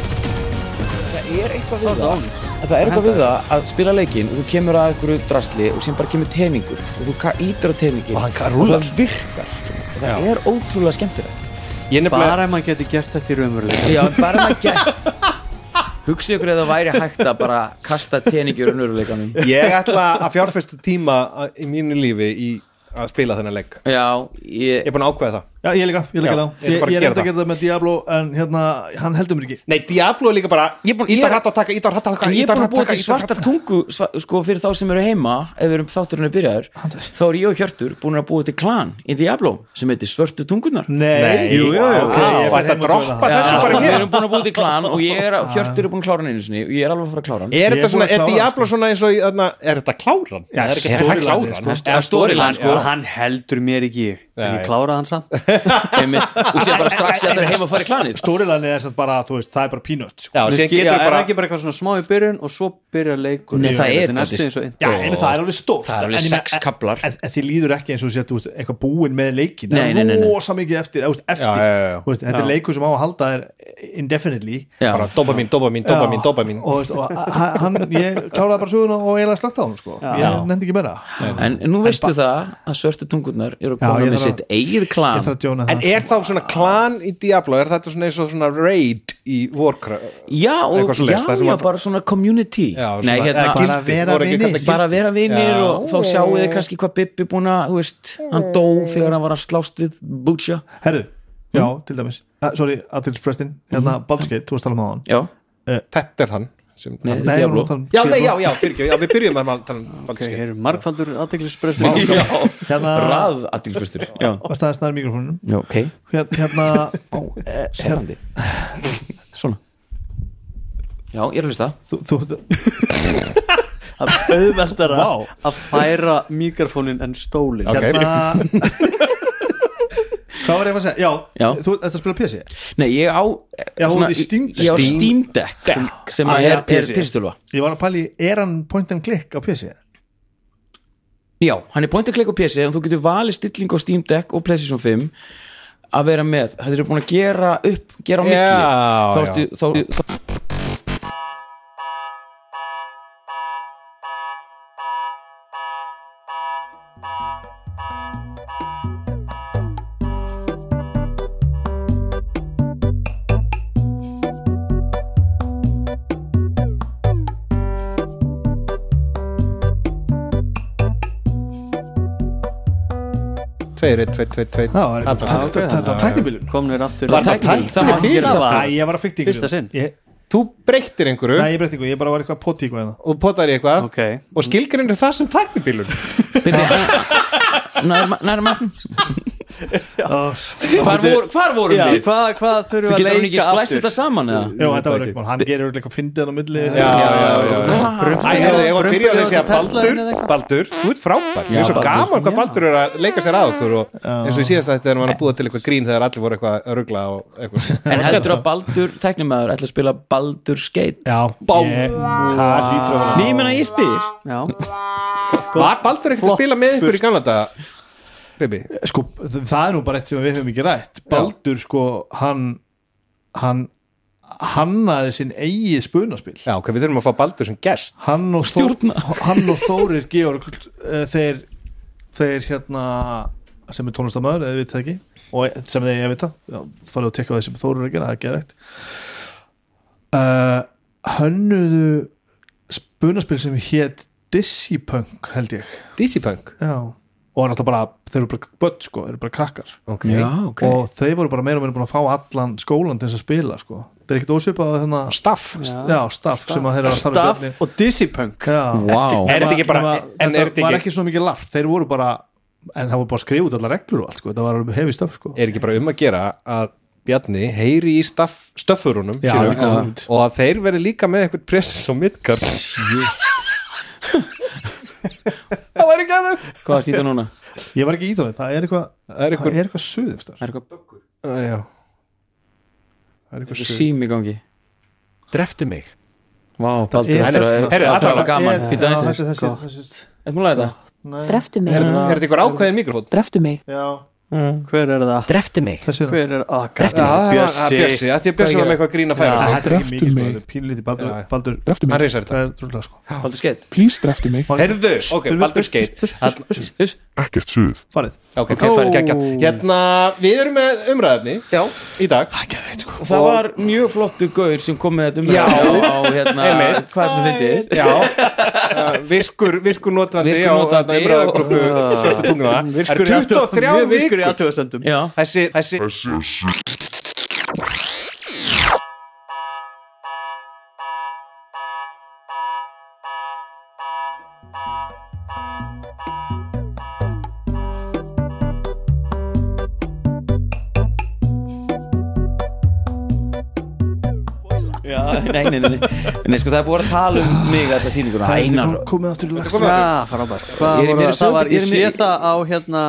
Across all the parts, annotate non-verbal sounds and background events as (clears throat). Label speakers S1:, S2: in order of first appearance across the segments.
S1: Það er eitthvað við það En það er eitthvað við það að spila leikinn og þú kemur að einhverju drasli og sem bara kemur teiningur og þú ka- ítir á teiningin
S2: Og hann ka- rúllar.
S1: það virkar og það
S2: Já.
S1: er ótrúlega skemmtilegt
S2: Ég nefnilega
S3: Bara ef maður getur gert þetta í raunveruleika
S1: Já, en bara maður gæt (laughs) Hugsið ykkur eða það væri hægt að bara kasta teiningur unnurleikanum
S2: Ég ætla að fjárfesta tíma að- í mínu lífi í að spila þennan legg
S1: Já, ég,
S2: Ég er búin að ákveða það
S4: Já, ég líka, ég líka
S2: Já,
S4: það
S2: ég ætla
S4: Ég,
S2: bara að
S4: ég
S2: gera
S4: reyndi
S2: það.
S4: að gera það með Diablo en hérna, hann heldur mér ekki
S2: Nei, Diablo er líka bara
S1: Ég er búin-
S2: Ítar
S1: ég-
S2: hratt á taka, ítar hratt á taka
S1: En ég er búin
S2: ítar
S1: að
S2: hratt á
S1: búa
S2: taka,
S1: til
S2: ítar hratt á
S1: svarta
S2: taka.
S1: tungu sva, sko fyrir þá sem eru heima ef við erum þátturinn er byrjaður þá er ég og Hjörtur búin að búa til klan í Diablo sem heitir Svörtu tungunar
S2: Nei,
S4: jú, jú,
S2: ok,
S4: ég
S2: ég
S4: fer heim
S2: ætla að
S4: og
S2: droppa
S4: tjóna.
S2: þessu bara
S1: við
S2: hér
S1: erum búin að búa til klan og ég er, að- Hjörtur er búin að klára hann einu sinni og ég er alveg að fara að klára hann
S2: Er
S4: Ég er
S2: þetta
S4: búin
S2: svona,
S4: að
S2: er
S4: klára,
S2: Diablo svona eins og í, þarna, er þetta kláran?
S4: Já,
S2: það er ekki hægt
S4: storyline,
S2: að klára
S4: sko.
S2: hann.
S1: Eða storyline
S3: sko, hann heldur mér ekki í, en
S2: Nei.
S3: ég kláraði hann samt
S1: einmitt og sé bara strax að það er heima að fara í klanið
S4: Stórilæni er sem sagt bara, þú veist, það er bara peanut sko.
S2: Já,
S3: Mér
S2: síðan
S3: skil-
S2: getur
S3: já, er
S2: bara
S3: það ekki bara eitthvað svona smá í byrjun og svo byrjar leikur
S1: Nei, það er
S3: þetta næstu
S1: dálítið-
S3: eins og
S4: Já, en það er alveg stórt
S1: Það er alveg
S4: En ég meina,
S1: sex kaflar.
S4: En, en þið líður ekki eins og sé, þú veist, eitthvað búin með leikin
S1: Nei, nei, nei, nei.
S4: Rósa mikið eftir, eða, þú veist, eftir
S2: Já, já, já, já.
S4: Þú Veist, Þetta er leikur sem á að halda þér indefinitely
S1: Já.
S2: bara dopamin, dopamin, dopamin,
S4: Já,
S2: dopamin
S4: og, veist, og h- hann, ég kláraði bara söguna og eiginlega slögt á hún sko. ég nefndi ekki meira
S1: en nú veistu það að Svörtu tungunar eru að
S4: Já,
S1: koma
S4: ég
S1: með
S4: þarf að-
S1: sitt eigið
S4: ég þarf
S1: klan
S4: að djóna
S2: En
S4: það
S2: er þá svona klan í Diablo, er þetta svona eins og svona raid í Warcraft?
S1: Já, og
S2: Eitthvað
S1: já,
S2: svoleiðis, það sem
S1: já,
S2: að-
S1: bara svona community
S2: Já, svona,
S1: Nei,
S2: eða
S1: hérna,
S4: bara
S2: gildi,
S4: vera
S2: voru ekki
S4: vinir.
S2: kallað gildi.
S1: bara vera vinnir
S2: Já.
S1: og þá sjáu þið kannski hvað Bibbi búin að, þú veist, hann dó þegar hann var að slást við Butcha
S4: herru, já, til dæmis uh, sorry, Adils Prestin, hérna Baldurskate, þú varst að tala um á hann
S1: Já,
S2: Þetta er hann sem,
S1: nei, þetta
S4: nei,
S1: er
S4: ég var
S1: Diablo
S4: nú að tala um
S2: Já, nei,
S4: Diablo.
S2: já, já, fyrirgjöf, já, við byrjum að tala um
S3: Ok, hérna.
S2: Baldur's
S3: hér
S2: Gate
S3: eru margfaldur aðteglisbrestur
S4: hérna,
S1: Rað aðdýlfustur Já,
S4: varst aðeins nær mikrofónunum
S1: já, ok
S4: Hér- hérna, (laughs)
S1: Sælandi Svona Já, ég er að hlusta
S4: þú, þú,
S3: Það er auðveldara
S4: Vá.
S3: að færa mikrofónin en stólin
S2: Ok.
S4: hérna (laughs) hvað var ég að fara að segja, já,
S1: Já.
S4: þú ert að spila PC
S1: Nei, ég á
S4: Já, hún er í Steam Deck.
S1: Ég á
S4: Steam-
S1: Steam Deck sem, sem
S4: Ah,
S1: að
S4: já,
S1: er, er
S4: PC.
S1: pistulva
S4: ég var að pæli, er hann point and click á PC
S1: Já, hann er pointi klikk á PC en þú getur valið stilling á Steam Deck og Playstation 5 að vera með Það eru búin að gera upp, gera á milli
S2: Já,
S1: þá,
S2: já.
S1: ertu, þá, þá,
S2: Tveir, einn, tveir, tveir, tveir
S4: já, hérna. er
S2: Allan.
S4: þetta þetta er tæknibilun
S3: Komnir aftur
S1: Var það tækni? Það má ekki gerast
S3: Bíla var-
S4: Nei, ég var að fikta ykkur
S3: Fyrsta sinn?
S4: ég,
S2: Þú breyttir einhverju
S4: Nei, ég breytti ykkur, ég bara var eitthvað poti ykkur hérna
S2: og potar í eitthvað
S3: Ok.
S2: og skilgreinir það sem tæknibílun
S4: (laughs)
S1: Nærma, nærma
S4: Jó,
S1: Hvar voru, hvar voru
S3: Já,
S1: við?
S3: hvað, hvað
S1: Þú
S3: þurfum við
S1: getur
S3: að
S1: hann ekki
S3: leika
S1: splæst
S3: aftur
S1: þetta saman eða?
S4: þetta var eitthvað, hann gerir eitthvað fyndið hann á milli
S2: Já, já, já, já Æ, herðu, ég var að byrja á því að segja
S3: Brumbur- Tesla-in
S2: Baldur,
S3: eða eitthvað?
S2: Baldur, þú ert frábær Mér er svo
S1: Baldur.
S2: gaman hvað Baldur er að leika sér að okkur og eins og í síðast þetta er hann að búa til eitthvað grín þegar allir voru eitthvað að ruggla og
S3: (laughs)
S2: eitthvað
S1: En heldur að Baldur, tæknimaður, ætla að spila Baldur Skate
S4: Já, ég- það hlýtur að vera
S1: Nei, ég meina ég spyr
S3: Já,
S2: Var Baldur ekkert að spila með einhverju í gamla daga? Bibi,
S4: Sko, þ- það er nú bara eitt sem við höfum ekki rætt Baldur, sko, hann hann hannaði sinn eigið spunaspil
S2: já, ok, við þurfum að fá Baldur sem gest
S4: hann og, Þór,
S1: Stjórna.
S4: hann og Þórir Georg eh, þeir, þeir hérna sem er tónlistamöður eða við það ekki og e- sem þeir ég veit það farið að tekka á því sem Þórir er að gera, það er geðveikt uh, hönnuðu spunaspil sem hétt Dizzy Punk held ég
S2: Dizzy Punk
S4: já, og er náttúrulega bara, þeir eru bara börn sko, þeir eru bara krakkar
S2: ok
S1: Já, ok
S4: og þeir voru bara meira og meira búin að fá allan skólan til þess að spila sko, þeir er ekkert ósvipað á þennan,
S2: staff
S4: já, staff sem að þeir eru að starfa í Björni.
S3: Staff og Dizzy Punk
S4: Já.
S1: Wow
S2: Er þetta ekki bara-
S4: Nema-
S2: en er
S4: þetta
S2: þetta ekki-
S4: var ekki svo mikið larp, þeir voru bara en það voru bara að skrifa út allar reglur og allt sko, það var alveg hefið stöf sko
S2: er ekki bara um að gera að Bjarni heyri í staff, stöffurunum
S4: Já,
S2: sínum
S4: þetta er góð hugmynd.
S2: og að þeir veri líka með eitthvað presses á midgard það var ekki að þau
S1: Hvað er þetta núna?
S4: ég var ekki í það, það er eitthvað
S2: það er
S4: það
S2: eitthvað
S4: er eitthvað suð einhvers staðar.
S1: Það er eitthvað
S2: Æ, já. það er eitthvað
S1: eitthvað
S2: suð.
S1: sím í gangi
S5: Dreftu mig
S1: Vá, Baldur
S4: er-
S1: eftir að
S2: Herri,
S1: að
S2: allavega-
S1: tala gaman
S4: Er-
S1: Býtu
S4: já,
S1: aðeins
S4: þessi- þessi- þessi-
S1: Er múlið þetta?
S4: nei.
S6: Dreftu
S2: er
S6: mig,
S2: þetta er þetta eitthvað ákveðin mikrofón
S5: Dreftu mig
S4: já,
S3: Hver er það?
S5: Dreftu mig
S4: þessi er það.
S3: Hver er það?
S2: Já, það var- það er Bjössi,
S3: Bjössi
S2: þetta er Bjössi var með eitthvað grín að færa
S3: Já.
S2: sig.
S4: þetta er ekki
S7: dreftu
S4: mikið sko,
S7: mig.
S4: þetta er pínlítið Baldur,
S2: Já.
S4: Baldur
S7: Dreftu
S2: hann
S7: mig,
S2: reysar þetta
S4: það er trúlega sko
S1: Baldur skeitt
S7: please dreftu mig
S2: Herðu, ok, Baldur Skeit
S7: Ekkert suð
S4: farið
S2: Ok, það er geggjað Hérna, við erum með umræðefni
S1: Já
S2: í dag
S1: Það var mjög flottu gaur sem kom með þetta um
S2: Já.
S1: (laughs) á hérna
S2: Einmitt.
S1: Hvað er þetta fyndið?
S2: (laughs) Já, uh, virkur, virkur notandi
S1: Virkur
S2: á
S1: notandi
S2: umræðagrúpu (laughs) Svörta tungna Það er 23
S3: virkur í
S2: vikur
S3: aðtöðasendum
S1: Já
S2: Þessi, þessi
S1: Já, nei, nei, nei Nei, sko, það er búið að tala um mig þetta sýninguna Einar
S4: komið aftur í lagst
S3: Já, frábært
S1: Ég
S3: Hvað
S1: er í
S3: voru
S1: meira
S3: það? Það var,
S1: sögur- ég er
S3: ég
S1: í
S3: sé
S1: meira-
S3: það á hérna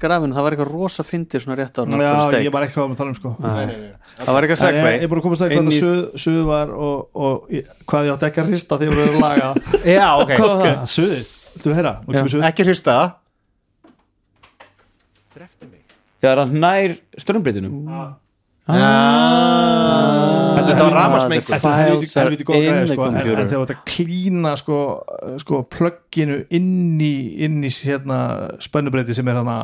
S3: grafinu, það var eitthvað rosa fyndið svona rétt ára
S4: já, ég var ekki hvað að tala um sko
S3: Það var eitthvað
S4: En ég,
S3: segvei
S4: ég er búin að komast að hvað
S3: Inn í-
S4: þetta suð, suð var og, og ég, hvað ég átti ekki að hrista þegar við erum laga
S2: (laughs) Já, ok,
S4: okay. Suðið, viltu að heyra? Nú kemur suðið.
S2: ekki hlusta
S1: Já, það er nær strömbritinum
S2: Þetta var ramasmengur
S4: Þetta er helviti-
S3: Files are
S4: helviti góð
S3: in
S4: græði
S3: the
S4: sko, en,
S3: computer.
S4: en þegar þetta klína sko, uh, sko plugginu inn í, inn í hérna, spennubreyti sem er hana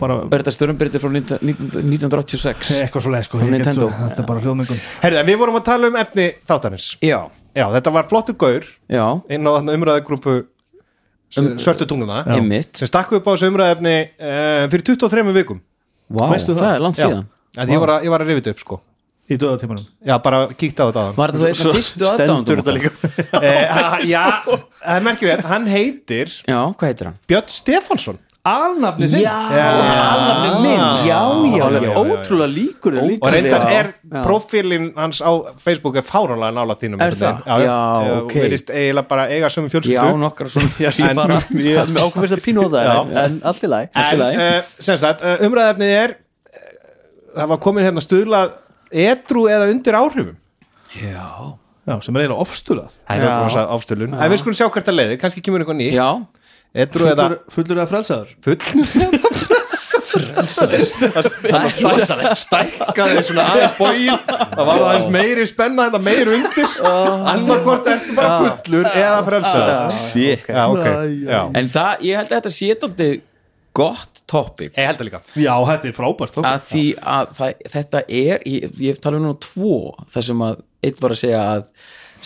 S4: bara
S1: Er þetta strömbritin frá 19- 1986?
S4: eitthvað svo leið sko,
S1: Frá
S4: ég get
S1: Nintendo.
S4: svo, þetta er bara hljóðmengun
S2: Herðu, en við vorum að tala um efni þáttarins
S1: Já
S2: Já, þetta var flottu gaur
S1: Já,
S2: inn á þarna umræðagrúpu Svörta tungna
S1: einmitt
S2: sem stakku upp á þessu umræðefni uh, fyrir 23 vikum
S1: Vá,
S4: Veistu
S1: það
S4: það?
S1: er langt
S2: Já,
S1: síðan
S2: að ég var að, ég var að rifið upp sko
S4: í döðatímanum
S2: Já, bara kíkta á þetta á hann
S1: Var þetta þá einna fyrstu
S3: Stendur þetta
S1: aðdándum?
S3: líka
S2: uh, Já, það er merkilegt, hann heitir
S1: Já, hvað heitir hann?
S2: Björn Stefánsson
S4: Alnafni
S1: Já,
S4: þinn
S1: alveg minn Já, já,
S2: Alveg
S1: já
S2: minn.
S3: Ótrúlega líkur er líka
S2: og reyndar
S1: Já.
S2: er profílinn hans á Facebook er fáranlega nála tínum
S1: Er það? Já, ok.
S2: Við erum Eh, eiginlega bara eiga sömu
S1: Já,
S2: fjölskyldu
S1: nokkra svona (laughs)
S2: en- (laughs)
S1: bara-
S3: Ákveð finnst að pínu á það en- En allt í læg
S2: En uh, sem sagt, uh, umræðefnið er eh, það var komin hérna stuðla edru eða undir áhrifum
S1: Já,
S4: Já, sem er eiginlega ofstulað
S2: Það er rosa afstöðlun En við skulum sjá hvert að leiði, kannski kemur eitthvað nýtt
S1: já
S2: Edru eða
S4: fullur, fullur eða frelsaður
S2: full
S1: Það
S2: stækkaði svona aðeins bógin það var aðeins meiri spenna þetta meiri undir annarkvort ertu bara fullur eða frelsaður
S1: er
S2: já ok
S4: Æ,
S2: já.
S1: En það, ég held að þetta sé daldið gott topic
S2: ég held það líka
S4: Já, þetta er frábært
S1: að því að það, þetta er ég, ég tala um núna tvo þar sem að eitt var að segja að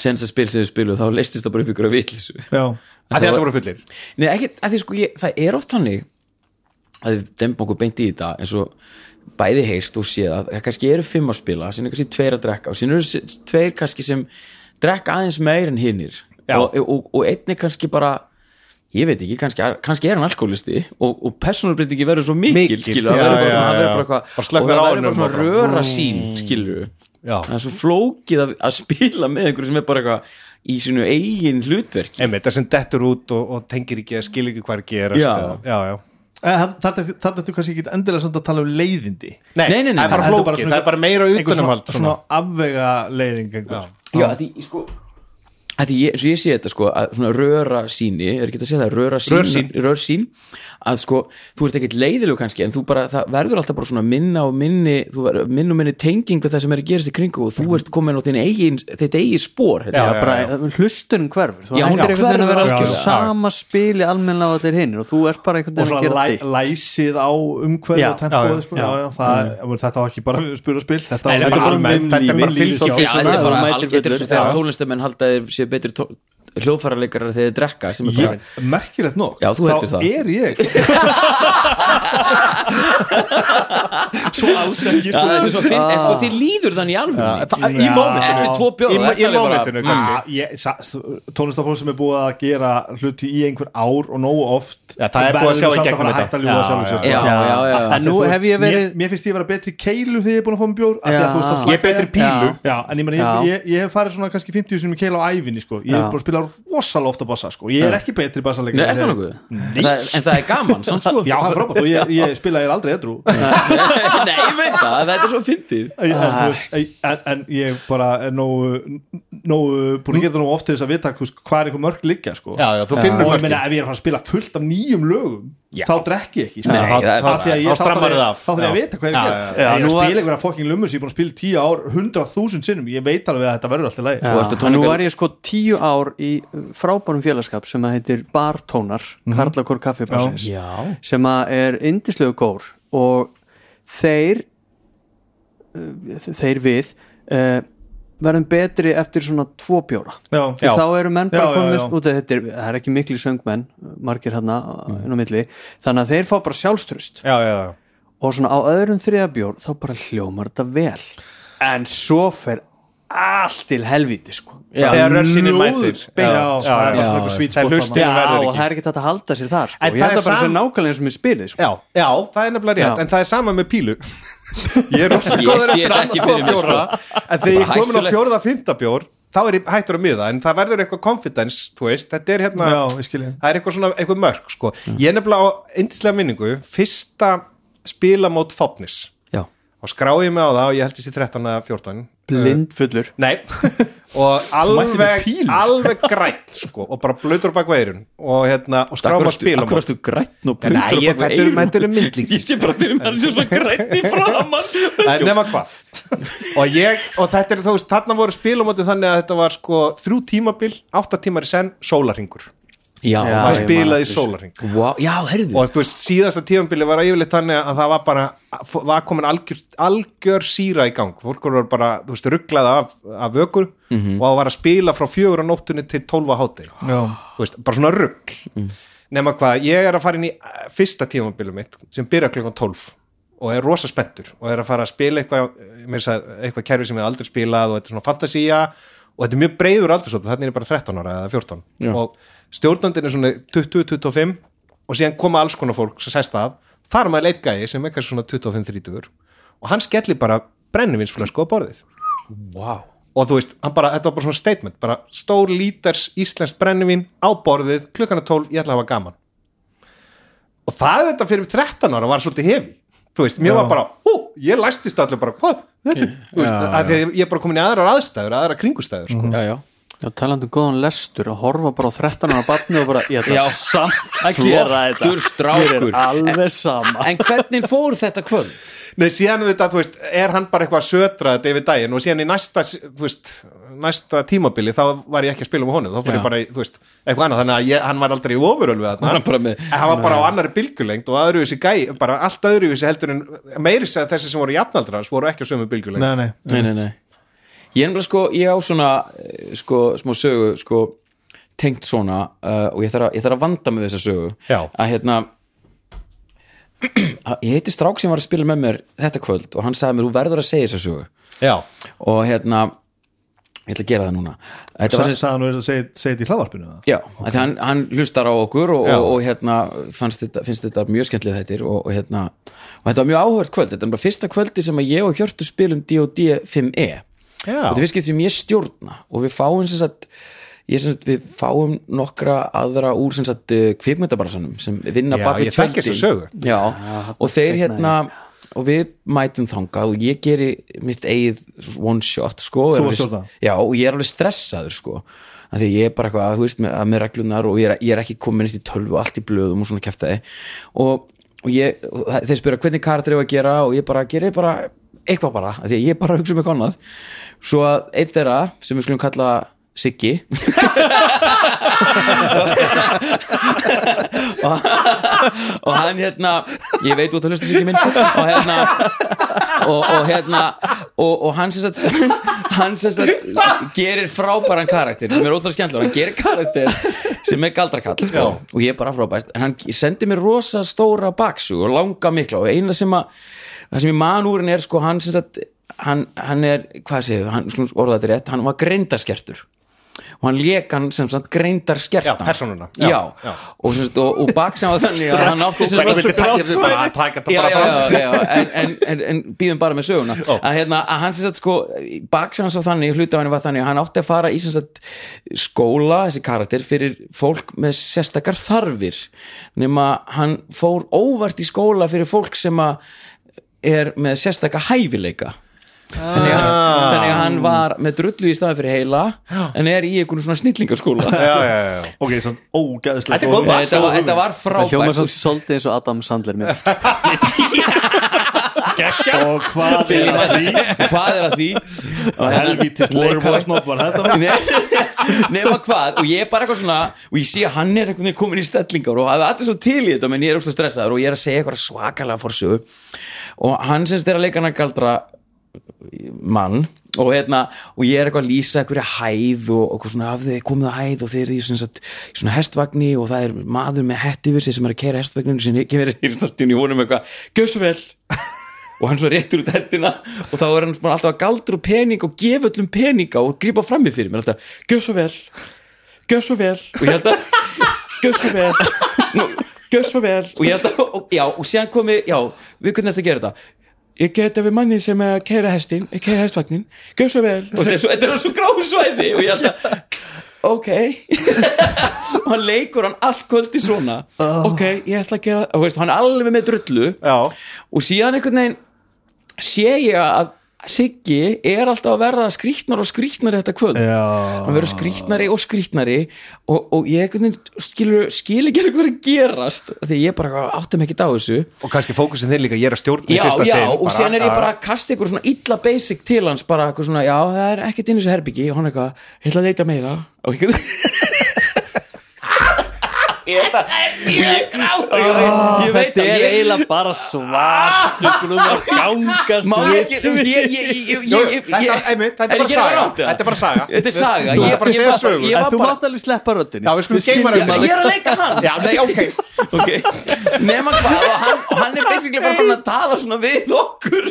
S1: sensa spil sem þau spilu þá leistist það bara upp ykkur að vitlisu
S4: Já,
S2: að þið alltaf voru fullir
S1: Nei, ekki, að því sko, ég, það er oft þannig að við dembum okkur beint í þetta eins og bæði heyrst og séð að það kannski eru fimm að spila, síðan er kannski tveir að drekka og síðan eru s- tveir kannski sem drekka aðeins meir en hinnir
S2: Já.
S1: og, og, og einni kannski bara ég veit ekki, kannski, kannski er hann alkoholisti og, og persónalbreytingi verður svo mikil,
S2: Mikil,
S1: skilur, það
S2: já,
S1: verður bara svona, það
S2: já, já.
S1: verður bara eitthvað-
S2: Bara slökkvir
S1: og það
S2: á
S1: verður bara
S2: honum
S1: svona
S2: og bara- Mm.
S1: röra sín, skilur
S2: Já.
S1: það er svo flókið að, að spila með einhverju sem er bara eitthvað í sínu eigin hlutverki
S2: einmitt það sem dettur út og, og tengir ekki eða skilur ekki hvað er að gerast
S1: Já.
S2: eða- já, já.
S4: Eh, þar þetta kannski ekki endilega samt að tala um leiðindi
S2: Nei,
S1: Nei, nei, nei,
S2: það er
S1: nei,
S2: bara
S4: heldur bara
S2: flókið,
S4: svona-
S2: það er bara meira
S4: Einhver
S2: utanumhald
S4: svona afvega leiðing einhver.
S2: Já.
S1: Já, að því, sko að því ég, eins og ég sé þetta sko að svona röra síni, er ekki að segja það röra sín,
S2: Rörsýn.
S1: rörsýn, að sko þú ert ekkert leiðilegu kannski en þú bara það verður alltaf bara svona minna og minni þú verður- minn og minni tenging við það sem er að gerast í kringu og þú ert komin á þinn eigin þitt eigin spór held ég.
S2: Já,
S3: Já, bara, hlustun hverfur þú
S1: Já, hún hverfur
S3: ættir einhvern veginn að vera
S1: algjörlega.
S3: algjör sama spili almennilega á allir hinnir og þú ert bara einhvern
S4: og
S3: veginn að
S4: svona
S3: gera
S4: læ,
S3: þig
S4: læsið á umhverju
S3: Já.
S4: og tempoð
S2: Já,
S4: sko. já, já, það, mm. þetta var ekki bara spyr og spil þetta
S2: Nei,
S4: var
S2: bara
S4: bara
S2: almennt, þetta er bara
S3: vinnlífið.
S2: fylgja
S1: Já,
S2: því
S1: þetta
S2: sem
S1: er
S3: þú
S1: bara
S3: mætir
S1: algjörður
S3: fullur,
S1: þegar
S3: já.
S1: tónlistamenn halda þeir séu betri tó- hljóðfærarleikarar þegar þeir drekka sem er bara,
S4: ég, merkilegt nokk
S1: Já, þú heldur það.
S4: þá er ég
S5: Svo ásækir
S1: Já, þetta er svo finn, en sko þið líður þannig í
S4: Já,
S1: alveg
S4: það- í mómentinu.
S1: Eftir tvo bjóra,
S2: Í-
S1: það er
S2: í
S1: alveg bara-
S2: mómentinu kannski
S4: Ah, ég- sa- tónlistafólk sem er búið að gera hluti í einhver ár og nógu oft
S2: Já, það er búið að sjá í gegnum
S4: þetta
S2: þetta.
S4: hætta að ljúga
S2: Já,
S4: sjálfum sér,
S2: já,
S4: sko.
S1: já, já, já, já.
S3: En nú
S4: Þú veist,
S3: hef ég
S4: mér,
S3: verið
S4: mér finnst ég vera betri í keilu þegar ég er búin að fá mér bjór af því
S3: Já.
S4: að þú veist að
S2: Ég er betri í pílu.
S4: já. já, en ég meina, ég,
S3: Já.
S4: ég, ég hef farið svona kannski 50 sinum í keilu á ævinni, sko Ég
S3: Já.
S4: hef búin að spila rosalega ofta bassa, sko Ég er ekki betri bassalega
S1: Nei, er það nokkuð? En það- En það er gaman, samt (laughs) sko
S4: Já, það er frábært og ég, ég spila ég aldrei edru en,
S1: Nei, ég veit það, þetta er svo fyndið
S4: en, þú veist, en, en ég bara er nógu, nógu búin að gera það nógu oft til þess að vita hvers- hvað er einhver mörg liggja, sko
S2: Já, já, þú finnur
S4: og ég
S2: mörkin
S4: meina ef ég er að fara að spila fullt af nýjum lögum
S2: Já.
S4: þá drekk ég ekki sko.
S1: Nei, það er
S4: Af
S1: bara-
S4: því að ég-
S2: þá
S4: þá þarf
S2: strammarðu
S4: ég-
S2: það af.
S4: þá þarf ég að
S2: Já.
S4: vita hvað ég
S2: Já,
S3: já.
S4: er að
S2: já,
S4: gera Ef ég er
S3: Nú
S4: að
S3: var-
S4: spila einhverja fokkin lumur sem ég er búin að spila í 10 ár 100.000 sinnum, ég veit alveg að þetta verður alltaf læg
S3: Já,
S1: Svo ertu
S3: nú
S1: tónleikar-
S3: var ég sko tíu ár í uh, frábærum félagskap sem að heitir Bartónar,
S4: Mhm.
S3: mm -hmm. Karlakor Kaffibassins
S1: Já
S3: sem að er indislegu gór og þeir uh, þeir við uh, verðum betri eftir svona tvo bjóra
S4: já,
S3: þá eru menn bara
S4: Já, já,
S3: komist
S4: já.
S3: út af þetta er, það er ekki mikli söngmenn margir hérna
S4: Mhm.
S3: inn á milli þannig að þeir fá bara sjálfstrust
S2: Já, já, já
S3: og svona á öðrum þriðabjór þá bara hljómar þetta vel en svo fer allt til helvíti sko
S1: Já.
S2: Þegar rörsinir
S3: ljóð
S2: mætir
S3: beint.
S4: já,
S2: já,
S4: það er
S2: já,
S4: bara
S1: já.
S4: svona svít
S2: Það er hlustið
S3: Já,
S2: verður
S3: og
S2: ekki
S3: það er ekki hægt að halda sér þar sko.
S2: En
S3: ég
S2: það
S3: held
S2: er
S3: að bara
S2: sam-
S3: sem nákvæmlega eins og mér spilið sko.
S2: Já, já, það er nefnilega rétt
S3: Já.
S2: En það er sama með
S1: (laughs)
S2: pílu Ég er rosa
S1: Ég
S2: góður
S1: sé
S2: eftir
S1: þetta ekki
S2: annan tvo
S1: fyrir mér,
S2: bjóra En þegar
S1: Bara
S2: ég er komin á
S1: hættulegt.
S2: fjórða, fymta bjór Þá er ég hættur að miða En það verður eitthvað confidence, þú veist Þetta er hérna
S4: Já, ég skil ég.
S2: Það er eitthvað svona, eitthvað mörg sko. Ég er nefnilega á yndislega minningu Fyrsta spilamót fápnis
S1: Já
S2: Og skráði ég mig á það og ég held þessi 13 eða 14
S3: blindfullur
S2: Nei,
S1: (laughs)
S2: og alveg, alveg grænt sko, og bara blöður bak veirun og, hérna, og skráma spilum
S1: Akkur erstu grætn og
S2: Nei,
S1: plundra
S2: ég-
S1: bak við
S2: þetta eru-
S1: eyrun?
S2: þetta eru myndlíking.
S1: Ég sé bara fyrir mér sem svona grætn í framann
S2: en nema hvað og, ég, og þetta er þú veist, þarna voru spilumóti þannig að þetta var sko þrjú tímabil, átta tímar í senn sólarhingur,
S1: Já,
S3: Já.
S2: það
S3: ég man
S2: spilaði
S3: eftir
S2: í
S3: þessu.
S2: sólarhing
S1: Vá, já, herðu
S2: og þú veist, síðasta tímabili var yfirleitt þannig að það var bara, var komin algjör, algjör síra í gang, fólk voru bara þú veist, rugglaði af, af vökur og það var að spila frá fjögur á nóttunni til tólfa hátegi
S4: já,
S2: þú veist, bara svona rugg nema hvað, ég er að fara inn í eh, fyrsta tímambilum mitt sem byrja klukkan 12 og er rosa spenntur og er að fara að spila eitthvað, eh, meira að segja, eitthvað kerfi sem ég hef aldrei spilað og þetta er svona fantasía og þetta er mjög breiður aldursótt, þannig er ég bara 13 ára eða 14 og stjórnandinn er svona 20-25 og síðan koma alls konar fólk sem sest að, þar er maður leikgæði sem er kannski svona 25-30 og hann skellir bara brennivinsflösku á borðið
S1: Vá
S2: og þú veist, hann bara, þetta var bara svona statement bara stór líters íslenskt brennivín á borðið, klukkana 12, ég ætla að hafa gaman og það þetta fyrir 13 ára var svolítið hefi þú veist, mér var bara, hú, ég læstist allir bara, hvað, þetta, er-" þú veist af því að ég er bara komin í aðrar aðstæður, aðrar kringustæður sko.
S1: Já, já
S3: Já, talandi um góðan lestur að horfa bara á 13 ára barni og bara ég ætla Já, samt að gera þetta
S1: Flottur strákur.
S3: Mér er alveg sama
S1: En hvernig fór þetta kvöld?
S2: Nei, síðan þetta, þú veist, er hann bara eitthvað að sötra þetta yfir daginn og síðan í næsta, þú veist, næsta tímabili þá var ég ekki að spila með honum, þá fór
S1: Já.
S2: ég bara, í, þú veist, eitthvað annað, þannig að ég, hann var aldrei í ofurölu þarna.
S1: Var hann bara með-
S2: En hann var bara á annari bylgjulengd og öðruvísi gæ, bara allt öðruvísi heldur en, meiri segja þessi sem voru jafnaldra, svo voru ekki á sömu bylgjulengd.
S4: nei, nei
S1: Nei, nei, nei Ég er nefnilega sko, ég á svona eh, sko, smá sögu, sko tengt svona uh, og ég þarf, að, ég þarf að vanda með þessa sögu
S2: Já.
S1: að hérna (clears throat) að ég heiti strák sem var að spila með mér þetta kvöld og hann sagði mér, þú verður að segja þessa sögu
S2: Já,
S1: og hérna ég ætla að gera það núna Þetta var sem
S4: sagðan og segja þetta í hlaðvarpinu eða?
S1: Já, okay. hann, hann hlustar á okkur og,
S2: Já.
S1: og, og hérna fannst þetta, finnst þetta mjög skemmtilega þettir og, og hérna, og þetta var mjög áhört kvöld þetta er bara fyrsta kvöldi sem að ég og Hjörtu spilum D&D 5e E. og
S2: já,
S1: þetta er fyrst skipti sem ég stjórna og við fáum sem sagt, ég sem sagt við fáum nokkra aðra úr sem sagt kvikmyndabarsanum sem vinna
S2: Já,
S1: bak við
S2: ég þekki
S1: tjöldin.
S2: þessa sögu.
S1: Já, og þeir hérna og við mætum þangað og ég geri mitt eigið one shot sko, og er
S4: Þú varst
S1: alveg-
S4: þarna?
S1: já, og ég er alveg stressaður sko að því ég er bara eitthvað, þú veist, með, með reglunar og ég er, ég er ekki komin eitt í tölvu, allt í blöðum og svona kæftaði og, og, ég, og það- þeir spyrja hvernig karakter ég á að gera og ég bara gerir bara eitthvað bara, að því að ég er bara að hugsa um eitthvað annað svo að eitt þeirra sem við skulum kalla Siggi (laughs) og, og hann hérna ég veit út að hlusta Siggi minn og hérna og, og hérna og, og hann sem sagt hann sem sagt gerir frábæran karakter sem er ótrúlega skemmtilega, hann gerir karakter sem er galdrakall sko. og ég er bara frábært, En hann sendi mér rosa stóra baksu og langa mikla og eina sem að það sem ég man úr henni er sko hann sem sagt hann, hann er, hvað séu, hann skulum orða þetta rétt hann var greindaskertur og hann lék hann sem sagt greindarskertan
S2: Já, persónuna.
S1: já,
S2: Já,
S1: já.
S2: já.
S1: Og, sem sagt, og, og baksin var þannig að hann átti sem
S2: Ég vildi
S1: sagt-
S2: taka þetta bara að taka þetta
S1: já,
S2: bara
S1: já,
S2: fram
S1: já, já, en, en, en, en býðum bara með söguna að, hérna, að hann sem sagt sko baksin hans var þannig, hluti á hann var þannig að hann átti að fara í sem sagt skóla þessi karakter fyrir fólk með sérstakar þarfir nema hann fór óvart í skóla fyrir fólk sem að er með sérstaka hæfileika þannig að,
S2: Ah.
S1: þannig að hann var með drullu í staðan fyrir heila en er í einhvern svona snillingaskóla
S2: Já, já, já, já.
S4: ok, svona ógæðislega
S2: Þetta er góð baksa
S1: þetta var, þetta var
S3: Það hljóma
S1: frábært
S3: svo svolítið eins og Adam Sandler mér (laughs)
S4: og hvað er að því
S1: hvað er að því og
S4: helvítist leikara snobbar þetta var
S1: Nei, nema hvað og ég er bara eitthvað svona og ég sé að hann er einhvern veginn komin í stellingar og það er allir svo til í þetta menn ég er óslega stressaður og ég er að segja eitthvað svakalega forsögu og hann semst er að leika hann að galdra mann og, hérna, og ég er eitthvað að lýsa einhverja hæð og, og eitthvað svona af þau komið að hæð og þeir eru í svona, satt- í svona hestvagni og það er maður með hett yfir sig sem er að kæra hestvagninu sem ekki verið í startinu í honum eitthvað, gjöð svo vel og hann svo réttur út hendina og þá er hann svona alltaf að galdur og pening og gefa öllum peninga og grípa frammi fyrir mér alltaf, gjöð svo vel gjöð svo vel og ég held að gjöð svo vel Nú, gjöð svo vel og ég held að, og, já, og síðan komi já, við hvernig ertu að gera þetta ég geta við manni sem er að keira hestin ég keira hestvagnin, gjöð svo vel og þetta er svo, þetta er svo gráðsvæði og ég held að ok (laughs) og hann leikur hann allt kvöldi svona ok, ég ætla að gera og veist, hann er alveg með drullu
S2: Já,
S1: og síðan einhvern veginn sé ég að Siggi er alltaf að verða skrýtnar og skrýtnar þetta kvöld
S4: Já.
S1: hann verður skrýtnari og skrýtnari og, og ég einhvern veginn skilur, skilur ekki alveg hvað er að gerast af því ég bara áttum ekki á þessu
S2: og kannski fókusin þinn líka, ég er að stjórna í
S1: já,
S2: fyrsta
S1: já,
S2: sinn,
S1: og
S2: bara,
S1: síðan er ég
S2: já.
S1: bara að kasta ykkur svona illa basic til hans bara eitthvað svona, já, það er ekkert inn í þessu herbyggi og hann eitthvað, ég ætla að leita meira og ég Þetta er mjög grátt Ég veit
S3: Þetta
S1: að
S3: er
S1: ég
S3: eiginlega bara svart Skulum (laughs) að gangast
S1: Má
S3: við
S1: ég ekki, þú veist, ég, ég, ég, ég,
S2: Jú, jú,
S1: ég,
S2: þetta,
S1: ég
S2: einmitt,
S1: Er
S2: þetta er bara
S1: ég að gera
S2: saga
S1: rangt, eða?
S2: Þetta er bara saga
S1: Þetta er saga
S2: Þú
S1: Ég-
S2: ert bara að
S1: ég
S2: segja
S1: bara-
S2: sögu.
S1: ég
S3: En
S1: var
S3: þú
S1: bara-
S3: mátt alveg sleppa röddinu
S2: Já, við skulum geyma
S3: skilum
S2: röddina.
S3: alveg-
S1: Ég er að leika hann
S2: Já, nei, ok
S1: Ok Nefna hvað og hann, og hann er basically bara fann að tala svona við okkur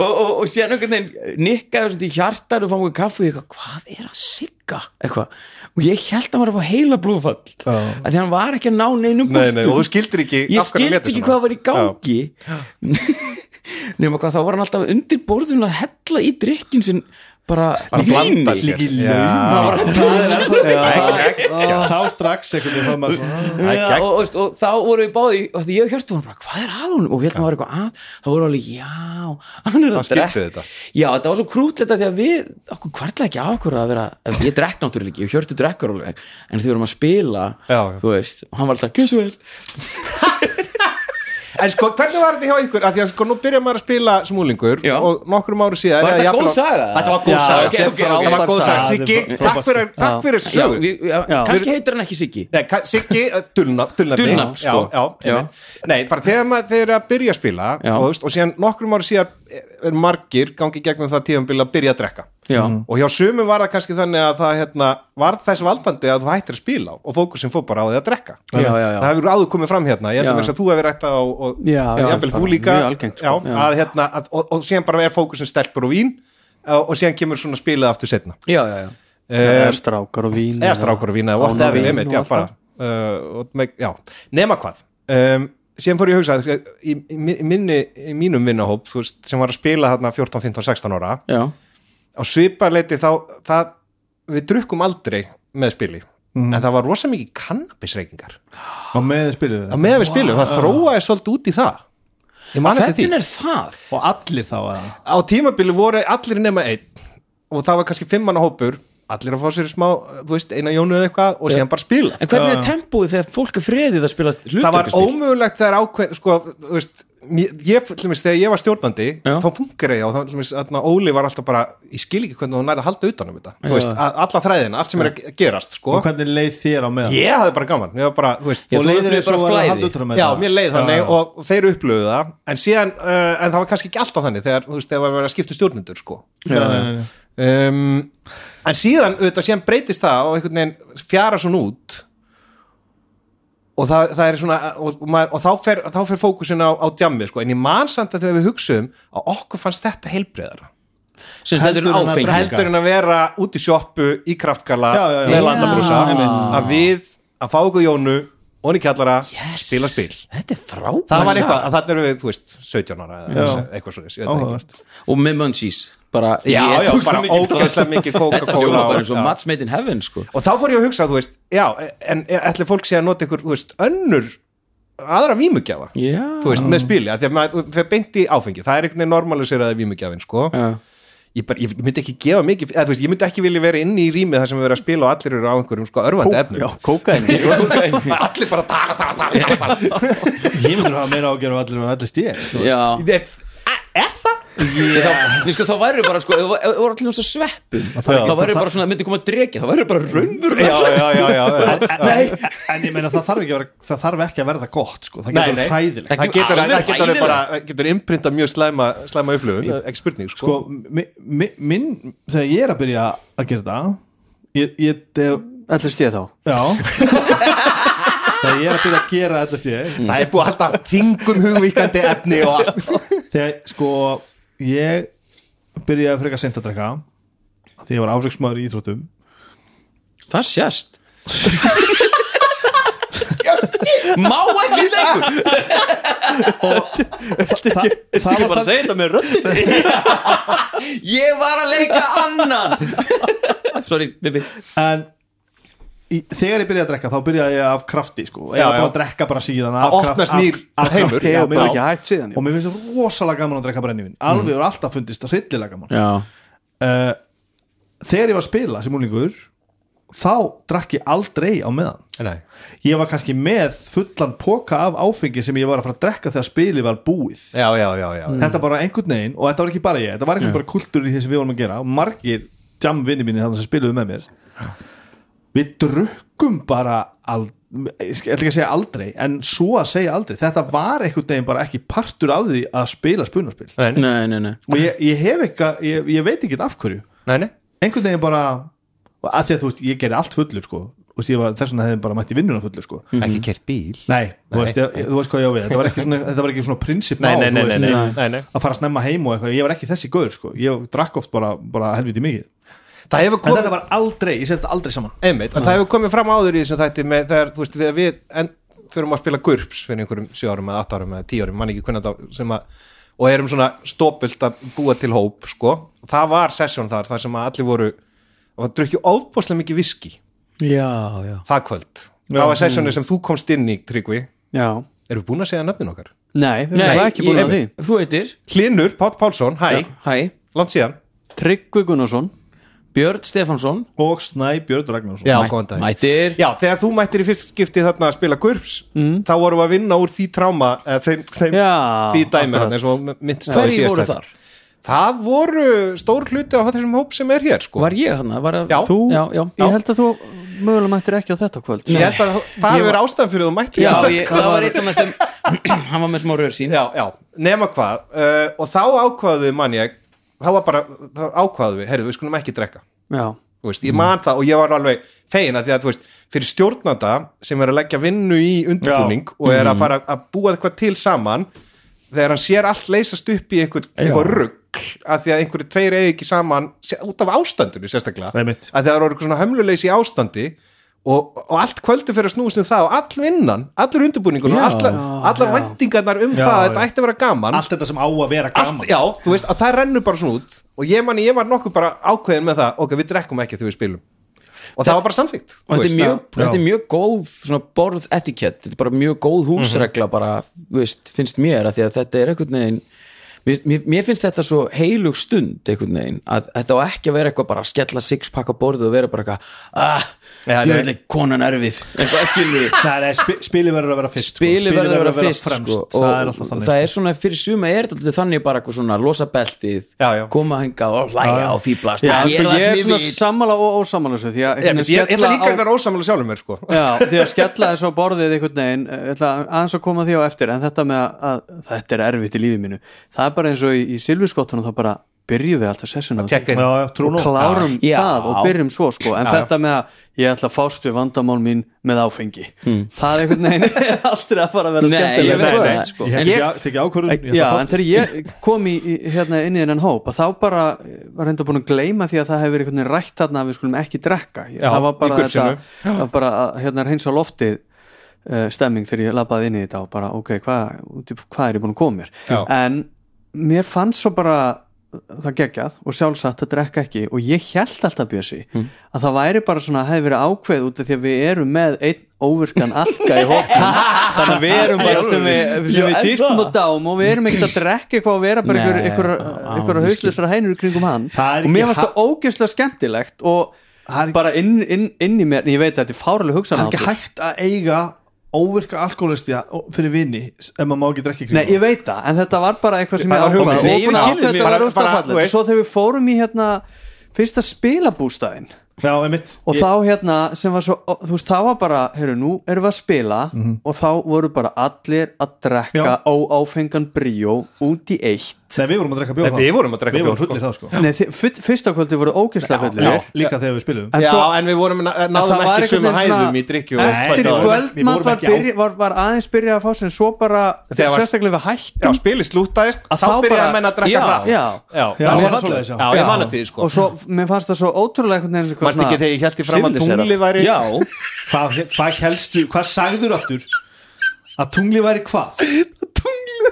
S1: og, og, og síðan einhvern veginn nikkaði svona í hjartar og fann okkur kaffi og ég eitthvað, hvað er að sigga eitthvað og ég held að hann var að fá heila blóðfall oh. að því hann var ekki að ná neinum
S2: Nei, nei,
S1: boltum.
S2: og þú skildir ekki
S1: ég
S2: af hverju hann
S1: skildi
S2: lét
S1: ekki
S2: svona.
S1: hvað var í gangi (laughs) nema hvað þá var hann alltaf undir borðun að hella í drikkin sinn bara
S2: Bara að blanda sér
S4: Líka í laun.
S2: Já.
S4: það
S2: Ekki, ekki.
S4: þá strax einhvern veginn þá maður svona
S2: Það
S1: Já,
S2: er gegn.
S1: og, og, og þá voru við báði og því ég og Hjörtu vorum bara, hvað er að honum og við heldum að það var eitthvað að, þá voru alveg, já hann er
S2: Hann
S1: að
S2: skildi
S1: drekka.
S2: þetta.
S1: já, þetta var svo krútlegt að því að við, okkur hvarla ekki á okkur að vera ég drekk náttúrulega ekki, og Hjörtu drekkur alveg en því vorum að spila,
S2: Já.
S1: þú veist og hann var alltaf, gjössu vel
S2: En sko, hvernig var þetta hjá ykkur? Af því að sko, nú byrja maður að spila smúlingur
S1: Já.
S2: og nokkrum áru síðan
S1: Var
S2: eða
S1: þetta
S2: jafnvel
S1: góð
S2: á-
S1: saga?
S2: Þetta var góð
S3: Já,
S2: saga
S1: ok, ok, ok.
S2: Þetta var góð saga
S4: Já,
S2: Siggi,
S4: þetta er
S2: takk fyrir, takk fyrir þessu
S1: já,
S2: sögu
S1: við, já,
S3: Já.
S1: kannski heitir hann ekki Siggi
S2: Nei, ka- Siggi, eh, dulna, dulna
S1: Dulnafn,
S2: já,
S1: sko.
S2: já,
S1: Já.
S2: já. Nei, bara þegar maður þeir að byrja að spila
S1: Já.
S2: og, veist, og síðan nokkrum ára síðan er- er margir gangi gegnum það tíðanbila að byrja að drekka
S1: já,
S2: og hjá sumum var það kannski þannig að það hérna, var þess valdandi að þú hættir að spila og fókusin fór bara á því að drekka
S1: Já, já, já.
S2: það hefur áður komið fram hérna
S1: Já.
S2: ég heldur mér að þú hefur rætt það og, og
S3: Já, já, bara
S2: jafnvel þú líka
S3: mjög algengt, sko.
S2: já, að, hérna, að, og, og síðan bara er fókusin stelpur og vín og, og síðan kemur svona spilað aftur setna
S1: já, já, já.
S3: Eða strákar og vín
S2: eða strákur Eh, og vína
S3: Án
S2: eða
S3: og
S2: whatever,
S3: vín
S2: einmitt,
S3: og
S2: já,
S3: allt
S2: bara, uh, og meg, já, nema hvað um, síðan fór ég að hugsa sko, í, í, mi- minni, í mínum vinnahóp þú veist, sem var að spila þarna 14, 15, 16 ára
S1: já.
S2: á sviparleiti þá það, við drukkum aldrei með spili
S1: Mhm.
S2: en það var rosa mikið kannabisreikingar
S4: og með spilum
S2: á meðan við spilum, það þróaði svolítið út í það ég man eftir því
S1: hvernig er það?
S4: og allir þá að
S2: á tímabili voru allir nema einn og það var kannski fimmanna hópur allir að fá sér smá, þú veist, eina jónu eða eitthvað og síðan bara spila
S1: en hvernig er tempóið þegar fólk er freðið að spila
S2: það var
S1: hlutarkaspil?
S2: ómögulegt þegar ákveð sko, þú veist, mér- ég, til dæmis, þegar ég var stjórnandi
S1: Já.
S2: þá fungur ég og þá, til dæmis, þarna, Óli var alltaf bara, ég skil ekki hvernig hún næri að halda utan um þetta, þú
S1: Já.
S2: veist, að, alla þræðina allt sem er að ge- gerast, sko
S4: og hvernig leið þér á meðan
S2: ég hafði bara gaman, ég var bara, þú veist
S4: og leiðir
S1: upplifir
S4: eins og
S1: bara
S4: var að
S1: flæði.
S4: halda utan um
S2: já,
S4: þetta.
S2: mér leið
S4: Já,
S2: þannig
S4: já.
S2: og þeir upplöfuðu það, en síðan uh, en það var kannski ekki alltaf þannig, þegar, þú veist, þegar var verið að skipta stjórnundur, sko
S4: Nei, nei, nei, nei.
S2: um, en síðan, auðvitað, síðan breytist það og einhvern veginn fjara svona út og það, það er svona eh, og, og, maður, og þá, fer, þá fer fókusin á, á djammið sko, en ég man samt að þegar við hugsuðum að okkur fannst þetta heilbreyðara
S1: sem þetta er
S4: Heldur en að
S1: áfengi
S4: drekka.
S2: heldur en að vera út í sjoppu í kraftkalla
S4: Já, já, já.
S2: með landabrúsa
S1: Já.
S2: að við, að fá okkur Jónu og í kjallara,
S1: Yes.
S2: spila spil
S1: þetta er frábæð
S2: það var eitthvað, að þarna eru við, þú veist 17 ára eða
S4: Já.
S2: eitthvað svo ég veit það ekki.
S4: áhugavert
S1: og með munchies bara,
S2: já,
S1: ég
S2: já,
S1: tók svo
S2: bara
S1: mikið
S2: ógeðslega
S1: (laughs)
S2: mikið
S1: þetta
S2: Coca-Cola
S1: hljóma bara
S2: og-
S1: eins og
S2: já.
S1: match made in heaven sko.
S2: og þá fór ég að hugsa, þú veist, já en ætli fólk sé að nota ykkur, þú veist, önnur aðra vímugjafa
S1: já,
S2: þú veist, með spili, að því að maður fer beint í áfengi það er einhvern veginn normaliseraði vímugjafin, sko
S1: já,
S2: ég, bara, ég myndi ekki gefa mikið eða, þú veist, ég myndi ekki vilja vera inn í rýmið þar sem við verðum að spila og allir eru á einhverjum sko örfandi efnum
S3: já, kókaðin
S2: (laughs) allir bara taka, taka, taka, taka,
S1: (laughs)
S2: taka.
S4: Ég myndur hafa meira ágjörð um allir og allir stíð
S1: já.
S2: Er, er það?
S1: Ég, sko, þá væri bara sko, ef þú- ef þú voru allir náttúrulega sveppu þá væri bara svona, það myndi koma að drega þá væri bara raundur
S2: Já, já, já, já, já.
S1: Nei.
S4: En ég meina það þarf ekki að vera, það þarf ekki að verða gott sko. Það
S2: Nei,
S4: getur
S2: nei.
S4: hræðilegt
S2: það getur,
S1: alveg
S2: það getur alveg
S1: hræðilegt.
S2: bara það getur innprintað mjög slæma, slæma upplöfun ekki spurning, sko,
S4: sko, mi, mi, minn, Þegar ég er að byrja að gera þetta Ég, ég def,
S3: allir stíða þá
S4: Já
S2: (laughs)
S4: Þegar ég er að byrja að gera þetta stíð
S2: það er búið alltaf þingum hugvíkandi efni og allt
S4: Þegar sko Ég byrjaði frekar seint að drekka af Því ég var áfriksmaður í íþróttum
S1: það sést má ekki lengur
S4: Þa, það, var þann,
S3: segja þetta með röndin
S1: ég var að leika annan sorry, Bibi
S4: en, í, Þegar ég byrjaði að drekka þá byrjaði ég af krafti sko. Ég
S2: Já,
S4: var
S2: já.
S4: bara að drekka bara síðan
S2: Að
S4: af kraft-
S2: opnast
S4: af-
S2: nýr
S4: af
S2: heimur.
S4: krafti,
S3: Já,
S4: já,
S3: bara
S4: já.
S3: ekki hægt síðan
S4: og
S3: já.
S4: mér finnst það rosalega gaman að drekka brennivinn
S2: Mm.
S4: alveg og alltaf fundist það hryllilega gaman
S1: já,
S4: uh, þegar ég var að spila sem úlingur þá drakk ég aldrei á meðan
S2: (laughs) Nei.
S4: ég var kannski með fullan poka af áfengi sem ég var að fara að drekka þegar spilið var búið
S2: já, já, já, já, já.
S4: þetta bara einhvern veginn og þetta var ekki bara ég þetta var ekki bara kultur í því sem við vorum að gera og margir jamvinni mínir þannig sem spiluðu með mér við drukkum bara aldrei ég ætla ekki að segja aldrei, en svo að segja aldrei þetta var einhvern veginn bara ekki partur af því að spila spunarspil
S2: Nei,
S1: nei, nei, nei
S4: og ég, ég hef eitthvað, ég, ég veit ekki af hverju
S2: nei, nei.
S4: einhvern veginn bara að því að þú veist, ég gerði allt fullur sko og því ég var, þess vegna hefði bara mætti vinnuna fullur sko
S2: ekki kert bíl
S4: nei, þú veist, ég, þú veist hvað ég á við þetta var ekki svona, þetta var ekki svona prinsip
S2: Nei, nei, nei, nei, nei, nei, nei.
S4: að fara snemma heim og eitthvað, ég var ekki þessi góður sko ég drakk oft bara, bara helviti mikið
S2: Það hefur
S4: en
S2: komið
S4: þetta var aldrei, ég seti þetta aldrei saman
S2: einmitt, en það hefur komið fram áður í þessum þætti með þegar, þú veist, þegar við en, förum að spila GURPS fyrir einhverjum 7 árum eða 8 árum eða 10 árum, mann ekki hvernig það sem að, og erum svona stópult að búa til hóp, sko það var sessjón þar, þar sem að allir voru og það drukju óbúslega mikið viski
S1: já, já mm.
S2: það kvöld, það var sessjónu sem þú komst inn í Tryggvi,
S3: já,
S2: erum við búin að segja nöfnin okkar?
S3: nei, við erum ekki búin að því
S1: ég- þú heitir
S2: Hlinur, Pátt Pálsson, hæ,
S1: hæ,
S2: langt síðan
S3: Tryggvi Gunnarsson
S1: Björn Stefansson
S4: og Snæbjörn Ragnarsson
S2: Já,
S1: Mæ-
S2: góðan dag
S1: mættir
S2: Já, þegar þú mættir í fyrst skipti þarna að spila GURPS
S1: Mm.
S2: þá vorum við að vinna úr því tráma eða þeim, þeim,
S3: Já,
S2: því
S3: akkurat.
S2: dæmi hann, eins og myndist á í
S1: hverjir
S2: síðasta
S1: voru
S2: þætti.
S1: þar?
S2: Það voru stór hluti á þessum hóp sem er hér sko.
S1: var ég þarna? Var að...
S2: Já.
S3: þú,
S1: já, já,
S3: ég held að þú mögulega mættir ekki á þetta kvöld
S2: Ég held að það hefur verið ástæðan fyrir þú mætti
S1: Já, ég, það var eitt annað sem hann var með smá rör sín
S2: já, já, nema hvað uh, og þá ákvaðu mann ég þá var bara, þá ákvaðu við, heyrðu, við skulum ekki drekka
S3: já,
S2: Þú veist, ég man það og ég var alveg fegin að því að þú veist, fyrir stjórnanda sem er að leggja vinnu í undirbúning og er að fara að búa eitthvað til saman þegar hann sér allt leysast upp í einhver, einhver rugg að því að einhverju tveir eigi ekki saman sé- út af ástandinu sérstaklega
S4: Nei,
S2: að
S4: mitt.
S2: því að það eru eitthvað svona hömluleysi í ástandi og, og allt kvöldu fyrir að snúast um það og all vinnan, allur undirbúningun og allar, allar væntingarnar um það að þetta ætti að vera gaman
S4: allt þetta sem á að vera
S2: Allt,
S4: gaman
S2: já, þú veist að það rennur bara svona út og ég manni, ég var nokkuð bara ákveðin með það ok, við drekkum ekki þegar við spilum og það var bara samþýtt
S1: og þetta er, mjög, þetta er mjög góð svona borð etikett, þetta er bara mjög góð húsregla bara, þú veist, finnst mér að því að þetta er einhvern veginn mér, mér- mér finnst þetta svo heilug stund einhvern veginn, að þetta á ekki að vera eitthvað bara að skella sixpack á borðu og vera bara eitthvað ah,
S2: Já,
S1: djöðli konan erfið eitthvað skilur
S4: Nei, nei, spi, spili verður að vera fyrst sko.
S1: spili verður að vera fyrst
S4: fremst
S1: sko, og
S4: Það er alltaf þannig
S1: það er svona fyrir suma er þetta þannig bara eitthvað svona losa beltið
S2: Já, já.
S1: koma hengað og hlæja og fýblast
S3: Já,
S1: og
S3: sko,
S1: gera það
S3: ég er
S1: sem
S3: svona
S1: ég vil
S3: sammála og ósammála þessu því að
S2: Ég, ég, ég ætla líka
S3: á-
S2: að vera ósamlega sjálfur mér sko
S3: Já, því að skella þessu á borðið einhvern veginn, eh, ég ætla aðeins að koma því á eftir en þetta með að, að þetta er erfitt í lífi mínu það er bara eins og í, í silfurskottunum þá bara byrjum við alltaf sessuna
S2: Að tékka inn.
S4: Já, já, trú
S3: og
S4: nú
S3: klárum
S1: Já.
S3: það og byrjum svo sko en
S2: Já, já.
S3: þetta með að ég ætla að fást við vandamál mín með áfengi það einhvern veginn (laughs) er aldrei að fara að
S1: Hmm.
S3: vera
S1: Nei, ég
S3: skemmtileg
S1: veit
S3: nei,
S1: það.
S3: nei, sko.
S4: Ég
S1: En
S4: hef ekki tekið ákvörðun ég ætla
S3: Já, en
S4: að fást-
S3: þegar ég kom í, í, hérna, inn í þennan hóp að þá bara eh, var reynda búin að gleyma því að það hefur verið einhvern veginn rætt þarna að við skulum ekki drekka Já, það var
S2: í
S3: bara þetta
S2: kubbsinu.
S3: það var bara að hérna, reynsa loftið uh, stemming þegar ég labbaði inn í þetta og bara ok, hvað hva er ég búin að koma mér
S2: Já.
S3: en mér fannst svo bara það geggjað og sjálfsagt að drekka ekki og ég held alltaf bjössi
S4: Mm.
S3: að það væri bara svona að hefði verið ákveð út af því að við erum með einn óvirkan alka í hópum
S4: (laughs)
S3: þannig að við erum bara sem við, sem við dýrkum og dám og við erum ekkert að drekka eitthvað og vera bara
S1: Nei,
S3: einhver,
S1: á- á-
S3: einhver hauslösra hænur í kringum hann
S4: Það er
S3: og mér
S4: ekki
S3: fannst það ógeðslega skemmtilegt og
S4: Það er ekki-
S3: bara inn, inn, inn í mér en ég veit að þetta er fáraleg hugsan
S4: Það er ekki hægt að eiga óvirka alkoholistja fyrir vini ef maður má ekki drekki kring
S3: Nei, ég veit það, en þetta var bara eitthvað sem
S2: Bara
S3: ég ákvað
S2: hugmynd.
S3: og
S2: Nei, ég
S3: búin
S2: skil
S3: að
S2: þig
S3: þetta
S2: mjög.
S3: var
S2: Bara-
S3: óslega
S2: bara, þú
S3: fallið
S2: veist.
S3: Svo þegar við fórum í hérna fyrsta spilabústæðin
S4: Já, einmitt
S3: og þá hérna sem var svo, ó, þú veist, þá var bara heyrðu, nú erum við að spila
S2: Mhm.
S3: og þá voru bara allir að drekka
S4: Já.
S3: óáfengan bríó út í eitt
S4: Nei, við vorum að drekka bjóð
S2: Nei, við vorum að drekka
S4: Við
S2: bjór,
S4: vorum fullir þá sko
S3: Nei, þi- fyr- fyrsta kvöldi voru ógeðslega
S4: Já,
S3: fullir
S4: líka þegar við spilum
S3: En
S2: Já,
S3: svo-
S2: en við vorum, ná-
S3: En
S2: náðum
S3: það var
S2: ekki
S3: einhvern
S2: sömu
S3: veginn
S2: hæðum
S3: svona-
S2: í drikju og
S4: Nei,
S3: Eftir í
S4: við vorum- við
S3: kvöldmatt
S4: vorum
S3: var,
S4: ekki á-
S3: byrja- var, var aðeins byrjað að fá sem svo bara,
S2: Þegar var-
S3: sérstaklega við hættum
S2: Já, spilið slútaðist,
S3: Að
S2: þá
S3: þá
S2: byrjaði
S3: bara-
S2: að menna að
S1: Já.
S2: drekka hratt
S3: Já.
S2: já,
S4: Já, það
S2: það
S4: var
S2: var fallegt.
S4: svoleiðis, já.
S2: Já, ég man að því, sko
S3: og svo, mér fannst það svo ótrúlega einhvern veginn eitthvað
S2: Manst ekki
S3: svona-
S2: þegar ég held í fram að
S3: Civiliserað.
S2: tungli væri
S1: Já,
S4: Hvað, hvað helstu, hvað sagður aftur að tungli væri hvað?
S2: tunglu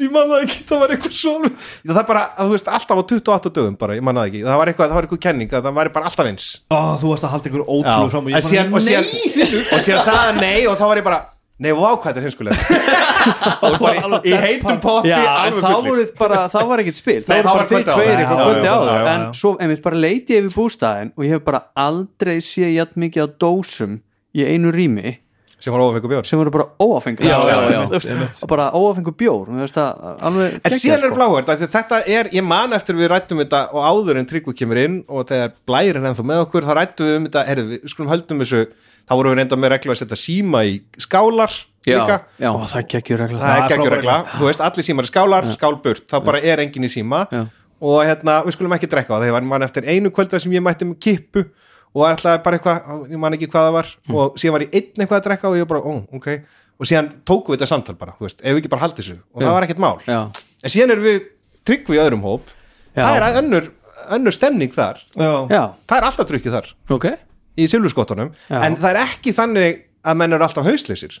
S2: ég man það ekki, það var eitthvað svona það er bara, að þú veist, alltaf á 28 dögum bara, ég man það ekki, það var eitthvað, það var eitthvað kenning að það væri bara alltaf eins
S4: Ó, þú varst að halda einhver ótrúlega fram og
S2: En
S4: ég
S2: síðan, og síðan, og síðan sagði hann nei og þá var ég bara, nei, vá, hvað þetta er hinskulegt og bara í- í heitum potti
S3: Já, en
S2: alveg
S3: þá
S2: fullir
S3: voru bara, þá var ekkert spil þá
S2: Nei,
S3: voru bara
S2: þá var
S3: þið
S2: kvöldið
S3: tveir
S2: áður.
S3: eitthvað
S2: Já,
S3: kvöldi
S4: já,
S3: á
S4: já,
S3: það
S4: já,
S3: en
S4: já.
S3: svo, einmitt, bara leiti ég við bústæðin og ég hef bara aldrei séð jætt mikið á dósum í einu rými
S2: sem var ofengu bjór
S3: sem voru bara óafengar
S4: Já, já, já,
S3: og bara óafengur bjór mér finnst það alveg
S2: En
S3: geggjað,
S2: síðan er
S3: sko.
S2: bláhört, af því þetta er, ég man eftir við rættum þetta og áður en Tryggvi kemur inn og þegar blærin ennþá með okkur, þá rættum við um þetta, heyrðu, við skulum höldum þessu, þá vorum við reynda með reglu að setja síma í skálar
S1: já,
S2: líka,
S1: já.
S3: Ó, það geggjur regla
S2: það
S4: Það
S2: er
S4: er
S2: geggjur
S4: frábær
S2: regla, þú veist, allir símar í skálar, skálburt, þá bara er engin í síma
S1: Já.
S2: og hérna, við skulum ekki drekka á það, ég var man eftir einu kvölda sem ég mætti með kippu og ætlaði bara eitthvað, ég man ekki hvað það var og síðan var ég einn eitthvað að drekka og ég bara, ó, ok, og síðan tókum við þetta samtal bara, þú veist, ef við ekki bara haldið þessu og það var ekkert mál
S1: Já.
S2: en síðan erum við trygg við öðrum hóp
S3: Já.
S2: það er önnur, önnur stemning þar
S4: Já,
S3: já,
S2: það er alltaf tryggið þar
S1: ok
S2: í silfurskottunum
S3: Já.
S2: en það er ekki þannig að menn eru alltaf hausleysir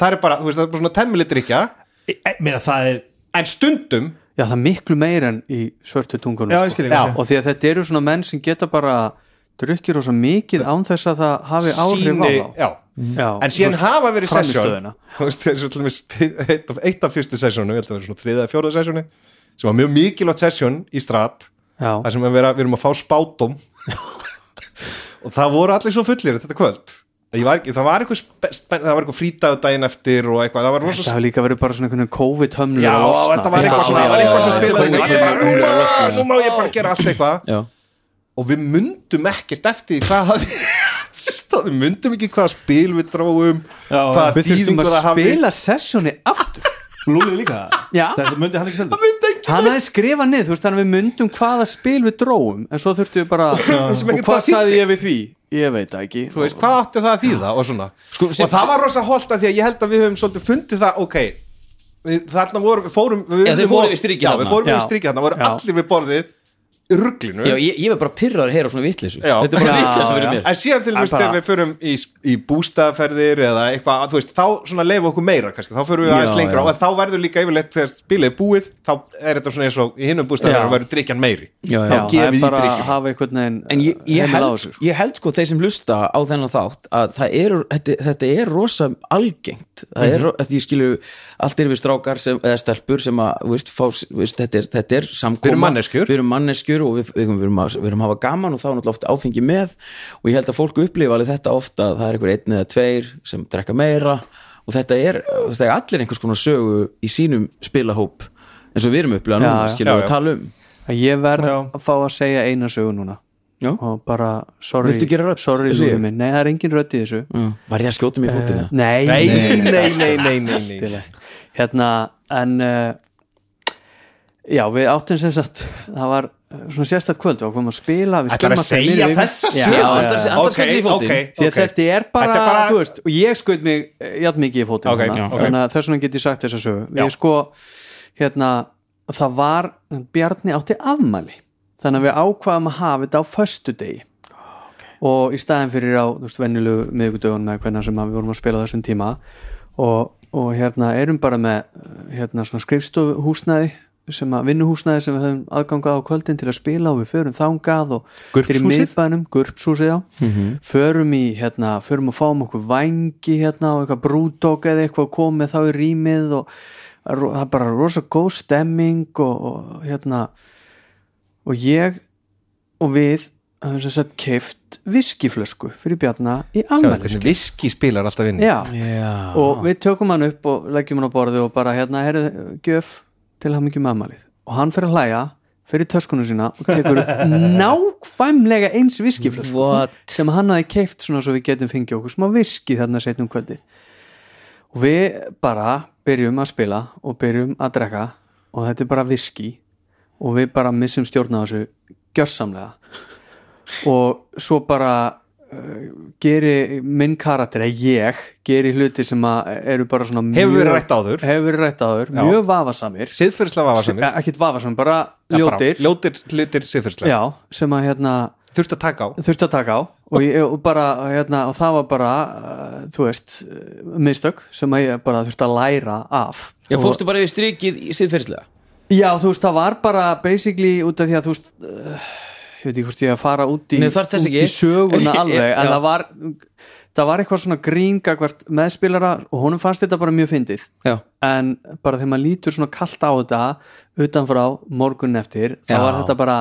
S2: það er bara, þú veist, það er bara svona temmilit drikja
S4: Ég- ég meina það er
S2: en stundum
S3: já, það er miklu meir en í svörtu tungunum
S4: Já,
S3: sko.
S4: ég skil ekki.
S3: og því að þetta eru svona menn sem geta bara drukkir og svo mikið án þess að það hafi áhrif á
S2: síni,
S3: þá
S2: já
S3: Já,
S2: en síðan
S3: þú veist,
S2: hafa verið sessjón
S3: frammistöðuna.
S2: þú veist, þessu til dæmis eitt af- eitt af fyrstu sessjónu, ég held að það verið svona þriða eða fjóða sessjónu sem var mjög mikilvægt sessjón í strat
S3: já.
S2: þar sem við vera- við erum að fá spátum (laughs) og það voru allir svo fullir þetta kvöld Ég var, ekki- það var eitthvað, spen- spen- það var eitthvað frítaðu daginn eftir og eitthvað, það var rosa
S3: Það hefur líka verið bara svona einhvern veginn COVID-hömlur
S2: já,
S3: að losna.
S2: þetta var eitthvað svona, það var eitthvað sem
S1: já,
S2: spilaði
S1: já,
S2: inn í,
S1: já,
S2: ég-
S1: já,
S2: nú
S1: já,
S2: má- nú má ég bara gera allt eitthvað
S1: Já.
S2: og við mundum ekkert eftir því hvað (laughs) hafði Sýst að við mundum ekki hvaða spil við dráum hvaða
S3: Við þurftum
S2: þýðingu
S3: að
S2: það hafi
S3: spila sessjóni
S2: (laughs)
S3: aftur
S4: Lúli líka
S3: Já.
S4: Þess að myndi hann ekki seldu
S3: Hann hefði skrifað niður, þú veist, þannig að við myndum hvaða spil við dróum En svo þurftum við bara
S2: Sem
S3: Og
S2: ekkert
S3: hvað
S2: það
S3: sagði ég við því? Ég veit það ekki
S2: þú veist, hvað átti það að þýða og svona
S1: Sko,
S2: og það var rosa holta því að ég held að við höfum svolítið fundið það, ok við, þarna vorum, við fórum við
S1: Já, þið
S2: við
S1: fóruð í strikið
S2: já,
S1: þarna.
S2: við fórum
S3: Já.
S2: við strikið þarna, voru
S3: Já.
S2: allir við borðið ruglinu
S1: Já, ég, ég var bara pyrraður að heyra svona vitleysu
S2: Já.
S1: Þetta er bara
S3: Já,
S1: vitleysu fyrir
S3: já.
S1: mér
S2: En síðan til
S3: En
S2: þess
S3: bara-
S2: þegar við förum í, í bústaferðir eða eitthvað, þú veist, þá svona leifu okkur meira kannski, þá förum við
S1: Já,
S2: aðeins lengra
S1: já.
S2: og þá verður líka yfirleitt þegar spilið er búið þá er þetta svona eins og í hinnum
S3: Já.
S2: bústaferðir verður drikjan meiri
S1: Já, já.
S3: Já,
S2: Þá
S3: það er
S2: gefið í
S3: bara að
S2: drikkjum
S3: hafa einhvern veginn
S1: En ég, ég,
S3: heimil á
S1: held,
S3: þessu, sko.
S1: ég held sko þeir sem hlusta á þennan þátt að það eru, þetta, þetta er rosa algengt, það
S2: Mhm.
S1: er, mm því ég skilu allt er við strákar sem, eða stelpur sem að, þú veist, fá, þú veist þetta, er, þetta er samkoma,
S2: Við erum manneskjur.
S1: við erum manneskjur og við, við, við, erum að, við erum að hafa gaman og þá er náttúrulega ofta áfengi með og ég held að fólk upplifa alveg þetta ofta að það er einhver einn eða tveir sem drekka meira og þetta er, þetta er allir einhvers konar sögu í sínum spilahóp eins og við erum upplifað
S3: Já,
S1: núna,
S3: já.
S1: skilu
S2: Já,
S1: við
S2: já.
S1: tala um
S3: Að ég verð
S4: Já.
S3: að fá að segja eina sögu núna
S1: Já.
S3: og bara, sorry,
S1: Viltu gera rödd?
S3: sorry
S1: Þessu ég?
S3: Lúi minn, nei það er engin rödd í þessu
S1: Var ég að skjóta mig í fótina?
S3: Nei,
S2: Mm. Nei, nei, nei, nei, nei, nei.
S3: Til að- hérna en uh, já við áttum sem sagt það var uh, svona sérstætt kvöld og komum að spila við
S2: Ætlar að
S3: skemmast þeim
S2: segja
S3: niður í-
S2: þessa
S3: Já,
S2: sögu?
S3: já,
S1: andar-
S3: já.
S1: andar kannski í fótinn.
S2: ok,
S3: því að
S2: ok
S3: þetta er bara,
S2: Þetta er bara-
S3: þú veist, og ég skaut mig eh, jafn mikið í fótinn
S2: Ok,
S3: hana,
S2: já, ok.
S3: þannig að þess vegna get ég sagt þessa sögu
S2: Já.
S3: ég sko, hérna það var, Bjarni átti afmæli þannig að við ákvaðum að hafa þetta á föstudegi og í staðin fyrir á, þú veist, vennilu miðvikudögun með hvernig sem að við vorum að spila á þessum tíma og, og hérna erum bara með eh, hérna svona skrifstofuhúsnæði sem að vinnuhúsnæði sem við höfum aðgangað á kvöldin til að spila og við förum þangað og
S2: Gurpshúsið?
S3: fyrir miðbænum, gurpshúsið já förum í hérna, förum og fáum okkur vangi hérna og eitthvað brúdók eða eitthvað komið þá í rýmið og ro- það er bara rosa góð stemming og, og hérna og ég og við höfum sem sagt keift viskiflösku fyrir Bjarna í
S2: Sjáðu
S3: afmæli
S2: hvernig viski spilar alltaf inn í.
S3: Já. og við tökum hann upp og leggjum hann á borði og bara hérna herrið gjöf til hann ekki með amalið og hann fyrir að hlæja, fyrir töskunum sína og tekur upp nákvæmlega eins viskiflösku
S1: What?
S3: sem hann hafi keift svona svo við getum fengið okkur smá viski þarna setjum kvöldið og við bara byrjum að spila og byrjum að drekka og þetta er bara viski og við bara missum stjórna á þessu gjörsamlega og svo bara uh, geri minn karakter eða ég geri hluti sem að eru bara svona
S2: Hefur verið
S3: mjög-
S2: rætt áður.
S3: hefur verið rætt áður,
S2: Já.
S3: mjög vafasamir
S2: Siðferðislega vafasamir
S3: Eh, ekkert vafasamir, bara
S2: Já, bara
S3: ljótir
S2: Ljótir hlutir siðferðislega
S3: já, sem að hérna
S2: Þurft að taka á
S3: þurfti að taka á og, ég, og bara, hérna, og það var bara uh, þú veist, uh, mistök sem að ég bara þurfti að læra af
S1: Já,
S3: Og-
S1: fórstu bara yfir strikið í siðferðislega
S3: já, þú veist, það var bara basically út af því að þú veist uh, ég veit ekki hvort ég að fara út í,
S1: Nei, þarft
S3: út
S1: þess
S3: í
S1: ekki. (laughs)
S3: söguna alveg,
S1: Já.
S3: en það var það var eitthvað svona gríng hvert meðspilara og honum fannst þetta bara mjög fyndið
S1: Já,
S3: en bara þegar maður lítur svona kallt á þetta utanfrá morgun eftir þá
S1: Já.
S3: var þetta bara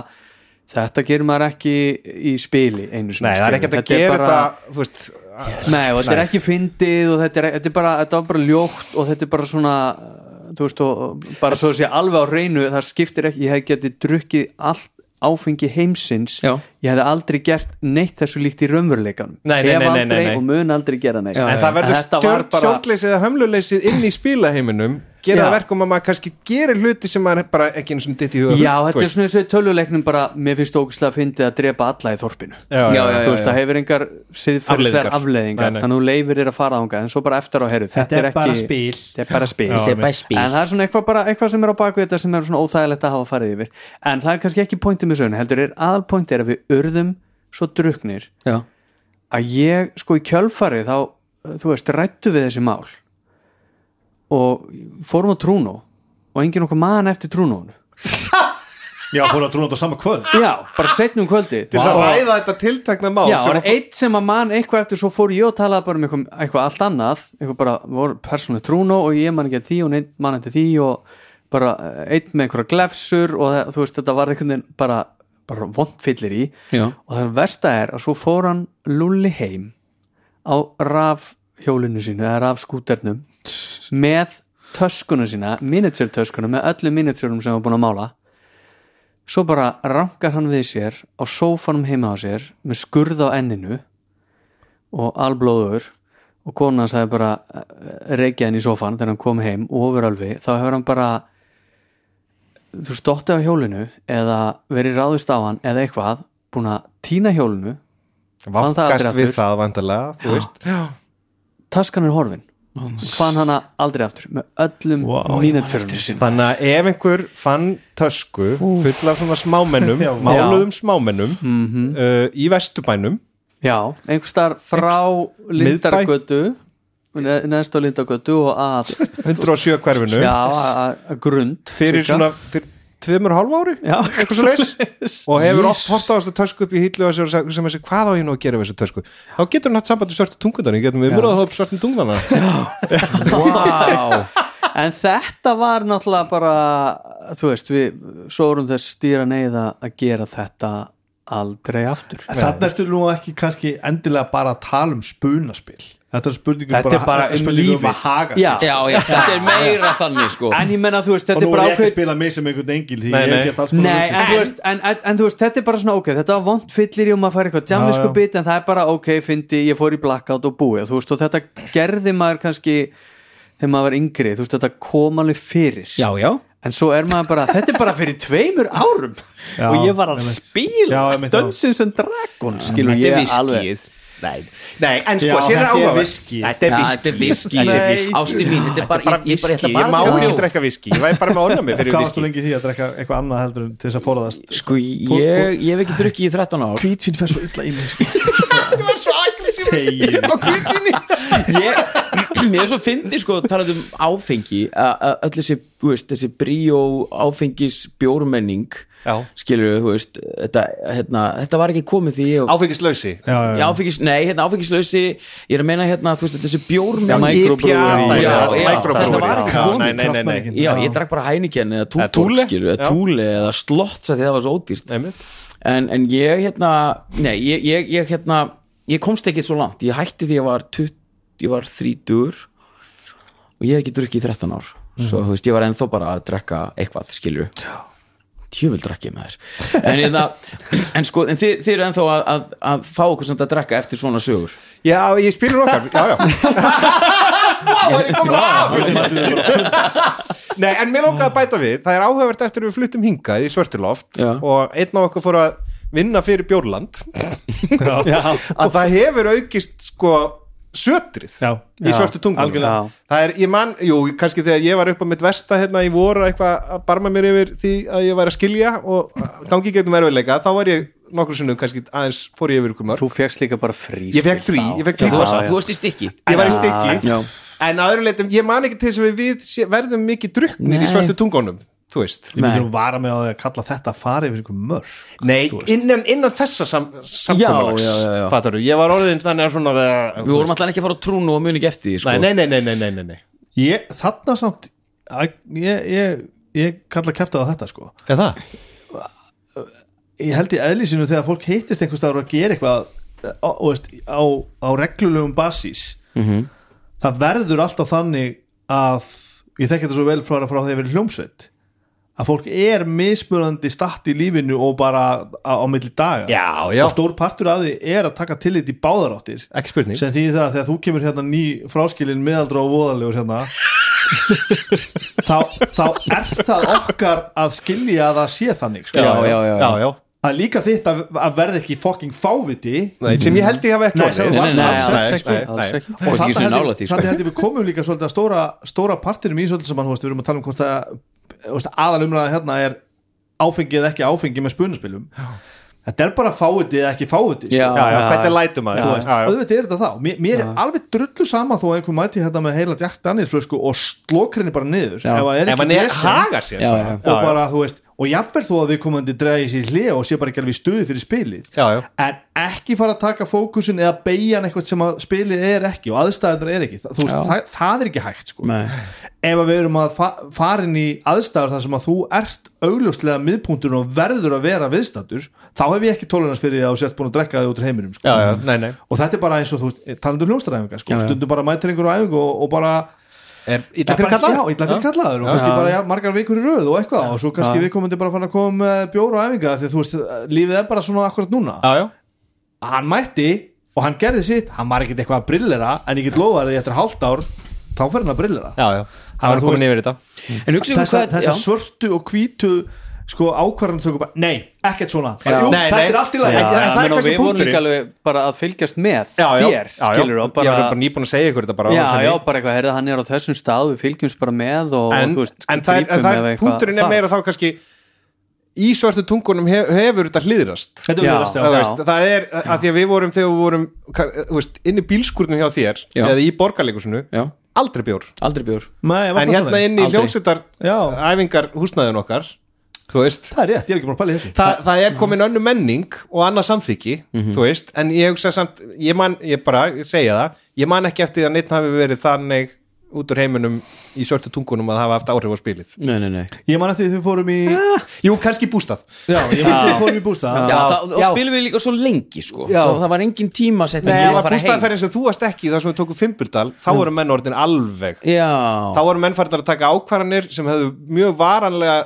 S3: þetta gerir maður ekki í spili einu sinni
S2: Nei, það er ekkert að
S3: skilur.
S2: gera
S3: bara-
S2: þetta Þú veist
S3: Nei, og þetta er ekki fyndið og þetta, er, þetta, er bara, þetta var bara ljótt og þetta er bara svona uh, þú veist, og, bara svo að sé alveg á reynu það skiptir ekki, ég hef getið drukkið allt áfengi heimsins
S1: Já.
S3: ég hefði aldrei gert neitt þessu líkt í raunveruleikanum
S2: Nei, nei,
S3: Hef
S2: nei, nei,
S3: aldrei
S2: nei, nei.
S3: og mun aldrei gera neitt
S1: Já,
S2: En það verður
S3: þetta var
S2: stjórn,
S3: bara-
S2: stjórnleysið eða hömluleysið inn í spilaheiminum gera
S3: Já.
S2: það verkum að maður kannski gerir hluti sem maður bara ekki eins og ditt í huga um,
S3: Já, þetta er svona þessu töluleiknum bara mér finnst ógustlega að fyndið að drepa alla í þorpinu
S2: Já, já,
S1: já,
S3: þú veist,
S1: já.
S3: það hefur engar siðferðslegar
S2: Afleiðingar.
S3: afleðingar
S2: Nei, nei.
S3: þannig að þú leifir þér að fara ánga en svo bara eftir á herru þetta, er
S4: bara
S3: ekki-
S4: spil.
S3: þetta er bara spil
S1: þetta er bara spil
S3: en það er svona eitthvað, bara, eitthvað sem er á baku þetta sem er svona óþægilegt að hafa farið yfir en það er kannski ekki pointið með söguna heldur er aðalpointið er að við urðum svo druknir
S1: Já,
S3: að ég sko í kjölfari þá, þú veist, rættu við þessi mál og fórum á trúnó og engin okkur maðan eftir trúnónu
S4: Já, fór að trúna þetta á sama kvöld
S3: já, bara setnum kvöldi
S2: til þess að ræða þetta tiltakna mál
S3: Já, það
S2: sem
S3: var
S2: að-
S3: eitt sem að man eitthvað eftir svo fór ég og talaði bara um eitthvað, eitthvað allt annað eitthvað bara, voru persónu trúnu og ég man ekki að því og neitt man eftir því og bara eh, einn með einhverja glefsur og það, þú veist þetta var einhvern veginn bara, bara vondfyllir í
S1: Já.
S3: og það versta er að svo fór hann lulli heim á raf hjólinu sínu eða raf skúternum með töskuna sína, miniature töskuna með öllum miniaturum sem hann var búin að mála svo bara rankar hann við sér á sófanum heima á sér með skurð á enninu og alblóður og konan sagði bara eh, reykja hann í sófan þegar hann kom heim og ofuralvi þá hefur hann bara þú stóttið á hjólinu eða verið ráðist á hann eða eitthvað búin að týna hjólinu fann það aldrei
S2: Vákast við
S3: aftur.
S2: það vandalega, þú veist Já,
S3: taskan er horfin fann hana aldrei aftur með öllum wow, mínutfjörnum
S2: Þannig að ef einhver fann tösku fulla af svona
S3: (laughs)
S2: smámennum máluðum smámennum
S3: Mhm.
S2: uh, í vesturbænum
S3: já, einhvers þar frá Lindargötu ne- neðst á Lindargötu og að
S2: 107 hverfinu
S3: já, að- að að grund
S2: fyrir
S3: líka.
S2: svona fyrir tveimur og hálf ári
S3: já,
S2: eitthvað svoleiðis. og hefur oft hort á þessu tösku upp í hýllu og sem sem þessi hvað á ég nú að gera við þessu tösku þá getur hann hatt samband við svartu tungundana við getum við mörðað hóp svartum tungundana
S1: wow.
S3: (laughs) en þetta var náttúrulega bara þú veist, við svorum þess stýra neyða að gera þetta aldrei aftur
S4: En þarna ertu nú ekki kannski endilega bara að tala um spunaspil Þetta er spurningum
S3: Þetta er bara um
S4: spurningum um
S3: lífið.
S4: að haga
S3: Já.
S4: sig
S1: já, já, þetta er meira þannig sko
S3: en ég menna, þú veist,
S4: Og
S3: þetta
S4: nú
S3: er
S4: er
S3: bara
S4: ég ekki að
S3: ákveð
S4: spila mig sem einhvern engil Því
S2: Nei,
S4: ég
S2: nei.
S4: er gett alls konar
S3: Nei, en,
S4: vitleysu.
S3: þú veist, en, en, en þú veist, þetta er bara svona ok þetta var vond fyllir í og maður fær eitthvað djamnisku
S4: Já, já.
S3: bit en það er bara ok, fyndi, ég fór í blackout og búið, þú veist, og þetta gerði maður kannski þegar maður var yngri, þú veist, þetta kom alveg fyrir
S1: já, já,
S3: en svo er maður bara, þetta er bara fyrir tveimur árum
S4: Já,
S3: og ég var að
S4: einmitt.
S3: spila
S4: Já, einmitt, já.
S3: Dungeons and Dragons skilur
S2: Þetta er
S3: ég alveg
S2: viskið Nei. Nei, en sko,
S4: Já,
S2: sér er
S4: þetta er
S2: áhuga
S4: viskið.
S2: Þetta er
S1: Já,
S2: viski
S1: þetta er viskí.
S2: viski.
S1: Ástin mín, þetta er bara-
S2: bara
S1: ég- ég bara- ég ætla
S2: viski.
S1: bara
S2: Ég
S1: að
S2: má
S1: drekka
S2: ekki
S1: bjór.
S2: drekka viski Ég vær bara með ornami fyrir
S4: Hvað varstu
S2: viski
S4: lengi í því að drekka eitthvað annað heldur en til þess að forðast
S1: sko ég, ég hef ekki drukkið í 13 ár
S4: Hvítsvín fer svo illa í mig (laughs) sko.
S2: Ég var svo aggressív
S4: Þegið.
S2: á kvítinni
S1: (laughs) ég, mér er svo fyndi sko talað um áfengi að að öll þessi, þú veist, þessi bríó áfengis bjórmenning
S2: Já.
S1: skilur þú veist þetta, hérna, þetta var ekki komið því ég,
S2: Áfengislausi
S4: Já, já,
S1: Já,
S4: já.
S1: áfengis, nei, hérna áfengislausi ég er að meina hérna, þú veist, þessi bjórmenning
S3: micro-
S2: IPA dæmi,
S1: Já,
S2: allt
S1: já,
S2: microbrewery.
S1: þetta var ekki
S2: Já,
S1: komið.
S2: Nei, nei, nei, nei
S4: Kraftmælingin.
S1: Já,
S4: Já.
S1: ég drakk bara hænikenn eða túborg,
S2: Túle,
S1: skilur, eða
S2: já.
S1: túle eða slottsa því það var svo ódýrt
S2: Einmitt.
S1: en, en ég hérna nei, ég, ég, ég hérna ég komst ekki svo langt, ég hætti því ég var 20, ég var þrítur og ég hef ekki drukkið í 13 ár svo, þú veist, ég var ennþá bara að drekka eitthvað, skilur tjöfvel drakk ég með þér en, hérna, en sko, en þið, þið eru ennþá að, að, að fá okkur samt að drekka eftir svona sögur
S2: Já, ég spilur okkar, já, já Vá, er ég komin af Nei, en mér langaði að bæta við Það er áhugavert eftir við fluttum hingað í Svörtuloft
S1: Já.
S2: og einn á okkur fór að vinna fyrir Bjórland (laughs)
S3: Já.
S2: að það hefur aukist sko sötrið
S4: Já.
S2: í svörtu tungunum
S3: algjörlega.
S2: það er, ég man, jú, kannski þegar ég var upp á mitt versta hérna í voru eitthvað að barma mér yfir því að ég væri að skilja og gangi getum erfiðleika, þá var ég nokkur sinnum kannski aðeins fór ég yfir ykkur mörg
S3: þú fegst líka bara frí
S2: ég fekk frí, sko, ég fekk
S1: þú
S2: frí
S1: varst, þú varst í stikki
S2: ég var í stykki
S1: Já.
S2: en að öðru leitum, ég man ekki til þess að við sé- verðum mikið druknir
S1: Nei.
S2: í svörtu tungunum þú veist,
S4: Ég myndi nú vara með á því að kalla þetta að fara yfir einhver mörg
S2: nei, innan, innan þessa sam,
S1: Já, já, já, já.
S2: samkomulags fattar þú, ég var orðin þannig að svona
S1: við vorum alltaf ekki að fara á trúnu og muni ekki eftir því sko.
S2: nei, nei, nei, nei, nei, nei, nei, nei.
S4: ég, Þarna samt að, ég, ég, ég kalla kæftið á þetta sko.
S2: Hvað það?
S4: Ég held í eðlísinu þegar fólk hittist einhvers staðar og gera eitthvað eh, á, á, veist, á, á reglulegum basís -hmm. það verður alltaf þannig að ég þekki þetta svo vel frá, frá þegar við hljómsveit að fólk er mismunandi statt í lífinu og bara á, á milli daga
S2: já, já,
S4: og stór partur af því er að taka tillit í báðaráttir
S2: ekki spurning
S4: sem því það að þegar þú kemur hérna ný fráskilin meðaldra og voðalegur hérna þá, þá er það okkar að skilja að það sé þannig sko.
S1: Já, já, já, já.
S4: að líka þitt að, að verða ekki fucking fáviti
S2: Nei, sem ég held ég hafa ekki
S4: Nei,
S2: orðið.
S4: sem þú varst Nei, nei,
S3: alls alls ekki, alls ekki.
S1: Og ekki svona nálægt því, sko.
S4: þannig að við komum líka svolítið að stóra, stóra partinum í svolítið sem hann, við erum að tala um hvort að þú veist, aðalumræða hérna er áfengi eða ekki áfengi með spunaspilum þetta er bara fáviti eða ekki fáviti sko.
S1: Já,
S2: já, já, hvernig lætum að
S4: Þú veist, auðvitað er þetta þá mér, mér er alveg drullu sama þó að einhver mæti þetta með heila Jack Daniels flösku og slokrinni bara niður
S1: Já.
S4: ef það er
S2: ef
S4: ekki
S2: hann er
S4: vesen
S2: hagar sér
S1: Já, já.
S2: bara.
S4: og bara þú veist og jafnverð þó að við komandi dregi sér hlið og sé bara ekki alveg í stuði fyrir spilið
S2: Já, já.
S4: en ekki fara að taka fókusin eða beigjan eitthvað sem að spilið er ekki og aðstæðunar er ekki Þa, þú veist, það, það er ekki hægt sko.
S1: Nei.
S4: ef að við erum að fa farin í aðstæður þar sem að þú ert augljóslega miðpunktun og verður að vera viðstættur þá hef ég ekki tólunars fyrir því að þú sért búin að drekka þig út úr heiminum sko
S2: já, já, nei, nei
S4: og þetta er bara eins og þú eh, talandur hljómsdaræfingar sko, stundum bara mætir einhverju æfingu og, og bara
S2: er
S4: Það
S2: illa
S4: er
S2: fyrir
S4: bara-
S2: kalla?
S4: já, illa fyrir kallaður og kannski bara já, margar vikur í röð og eitthvað og svo kannski við komum til bara að fara að koma með bjóra og æfingar því að þú veist, lífið er bara svona akkurat núna
S2: já, já,
S4: hann mætti og hann gerði sitt hann var ekkit eitthvað að brillera en ég get lofa því eftir hálft ár þá fer hann að brillera
S2: já, já. það
S4: þú
S2: var
S4: veist-
S2: komin
S3: um
S2: yfir þetta
S1: en hugsaðu
S4: þessar
S1: hvað
S4: þessa svörtu og hvítu sko ákvarðan þau bara, nei, ekkert svona bara,
S3: Já.
S4: jú,
S2: Nei,
S4: þetta
S2: nei.
S4: er allt í lagi,
S2: Já,
S4: En það er
S3: menn, og
S4: kannski
S3: við vorum
S4: punkturinn
S3: líka alveg bara að fylgjast með
S2: já, já,
S3: þér,
S2: já, já.
S3: skilur og
S2: ég
S3: bara
S2: var bara nýbúin að segja ykkur þetta bara á
S3: já,
S2: þessari-
S3: já, bara eitthvað, heyrðu, hann er á þessum stað við fylgjumst bara með og
S2: en,
S3: þú veist,
S2: en það er, en
S3: grípum
S2: það
S3: ef
S2: er
S3: eitthvað
S2: punkturinn er
S3: þarf.
S2: meira þá kannski í svörtu tungunum hef, hefur þetta hlýðrast
S4: Þetta
S3: Já.
S4: er hlýðrast, já.
S2: það, veist, það er að því að við vorum þegar við vorum ka- þú veist, inn í bílskurnum hjá þér
S1: Já.
S2: eða í borgarleikusinu,
S1: já,
S2: aldrei bjór
S1: aldrei bjór
S4: Nei, var
S2: en
S4: það
S2: hérna
S4: svoleiðis?
S2: inn í
S1: Aldrei.
S2: hljómsveitar
S4: Já.
S2: æfingar húsnæðun okkar þú veist
S4: Það er rétt, ég er ekki búin að pæla í þessu
S2: Þa, það er komin önnu menning og annað samþyggi þú veist, en ég hugsa samt ég man, ég bara, ég segja það ég man ekki eftir því að neitt hafi verið þannig út úr heiminum í svörtu tungunum að hafa haft áhrif á spilið
S1: nei, nei, nei.
S4: Ég man eftir því þau fórum í Já,
S2: Jú, kannski bústað
S4: ég man eftir því þau fórum í bústað
S1: Já, það, og spilum við líka svo lengi sko.
S4: Já.
S1: það, það var engin tíma að setja
S2: Nei,
S1: mig að
S2: ef að
S1: fara heim
S2: bústaðferðin sem þú varst ekki þar sem við tókum fimburdal, þá voru menn orðin alveg
S1: Já,
S2: þá voru menn farin að taka ákvarðanir sem hefðu mjög varanlega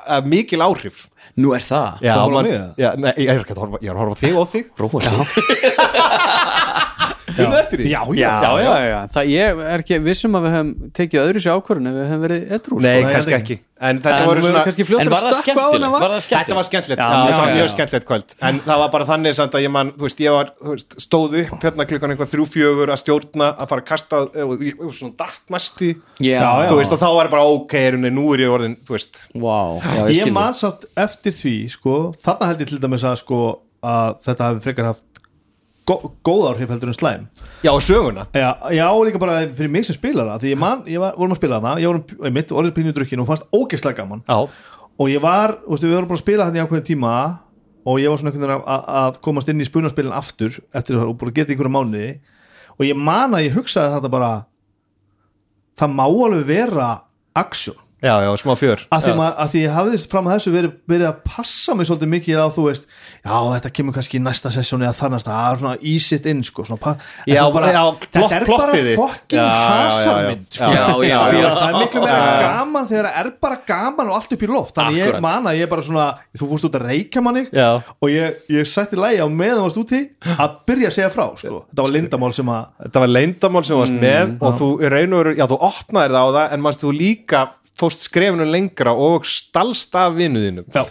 S2: eh, mikil áhrif
S1: nú er það
S2: Já,
S4: horfa á
S2: mann-
S4: mig, eða?
S2: já, nei, ég er ekki að horfa ég er að horfa á þig og þig
S1: Róa sig
S2: Hún eftir því
S4: Já,
S3: já,
S4: já,
S3: já, já, já, það ég er ekki vissum að við höfum tekið öðru sér ákvörðun ef við höfum verið edrú sko.
S2: Nei,
S4: Nei,
S2: kannski
S4: ég
S2: ekki En þetta
S3: en
S2: voru
S3: við
S2: svona
S3: höfum kannski fljótur
S1: En var það skemmtilegt? Var það
S2: Þetta
S1: skemmtilegt?
S2: var skemmtilegt,
S3: Já,
S2: já, það
S3: já,
S2: var
S3: já,
S2: mjög
S3: já.
S2: skemmtilegt kvöld En það var bara þannig samt að ég man, þú veist, ég var þú veist, stóð upp hérna klukkan eitthvað þrjú fjögur að stjórna að fara að kasta eh, og, og, og, og svona dartmasti
S1: Já.
S4: Já, já.
S2: Þú veist, og þá var bara ok, er hún, nú er ég orðin, þú veist
S1: Vá, já, ég
S4: Ég
S1: skil
S4: man samt eftir því, sko Þarna held ég til dæmis að, sko að þetta hafi frekar haft gó- góð áhrif heldur en slæm
S2: Já, og söguna
S4: já, já, líka bara fyrir mig sem spilara Því ég man, ég var, vorum að spila þarna Ég vorum, mitt orðið pínu drukkin og fannst ógeðslega gaman
S2: Já,
S4: og ég var, þú veist, við vorum búin að spila hann í ákveðin tíma og ég var svona einhvern veginn að- að- að komast inn í spunaspilin aftur eftir það og búin að geta í einhverja mánuði og ég man að ég hugsaði þetta bara það má alveg vera aksjón,
S2: já, já, smá fjör
S4: að því, maður, að því ég hafði fram að þessu verið, verið að passa mig svolítið mikið á, þú veist, já þetta kemur kannski í næsta sessjóni eða þarnast, það er svona ease it in sko, svona, pa- en
S2: Já,
S4: svo bara,
S2: já, plott-
S4: þetta er bara
S2: plottið þitt.
S4: fokkin
S2: Já, já, já, já.
S4: hasarmynd sko.
S1: Já, já,
S4: Þú
S1: já
S4: veist, það er miklu meira gaman þegar það er bara gaman og allt upp í loft þannig
S1: Akkurat.
S4: ég man að ég er bara svona þú fórst út að reykja manni
S2: Já.
S4: og ég, ég sætti lægi á meðan þú varst úti að byrja að segja frá sko.
S2: Eh,
S4: þetta var lindamál sem að
S2: Þetta var leyndamál sem þú varst með og þú í raun og veru, já þú opnaðir það á það en mannst þú líka fóst skrefinu lengra og stalst af vinuðinum
S4: já,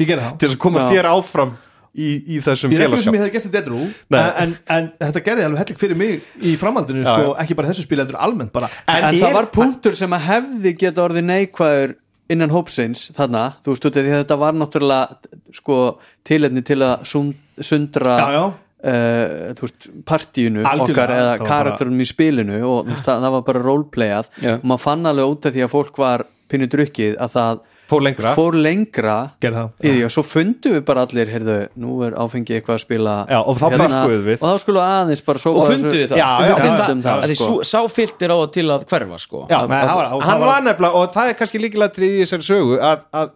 S4: ég gerði það
S2: til að koma þér áfram í, í þessum
S4: ég er ekki sem
S2: félagskap
S4: ég hefði gert þetta edru
S2: Nei.
S4: en, en þetta gerði alveg hellik fyrir mig í framhaldinu sko, ekki bara í þessu spil, heldur almennt bara
S3: en,
S2: En er-
S3: það var punktur sem að hefði geta orðið neikvæður innan hópsins þarna, þú veist, út af því að þetta var náttúrulega sko tilefni til að sund- sundra
S4: Já, já.
S3: eh, þú veist, partíinu
S4: Algjörlega,
S3: okkar eða
S4: það var bara-
S3: karakterunum í spilinu og þú veist, það, það var bara roleplayað
S1: Já.
S3: og maður fann alveg út af því að fólk var pínu drukkið að það
S2: Fór lengra.
S3: fór lengra
S4: Gerði það.
S3: í því og svo fundum við bara allir, heyrðu, nú er áfengi eitthvað að spila hérna.
S2: Já, og þá bökkuðu við.
S3: og þá skulum við aðeins bara sópa
S1: Og
S3: þessu-
S1: funduðu það
S2: Já, já,
S1: Fundum
S3: já, já,
S1: það,
S3: já,
S1: að því
S3: sko.
S1: sú- Sá filtir á það til að hverfa sko
S2: Já,
S4: Nei, það var- það
S2: hann
S4: var-
S2: var nefnilega og það er kannski líkilega í þessari sögu að, að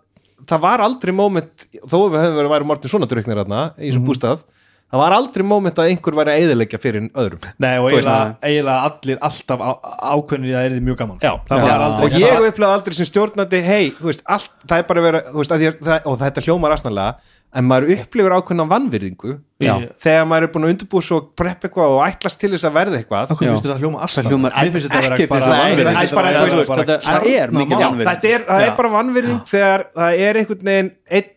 S2: það var aldrei moment þó við höfum verið að væri mortin svona druknir þarna
S4: Mhm.
S2: í þessum bústað, það var aldrei moment að einhver væri að eðilegja fyrir öðrum
S4: Nei, og
S2: Þú veist
S4: eiginlega, eiginlega allir alltaf á- ákveðnir í að það er mjög gaman já, það var aldrei
S2: og ég upplegaði aldrei sem stjórnandi hei, þú veist, allt, það er bara að vera þú veist, að ég, það, og þetta hljómar aðsnalega en maður upplifir ákveðna vannvirðingu
S4: Já.
S2: þegar maður er búin að undirbúið svo prepp eitthvað og ætlast til þess að verða eitthvað
S4: Okkur finnst þetta hljóma
S3: Það
S4: asnar
S3: hljómar ekkert eins og vanvirðing.
S2: Nei, það er bara,
S3: Já,
S2: þú veist,
S3: þú veist, þetta- það er mikil
S2: Já,
S3: vanvirðing.
S2: þetta er, það er bara vannvirðing þegar það er einhvern veginn einn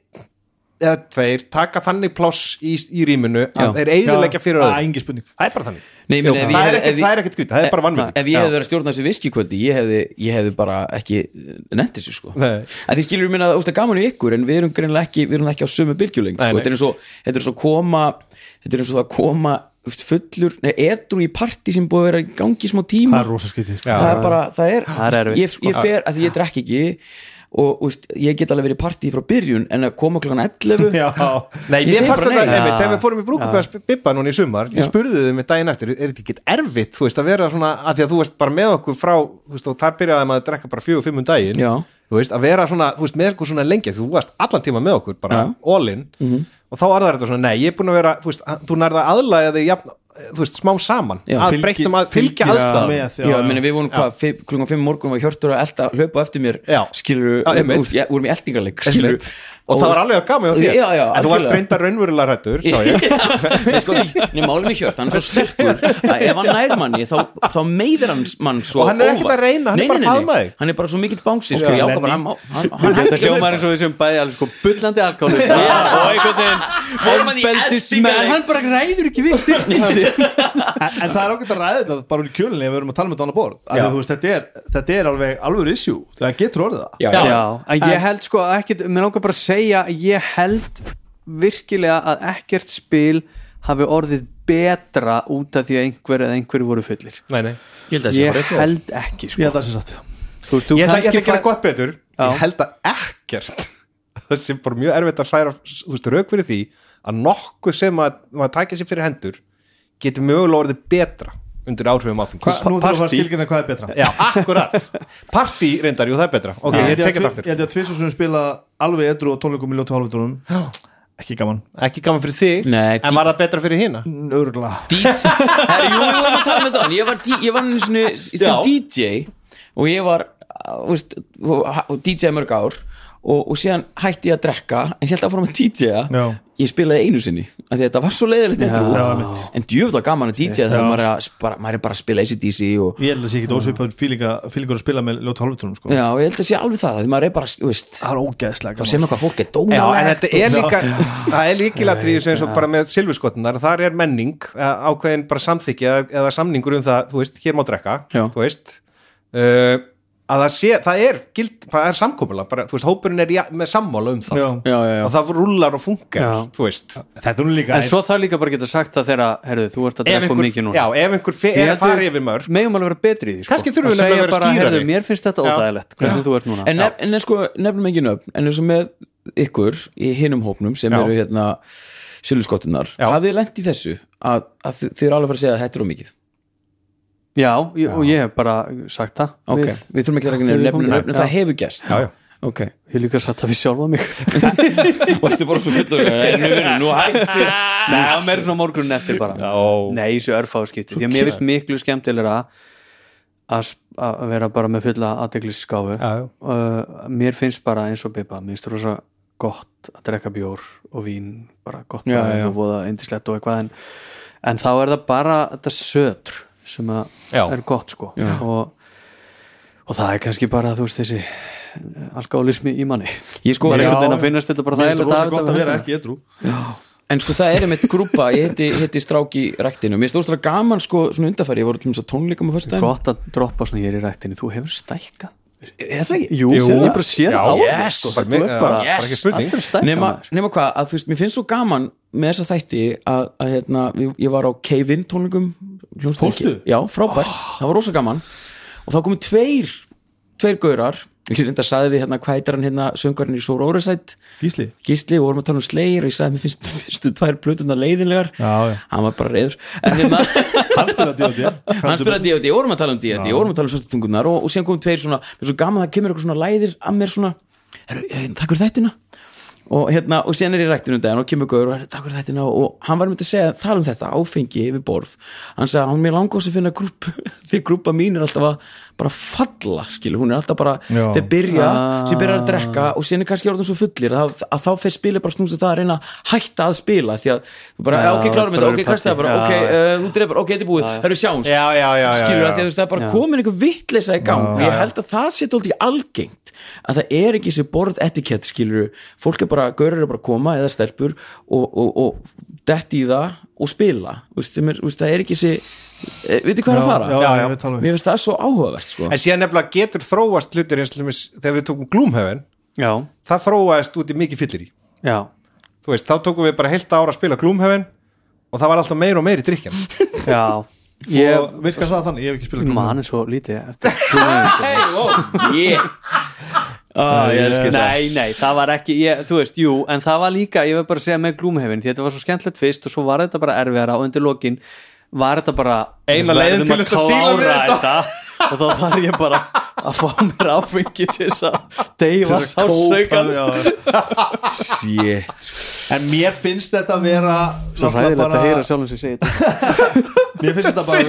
S2: eða tveir taka þannig pláss í, í rýminu
S1: Já.
S2: að þeir eigðilegja fyrir
S4: Það er
S2: öðrum
S4: engin spurning
S2: það er bara þannig
S1: Nei, meni,
S2: það, er ekkert, það er ekkert gud, það er bara vannvirðing
S1: Ef ég hefði verið að stjórna þessu viskikvöldi ég hefði, ég hefði bara ekki nefnt þessu sko
S2: Nei.
S1: að Því skilur minna, þú veist það er gaman í ykkur en við erum greinlega ekki, við erum ekki á sömu bylgjuleng
S2: Nei,
S1: sko.
S2: nei.
S1: Þetta er eins og, þetta er eins og koma þetta er eins og það að koma þú veist, fullur, nei, edru í partí sem búið að vera í gangi í smá tíma
S4: Það er rosa skytið
S1: það er bara, það er,
S3: Það er erfitt,
S1: ég,
S2: sko.
S1: ég fer að því ég drekk ekki og úst, ég get alveg verið í partí frá byrjun en að koma klokkan
S2: (laughs)
S1: 11 Ég
S2: Nei, mér
S1: segi
S2: fannst
S1: bara
S2: þetta,
S1: nei.
S2: einmitt, þegar við fórum í brúkupæða Bibba núna í sumar, ég
S1: Já.
S2: spurði þið með daginn eftir, er þetta ekki erfitt, þú veist, að vera svona, að því að þú veist bara með okkur frá, þú veist, og þar byrjaði maður að drekka bara fjögur, fimmum daginn,
S1: Já.
S2: þú veist, að vera svona, þú veist, með okkur svona lengi, þú varst allan tíma með
S1: Mhm.
S2: okkur, bara all in, og þá er það þetta svona, nei, ég er búin að vera, þú veist, að- þú nærða aðlæða þig jafn þú veist, smá saman
S1: Já,
S2: að
S1: fylgi-
S2: breyttum um að fylgja aðstæðum
S4: með,
S1: Já, ég meina við vorum hvað, fimm- klukkan 5 morgun var Hjörtur að elta, hlaupa á eftir mér
S2: Já.
S1: skilur,
S2: Já, einmitt.
S1: úst, ég, vorum í eltingarleik skilur,
S2: Einmitt. og það var alveg að gama á því
S1: Já, já,
S2: en þú varst
S1: algjörlega.
S2: reynda raunverulega rættur sá ég.
S1: (laughs) Nei, sko, nei, málum við Hjört, hann er svo sterkur að ef hann nær manni, þá, þá meiðir hann mann svo
S2: Og hann er ekkert
S1: óvart.
S2: að reyna, hann
S1: Nei,
S2: er
S1: nei,
S2: bara að
S1: nei,
S2: faðma þig.
S1: Hann er bara svo mikill bánsi, sko, ég ákvað bara hann- hann- hann
S3: Þetta
S1: hættir að
S3: hljómar
S1: hlaupa.
S3: eins og við sem bæði alveg sko bullandi alkoholist og einhvern veginn
S1: Vorum hann í
S3: ofbeldismenn.
S1: eltingaleik?
S3: hann bara ræður ekki við styrnin sín
S4: en, en það er ákveðt að ræða þetta bara úr kjölinni ef við erum að tala með þetta annað borð Af því að þú veist, þetta, er, þetta er alveg alveg issue það getur orðið það
S1: Já, já.
S3: Já, en ég held sko ekkert, mér langar bara að segja að ég held virkilega að ekkert spil hafi orðið betra út af því að einhver eða einhverju voru fullir
S2: Nei, nei.
S1: Ég held að það sé
S3: ég
S1: bara rétt hjá.
S3: held ekki
S4: ég
S3: sko.
S4: held það sem sagt
S3: þú veist, þú
S2: ég ætla ég ætla
S3: kannski
S2: að gera
S3: fær-
S2: gott betur ég held að ekkert (laughs) það sé bara mjög erfitt að færa þú veist, rauk fyrir því að nokkuð sem að maður takja sér fyrir hendur getur mögulega orðið betra undir áhrifum áfengi
S4: Hva, nú þurfum við að
S3: partí.
S4: skilgjana hvað er betra
S2: já, akkurat partí reyndar, jú það er betra ok, ég tekja
S4: Ég
S2: það aftur
S4: held ég að tvisvar sem spila alveg edru og tónleikum í ljótu hálfutónum Ekki gaman
S2: ekki gaman fyrir þig,
S1: Nei,
S2: en var það betra fyrir hina
S4: Örgla
S1: DJ Herri, jú, við vorum að tala með það Ég var, dí- ég var einu sinni sem DJ og ég var uh, veist, og- og DJ mörg ár og, og síðan hætti ég að drekka en held að fórum að DJ-a
S4: Já.
S1: ég spilaði einu sinni, af því að þetta var svo leiðilegt edrú, en djöfla gaman að DJ þegar maður er, að, bara, maður er bara að spila ACDC og
S4: Ég held að sé ekki ósvipað fílingur að spila með ljótu hálfutónum sko.
S1: já, og ég held að sé alveg það, af því maður er bara, þú veist
S4: Það er ógeðslega
S1: þá sem eitthvað fólk er
S2: Já, en
S1: dónalegt
S2: þetta er líka, það er líkilatriði sem svo bara með silfurskotnar, þar er menning að ákveðin bara samþykja eða samningur um það, þú veist, hér má drekka
S1: Já.
S2: þú veist uh, að það sé, það er, gild, það er samkomulega bara, þú veist, hópurinn er í, með sammála um það
S4: Já.
S1: Já, já, já.
S2: og það rúlar og funkar,
S3: Já.
S2: þú veist
S4: Þetta er nú líka
S3: en svo þarf líka bara að geta sagt það þegar herðu, þú ert að
S2: ef
S3: drekka of mikið
S2: einhver,
S3: núna
S2: já, ef einhver fe,
S3: Ég
S2: er
S3: held
S2: að fara
S3: við
S2: yfir mörg
S3: megum alveg vera betri í því sko.
S2: Kannski þurfum við
S3: að segja
S2: nefnilega að vera
S3: bara,
S2: skýrari.
S3: heyrðu, mér finnst þetta
S2: Já.
S3: óþægilegt hvernig þú ert núna
S1: en, nef, en nef, sko, nefnum ekki nöfn en eins og með ykkur í hinum hópnum sem
S2: Já.
S1: eru hérna sjöluskottunar,
S2: Já.
S1: hafið þið lengt í þessu að, að þið, þið eru alveg að fara að segja að þetta er of mikið
S3: já, ég- og ég hef bara sagt það
S1: ok,
S3: við-
S1: við, þurfum ekki að regna nefnum
S3: Nei,
S1: nöfn en það hefur gerst
S2: Já, já.
S1: ok,
S3: ég hef líka sagt það við sjálfa mig
S1: og þetta er bara svo fullur en nú erum nú hættir
S3: (laughs) Nei, það meira svona morgun eftir bara
S2: Já.
S3: Nei, þessu örfáskipti Því að mér finnst miklu skemmtilegra að s- að vera bara með fulla aðdegliskáfu
S2: Já, já.
S3: uh, Mér finnst bara eins og Bippa Mér finnst rosa gott að drekka bjór og vín bara gott
S1: Já,
S3: bragð
S1: já.
S3: og voða indislegt og eitthvað en, en þá er það bara þetta sötr sem að
S2: Já.
S3: er gott sko og, og það er kannski bara þú veist þessi eh, alkoholismi í manni
S1: ég sko,
S3: Bara
S4: Já.
S3: einhvern veginn að finnast þetta bara
S4: Mér finnst
S3: þægilegt
S4: rosa
S3: af
S4: gott að hérna.
S3: þetta.
S4: vera ekki edru
S1: en sko það er einmitt grúpa ég hitti, hitti strák í ræktinu mér stóðst það gaman sko svona undarfæri, ég voru til þess að tónleikum á föstudaginn
S3: gott að droppa svona hér í ræktinni þú hefur stækkað
S1: er það ekki?
S3: Jú,
S2: Jú.
S3: Jú. ég bara sé það á
S2: Já,
S3: þér,
S1: yes.
S3: sko.
S2: Bara
S3: Þú
S2: mig-
S3: ert bara
S2: bara- bara ekki spurning
S3: Allir stækka
S1: nema,
S3: maður.
S1: nema hvað, að þú veist, mér finnst svo gaman með þessa þætti að, að hérna, ég, ég var á Cave-In tónlingum hljómsveitin-
S4: Fórstu?
S1: Já, frábært, það var rosa gaman og þá komu tveir, tveir gaurar ég reynda að saði við hérna hvað heitir hann hérna söngarinn í Sóra Óresætt
S4: Gísli
S1: Gísli, við vorum að tala um slegir og ég sagði að mér finnst fyrstu tvær plötuna leiðinlegar
S4: Já, já.
S1: hann var bara reyður en hérna,
S4: Hann spilaði D.O.D.
S1: hann spilaði D.O.D. vorum að tala um D.O.D. vorum að tala um svöstutungunar og, og síðan komum tveir svona, mér er svo gaman að það kemur eitthvað svona læðir að mér svona, "Herru, eh, takk fyrir þættina og hérna, og síðan er ég ræktinu um daginn og kemur gaur og "Herru, takk fyrir þættina og hann var myndi að segja, tala um þetta, áfengi yfir borð hann sagði, hann mér langar þess að finna grúp (laughs) því grúpa mín er alltaf að bara falla, skilu, hún er alltaf bara
S4: Já.
S1: þeir byrja, sem byrjar að drekka og síðan er kannski orðum svo fullir að, þá- að þá fer spilið bara snúst að það að reyna að hætta að spila því að, þú bara,
S3: Já,
S1: já, ok, klárum
S3: bara
S1: þetta, ok,
S3: eru
S1: kastaði bara
S3: partí.
S1: ok,
S3: Já, já.
S1: uh, þú dreipar, ok, þetta er búið, það eru sjáumst
S2: Já, já, já, já,
S1: skilur
S2: já.
S1: að því að þú veist, það er bara
S3: Já.
S1: komin einhver vitleysa í gang og
S2: Já,
S1: ég
S2: já.
S1: held að það sé tólt í algengt að það er ekki þessi borð etikett skilur fólk er bara, gaurur er bara að koma eða stelpur og, og, og detti í það og spila þú veist, sem er, þú veist, það er ekki þessi eh, veitir hvað er að fara?
S4: Já,
S2: já. um-
S4: já, við talum við.
S1: Mér finnst það svo áhugavert sko.
S2: en síðan nefnilega getur þróast hlutir eins og til dæmis þegar við tókum glúmhefin
S3: Já,
S2: það þróast út í mikið fyllir í
S3: já
S2: þú veist, þá tókum við bara heilt ára að spila glúmhefin og það var alltaf meir og meir í drikjan
S3: Já,
S4: Og
S3: ég
S4: virkar það þannig, ég hef ekki spilað Glúm.
S3: man er svo lítið
S2: (laughs)
S3: eftir Glúmhefin, sko.
S1: yeah. ah, ég elska þetta
S3: Nei, nei, það var ekki ég, Þú veist, jú, en það var líka, ég verð bara að segja með glúmhefin því þetta var svo skemmtilegt fyrst og svo var þetta bara erfiðara og undir lokin var þetta bara
S2: Eina leiðin
S3: verðum
S2: til þess að díla við
S3: klára
S2: þetta.
S3: og þá þarf ég bara að fá mér áfengi til þess að deyfa sársaukan
S1: Shit
S4: en mér finnst þetta að vera
S3: sko. Svo
S4: náttúrulega
S3: hræðilegt
S4: bara-
S3: að heyra sjálfum sem segir þetta
S4: mér finnst þetta bara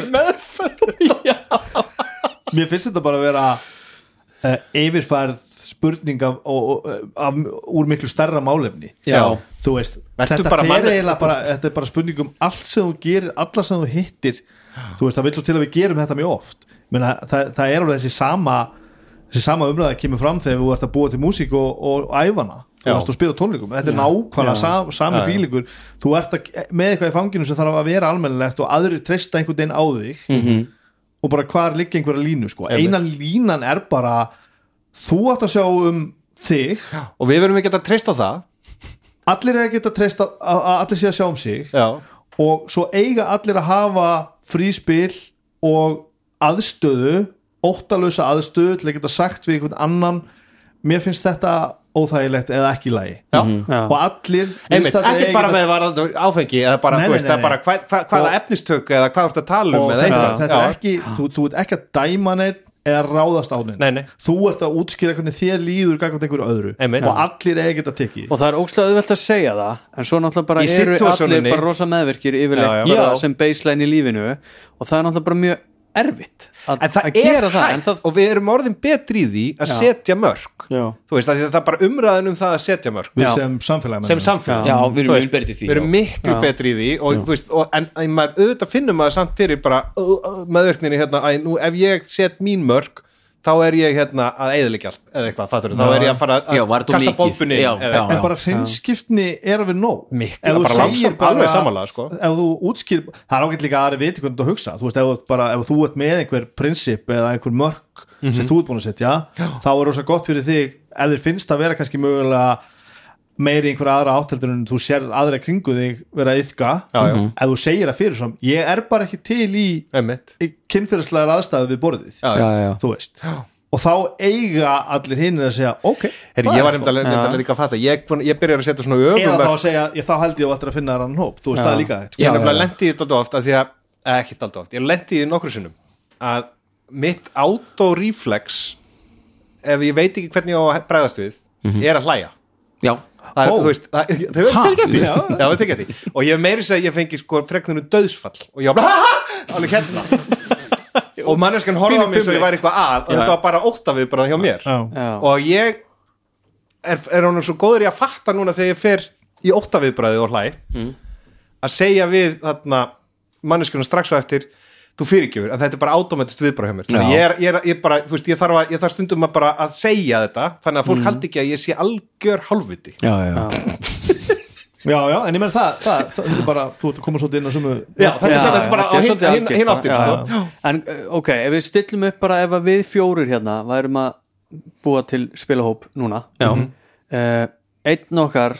S4: mér finnst þetta bara að vera uh, yfirfærð spurning af, og, og, eh, af, úr miklu stærra málefni
S1: Já.
S4: þú veist
S2: Vertu
S4: þetta,
S2: bara
S4: fer
S2: mannleg-
S4: eiginlega bara, þetta er bara spurning um allt sem þú gerir alla sem þú hittir þú veist það vil svo til að við gerum þetta mjög oft Menna, það, það er alveg þessi sama þessi sama umræða kemur fram þegar þú ert að búa til músík og, og æfana þú
S2: Já.
S4: veist og spila á tónleikum, þetta er nákvæmlega sam, sami fílingur, þú ert að, með eitthvað í fanginu sem þarf að vera almennilegt og aðrir treysta einhvern veginn á þig
S2: Mhm.
S4: og bara hvar liggja einhverja línu sko. eina línan er bara þú átt að sjá um þig
S2: og við verðum ekki að treysta á það
S4: allir er að geta treyst að, að að allir sé að sjá um sig
S2: já,
S4: og svo eiga allir að hafa fríspil og aðstöðu óttalösa aðstöðu til að geta sagt við einhvern annan mér finnst þetta óþægilegt eða ekki í lagi
S2: já.
S4: og allir
S2: Einmitt,
S4: viðstaddir
S2: ekki
S4: eiga
S2: bara
S4: að-
S2: með varandi áfengi eða bara,
S4: Nei,
S2: þú
S4: nei,
S2: veist,
S4: nei,
S2: það er bara
S4: nei.
S2: hvað, hvað, hvaða efnistöku eða hvað þú ert að tala um
S4: og
S2: eða
S4: þetta,
S2: eitthvað.
S4: þetta
S2: Já.
S4: er ekki þú, þú ert ekki að dæma neitt eða ráðast á neitt
S2: Nei, nei.
S4: þú ert að útskýra hvernig þér líður gagvart einhverju öðru
S2: Einmitt.
S4: og allir eigi að tekki
S3: og það er ókslega auðvelt að segja það en svo náttúrulega bara
S2: Í
S3: eru allir
S2: situasjoninni.
S3: bara rosa meðverkir
S2: Já, já.
S3: yfirleitt bara
S1: Já.
S3: sem baseline í lífinu og það er náttúrulega bara mjög erfitt að,
S2: en það
S3: að
S2: er
S3: gera
S2: hægt
S3: það en það
S2: og við erum orðin betri í því að setja mörg
S1: Já.
S2: þú veist að það er bara umræðan um það að setja mörg
S4: við sem samfélag
S2: sem samfélag
S1: Já, við erum
S2: Þú
S1: mjög
S2: veist,
S1: sperrt í því
S2: við erum
S1: já.
S2: miklu betri í því og, þú veist, og, en, en maður auðvitað finnum maður samt fyrir bara uh, uh, meðvirkninni hérna að nú ef ég set mín mörg þá er ég hérna að eðilegja allt eða eitthvað, fattur þá er ég að fara að
S1: Já, var þetta
S2: kasta
S1: mikið?
S2: bóðbunni
S1: Já, já.
S4: en bara hreinskiptni er alveg nóg
S2: Mikið,
S4: Ef þú
S2: bara
S4: segir
S2: langsam-
S4: bara-
S2: alveg samanlega, sko.
S4: ef þú útskýr, það er ágætt líka að aðri viti hvernig þú hugsa, þú veist, ef, þú ert bara, ef þú ert með einhver prinsip eða einhver mörk
S2: Mhm.
S4: sem þú ert búin að setja, þá er rosa gott fyrir þig ef þér finnst að vera kannski mögulega meiri einhverja aðra átteldur en þú sér aðra í kringu þig vera að yfka,
S2: Já, já.
S4: ef þú segir það fyrir sem, ég er bara ekki til í,
S2: Einmitt.
S4: í kynfyrirslegar aðstæðu við borðið
S2: Já,
S1: Já, já.
S4: þú veist, og þá eiga allir hinn að segja, ok
S2: Heri,
S4: það er
S2: ég var
S4: gott.
S2: nefndalega líka að fatta ég, búin- ég byrjar að setja svona
S4: eða
S2: öfum
S4: þá að segja, ég, þá held ég að þetta að finna þér annan hóp þú veist það er líka þetta sko.
S2: ég
S1: Já,
S2: hef nefnilega
S1: já, já.
S2: lendi í þetta alltaf oft að því að, eða ekki alltaf oft, ég lendi í því nokkru sinnum að mitt autoreflex ef ég veit ekki hvernig ég á að bregðast við
S1: Mhm.
S2: er að hlæja
S1: já,
S2: það
S4: Ó.
S2: er, þú veist, það, þau verður tekið eftir já, þau verður tekið eftir því. og ég hef meiri segja að ég fengi sko frekninu döðsfall og ég var bara, "Ha, ha!" alveg hérna og manneskan horfa á mig svo ég væri eitthvað að og þetta var bara óttavið bara hjá mér
S3: Já.
S2: og ég er, er honum svo góður í að fatta núna þegar ég fer í óttaviðbræði og hlæ að segja við þarna manneskunum strax á eftir þú fyrirgjöfur að þetta er bara automatist viðbræð hjá mér þannig að ég, er, ég, er, ég, bara, þú veist, ég, þarf að, ég þarf stundum að bara að segja þetta þannig að fólk haldi ekki að ég sé algjör hálfviti
S1: já, já.
S4: já, já, en ég menn það, það, það, það er bara, þú ert að koma svolítið inn á sumu
S2: Já, þetta er
S3: Já,
S2: sannlega bara á
S3: þetta er
S2: hin-
S3: svolítið
S2: hin-
S3: algilt
S2: hin
S3: bara.
S2: áttin
S3: Já,
S2: sko.
S3: já. En uh, ok, ef við stillum upp bara ef að við fjórir hérna værum að búa til spilahóp núna
S1: Já.
S3: uh, Einn okkar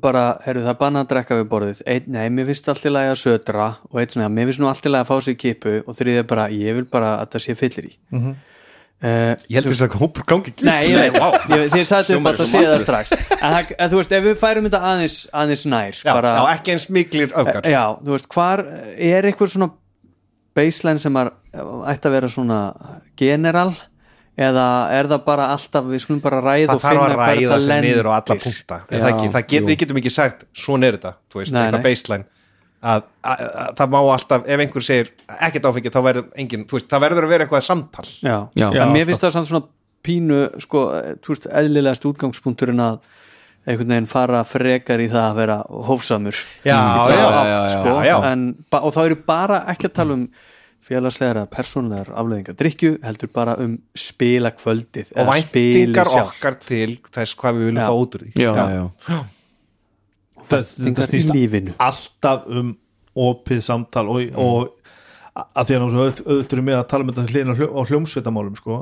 S3: bara, heyrðu það er bannað að drekka við borðið einn, nei, mér finnst allt í lagi að södra og einn svona, mér finnst nú allt í lagi að fá sér kipu og þriðið er bara, ég vil bara að það sé fyllir í mm
S2: Mhm. Ég held þess að hópur gangi ekki
S3: Nei, ég veit,
S2: Vá.
S3: ég veit, þið sagði
S1: Hljómar
S3: bara
S1: eins
S3: að
S1: og
S3: segja það
S1: mastrið.
S3: strax en, það, en þú veist, ef við færum þetta aðeins, aðeins nær
S2: Já,
S3: bara, Eh,
S2: já, ekki eins miklir öfgar
S3: Já, þú veist, hvar er einhver svona baseline sem er, ætti að vera svona general eða er það bara alltaf, við skulum bara ræða
S2: það
S3: og
S2: þarf
S3: finna
S2: að ræða
S3: þetta
S2: sig niður á alla
S3: lendir?
S2: punkta
S3: Já,
S2: er það ekki, það get,
S1: jú.
S2: við getum ekki sagt svona er þetta, þú veist,
S3: Nei,
S2: eitthvað
S3: nei.
S2: baseline að, að, að það má alltaf, ef einhver segir ekkert áfengi, þá verður engin þú veist, það verður að vera eitthvað samtal
S3: Já,
S1: Já.
S3: en
S1: Já,
S3: mér finnst það samt svona pínu, sko, þú veist, eðlilegast útgangspunkturinn að einhvern veginn fara frekar í það að vera hófsamur
S2: Já,
S3: það
S2: já,
S3: átt,
S2: já, já,
S3: sko,
S2: já, já.
S3: En, ba- og þá eru bara ekki að tala um félagslegar að persónlegar afleðingar drikju, heldur bara um spila kvöldið
S2: og væntingar okkar til þess hvað við viljum
S3: Eh, Já.
S2: fá út úr því
S1: Já, já, já.
S4: það, þetta
S3: Væntingar í
S4: snýst
S3: lífinu
S4: alltaf um opið samtal og, og að því að náttúrulega auð- auðvitað er með að tala um þetta hlýna á hljómsveitamálum sko